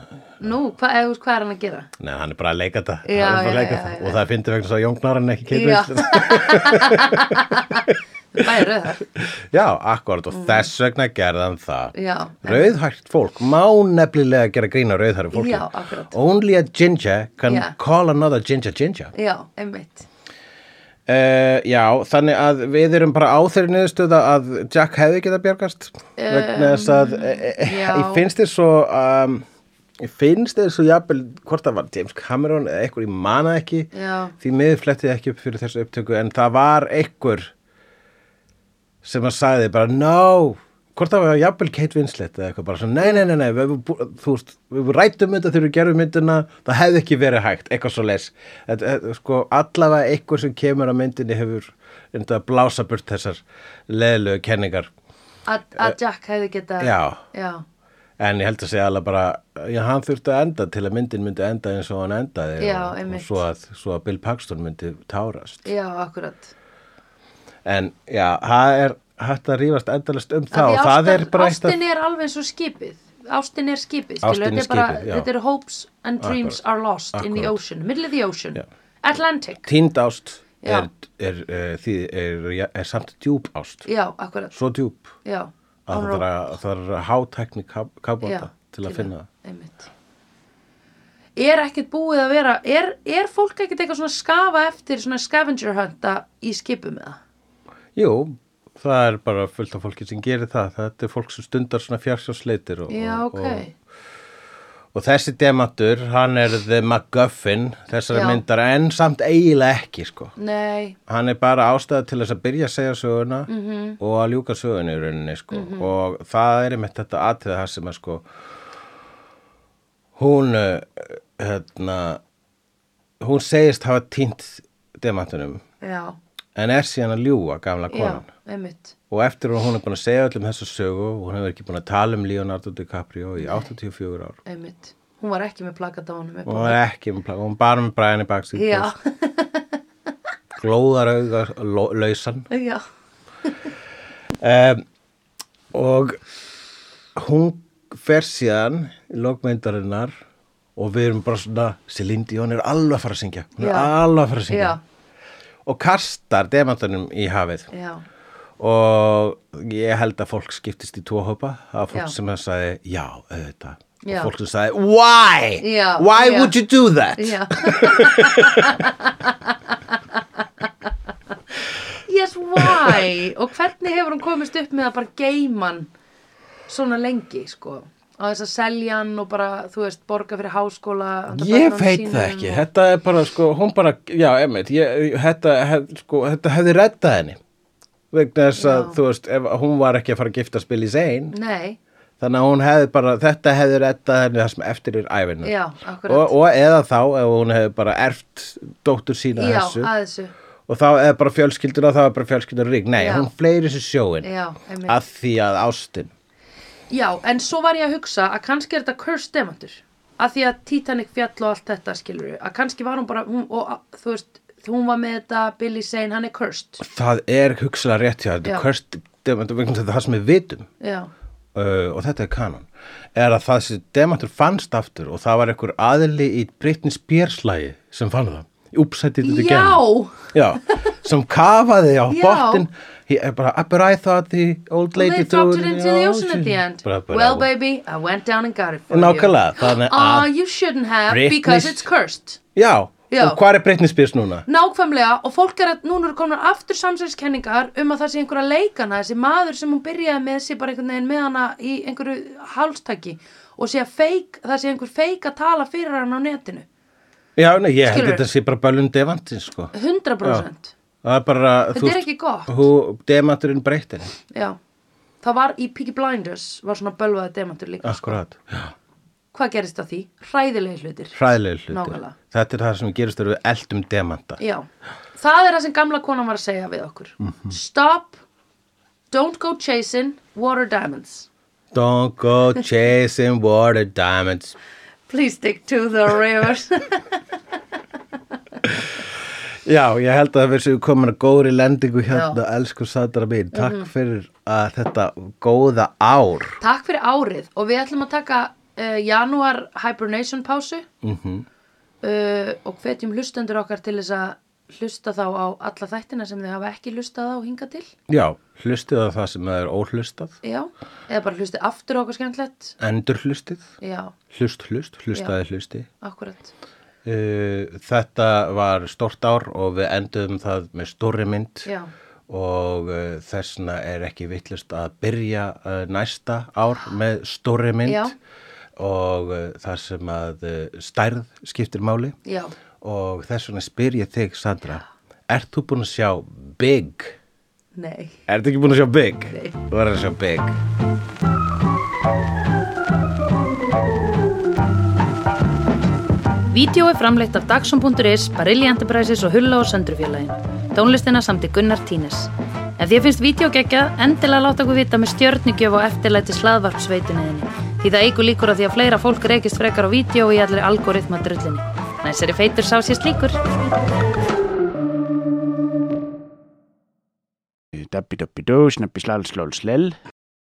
Speaker 2: Nú, hvað eða þú veist, hvað er hann að gera?
Speaker 1: Nei, hann er bara að leika þetta Hann er
Speaker 2: Já,
Speaker 1: bara að
Speaker 2: já,
Speaker 1: leika
Speaker 2: já,
Speaker 1: þetta.
Speaker 2: já.
Speaker 1: Og það fyndið vegna þess að jóngnar hann ekki
Speaker 2: Já.
Speaker 1: keitur
Speaker 2: Bæði rauðar
Speaker 1: Já, akkurat
Speaker 2: Mm.
Speaker 1: og þess vegna gerði hann það.
Speaker 2: Já.
Speaker 1: Rauðhært fólk má nefnilega gera grína rauðhært fólki.
Speaker 2: Já, akkurat.
Speaker 1: Only a ginger can
Speaker 2: Já.
Speaker 1: call another ginger ginger.
Speaker 2: Já, einmitt
Speaker 1: Uh, já, þannig að við erum bara á þeirri niðurstöða að Jack hefði geta bjargast vegna þess að e, e,
Speaker 2: já.
Speaker 1: ég finnst þér svo um, ég finnst þér svo jafnvel hvort það var James Cameron eða eitthvað ég manað ekki
Speaker 2: Já.
Speaker 1: því miður flettið ekki upp fyrir þessu upptöku en það var eitthvað sem að sagði bara no hvort það var jafnvel Kate Winslet eða eitthvað bara svona nei, nei, nei, nei við, við, þú veist, við rættum þetta þegar við gerum myndina það hefði ekki verið hægt, eitthvað svo leis þetta, þetta- sko allavega eitthvað sem kemur á myndinni hefur enda að blása burt þessar leðilegu kenningar
Speaker 2: Að að Jack hefði geta
Speaker 1: Eh, já,
Speaker 2: já,
Speaker 1: en ég held að segja alveg bara já, hann þurfti að enda til að myndin myndi enda eins og hann endaði
Speaker 2: Já,
Speaker 1: og, og
Speaker 2: einmitt.
Speaker 1: svo, að, svo að Bill Paxton myndi tárast
Speaker 2: já, akkurat
Speaker 1: en já, það er hægt að rífast endalist um það
Speaker 2: Af því
Speaker 1: og það er
Speaker 2: ástan-
Speaker 1: bara eitt af-
Speaker 2: Ástin er alveg eins og skipið Ástin er skipið, skilur,
Speaker 1: Ástin er
Speaker 2: þetta er bara
Speaker 1: skipið, já.
Speaker 2: Þetta er hopes and dreams are lost in the
Speaker 1: Akkurat.
Speaker 2: ocean, middle of the ocean Atlantic,
Speaker 1: Tínd ást
Speaker 2: Já.
Speaker 1: er, er, er, er, er, er samt djúp ást.
Speaker 2: já, akkurat
Speaker 1: Svo djúp
Speaker 2: Já,
Speaker 1: að það þarf að, það þarf að hátækni
Speaker 2: já,
Speaker 1: kábóta til að finna það.
Speaker 2: einmitt. Er ekkert búið að vera er, er fólk ekkert eitthvað svona að skafa eftir svona scavenger hunta í skipum eða?
Speaker 1: Jú, það er bara fullt af fólki sem gerir það. Þetta er fólk sem stundar svona fjársjósleitir og,
Speaker 2: Já,
Speaker 1: og,
Speaker 2: ok
Speaker 1: og, og þessi demantur, hann er The MacGuffin, þessari
Speaker 2: Já.
Speaker 1: myndar, en samt eiginlega ekki, sko.
Speaker 2: Nei,
Speaker 1: Hann er bara ástæða til þess að byrja að segja söguna
Speaker 2: Mhm.
Speaker 1: og að ljúka söguna í rauninni, sko. Og það er einmitt þetta atriða það sem að, sko, hún uh, hérna hún segist hafa týnt demantunum
Speaker 2: já
Speaker 1: en er síðan að ljúga gamla konan
Speaker 2: Já, einmitt.
Speaker 1: og eftir að hún er búin að segja öllum þessu sögu og hún hefur ekki búin að tala um Leonardo DiCaprio í 84 ár
Speaker 2: einmitt. Hún var ekki með plakat á honum upp
Speaker 1: og
Speaker 2: á-
Speaker 1: hún er ekki með plaka, hún bara með bræðin í baksíð
Speaker 2: Já,
Speaker 1: glóðar auga lo- lausan
Speaker 2: já,
Speaker 1: um, og hún fer síðan í lokmyndarinnar og við erum bara svona Celine Dion er alveg að fara að syngja hún er
Speaker 2: Já.
Speaker 1: alveg að fara að syngja
Speaker 2: já,
Speaker 1: og kastar demantunum í hafið
Speaker 2: já,
Speaker 1: og ég held að fólk skiptist í tvo hópa það var fólk
Speaker 2: Já.
Speaker 1: sem að sagði já, auðvitað
Speaker 2: Já.
Speaker 1: og fólk sem sagði why,
Speaker 2: Já,
Speaker 1: why
Speaker 2: já.
Speaker 1: would you do that
Speaker 2: já. why? og hvernig hefur hún komist upp með að bara geyma hann svona lengi, sko? Á þess að selja hann og bara, þú veist, borga fyrir háskóla. handa
Speaker 1: Ég
Speaker 2: börnunum
Speaker 1: veit það
Speaker 2: sínum
Speaker 1: ekki,
Speaker 2: og-
Speaker 1: þetta er bara sko, hún bara, já, emmitt, ég, þetta, hef, sko, þetta hefði reddað henni vegna þess að,
Speaker 2: Já.
Speaker 1: þú veist, ef, hún var ekki að fara að giftast Billy Zane,
Speaker 2: Nei,
Speaker 1: þannig að hún hefði bara, þetta hefði reddað henni það sem eftir er ævinna
Speaker 2: já, akkurat.
Speaker 1: og, og eða þá, ef hún hefði bara erft dóttur sína
Speaker 2: já,
Speaker 1: þessu
Speaker 2: að þessu.
Speaker 1: og þá er bara fjölskyldur og þá er bara fjölskyldur rík, nei,
Speaker 2: Já.
Speaker 1: hún fleiri þessu sjóin
Speaker 2: Já, einmitt.
Speaker 1: að því að ástin
Speaker 2: Já, en svo var ég að hugsa að kannski er þetta cursed demantur. Að því að Titanic fjall og allt þetta skilur Að kannski var hún bara, hún, og að, þú veist, hún var með þetta, Billy Zane, hann er cursed.
Speaker 1: það er hugsalega rétt hjá þetta
Speaker 2: Já.
Speaker 1: er cursed, demantur, vegna þess að það sem við vitum
Speaker 2: Já,
Speaker 1: uh, og þetta er kanon er að það sem demantur fannst aftur og það var einhver aðili í Britney Spears lagi sem fann það Upsættið þetta
Speaker 2: já,
Speaker 1: Já, sem kafaði á
Speaker 2: Já.
Speaker 1: bottin He, eh, bara, but I thought the old
Speaker 2: Well,
Speaker 1: lady
Speaker 2: they dropped it into the ocean at the end.
Speaker 1: Bara, bara,
Speaker 2: well, baby, I went down and got it for
Speaker 1: Nákvæmlega,
Speaker 2: you.
Speaker 1: þannig
Speaker 2: Ah,
Speaker 1: að
Speaker 2: you shouldn't have
Speaker 1: Britney-
Speaker 2: because it's cursed.
Speaker 1: Já,
Speaker 2: Já.
Speaker 1: og hvað er Britney Spears núna?
Speaker 2: Nákvæmlega, og fólk er að núna eru komin aftur samsæðiskenningar um að það sé einhverja leikana, þessi maður sem hún byrjaði með sé bara einhvern veginn með hana í einhverju hálstaki og sé að feik, það sé einhver feik að tala fyrir hann á netinu.
Speaker 1: Já, nei, ég held
Speaker 2: Skilurðu?
Speaker 1: þetta sé bara bölun devantins sko.
Speaker 2: 100%.
Speaker 1: Það er bara
Speaker 2: Þetta
Speaker 1: þú
Speaker 2: er
Speaker 1: veist,
Speaker 2: ekki gott.
Speaker 1: Hú, demanturinn breytir
Speaker 2: Já. Það var í Peaky Blinders, var svona bölvaði demantur líka.
Speaker 1: Akkurát,
Speaker 2: Hvað gerist á því? Hræðilegi hlutir.
Speaker 1: hræðilega hluti
Speaker 2: Nákvæmlega.
Speaker 1: Þetta er það sem gerist þegar við eldum demanta
Speaker 2: Já, það er það sem gamla konan var að segja við okkur. Stop, don't go chasing, water diamonds.
Speaker 1: Don't go chasing water diamonds
Speaker 2: Please stick to the rivers.
Speaker 1: Já, ég held að við séum komin að góðri lendingu hérna, elsku Sandra mín Takk fyrir að þetta góða ár
Speaker 2: Takk fyrir árið og við ætlum að taka uh, janúar hibernation pásu uh, og hvetjum hlustendur okkar til þess að hlusta þá á alla þættina sem þau hafa ekki hlustað á hinga til.
Speaker 1: Já, hlustið að það sem það er óhlustað
Speaker 2: Já, eða bara hlustið aftur á okkur skemmtlegt.
Speaker 1: Endur hlustið,
Speaker 2: Já,
Speaker 1: hlust hlust, hlustaði hlusti
Speaker 2: akkurat.
Speaker 1: uh, Þetta var stort ár og við endum það með stóri mynd
Speaker 2: Já.
Speaker 1: og uh, þessna er ekki vittlust að byrja uh, næsta ár með stóri mynd
Speaker 2: Já.
Speaker 1: og uh, þar sem að uh, stærð skiptir máli
Speaker 2: Já,
Speaker 1: og þess vegna spyr ég þig Sandra, ert þú búin að sjá Big?
Speaker 2: nei.
Speaker 1: Ertu ekki búin að sjá Big?
Speaker 2: Nei.
Speaker 1: Þú verður að sjá Big
Speaker 2: Vídeó er framleitt af Dagsum.is, Barilli Enterprises og Hulla og Söndrufjörlægin. Tónlistina samt í Gunnar Tínes. Ef því finnst vídeo gegja, endilega láta okkur vita með stjörnugjöf og eftirlæti slaðvarpsveitunniðinni. Því það eigur líkur að því að fleira fólk reykist frekar á vídeo í allir algoritma drullinni. Næsari feitur sá sér slíkur.
Speaker 3: Dabbi dabbi dó, snabbi slal slól slell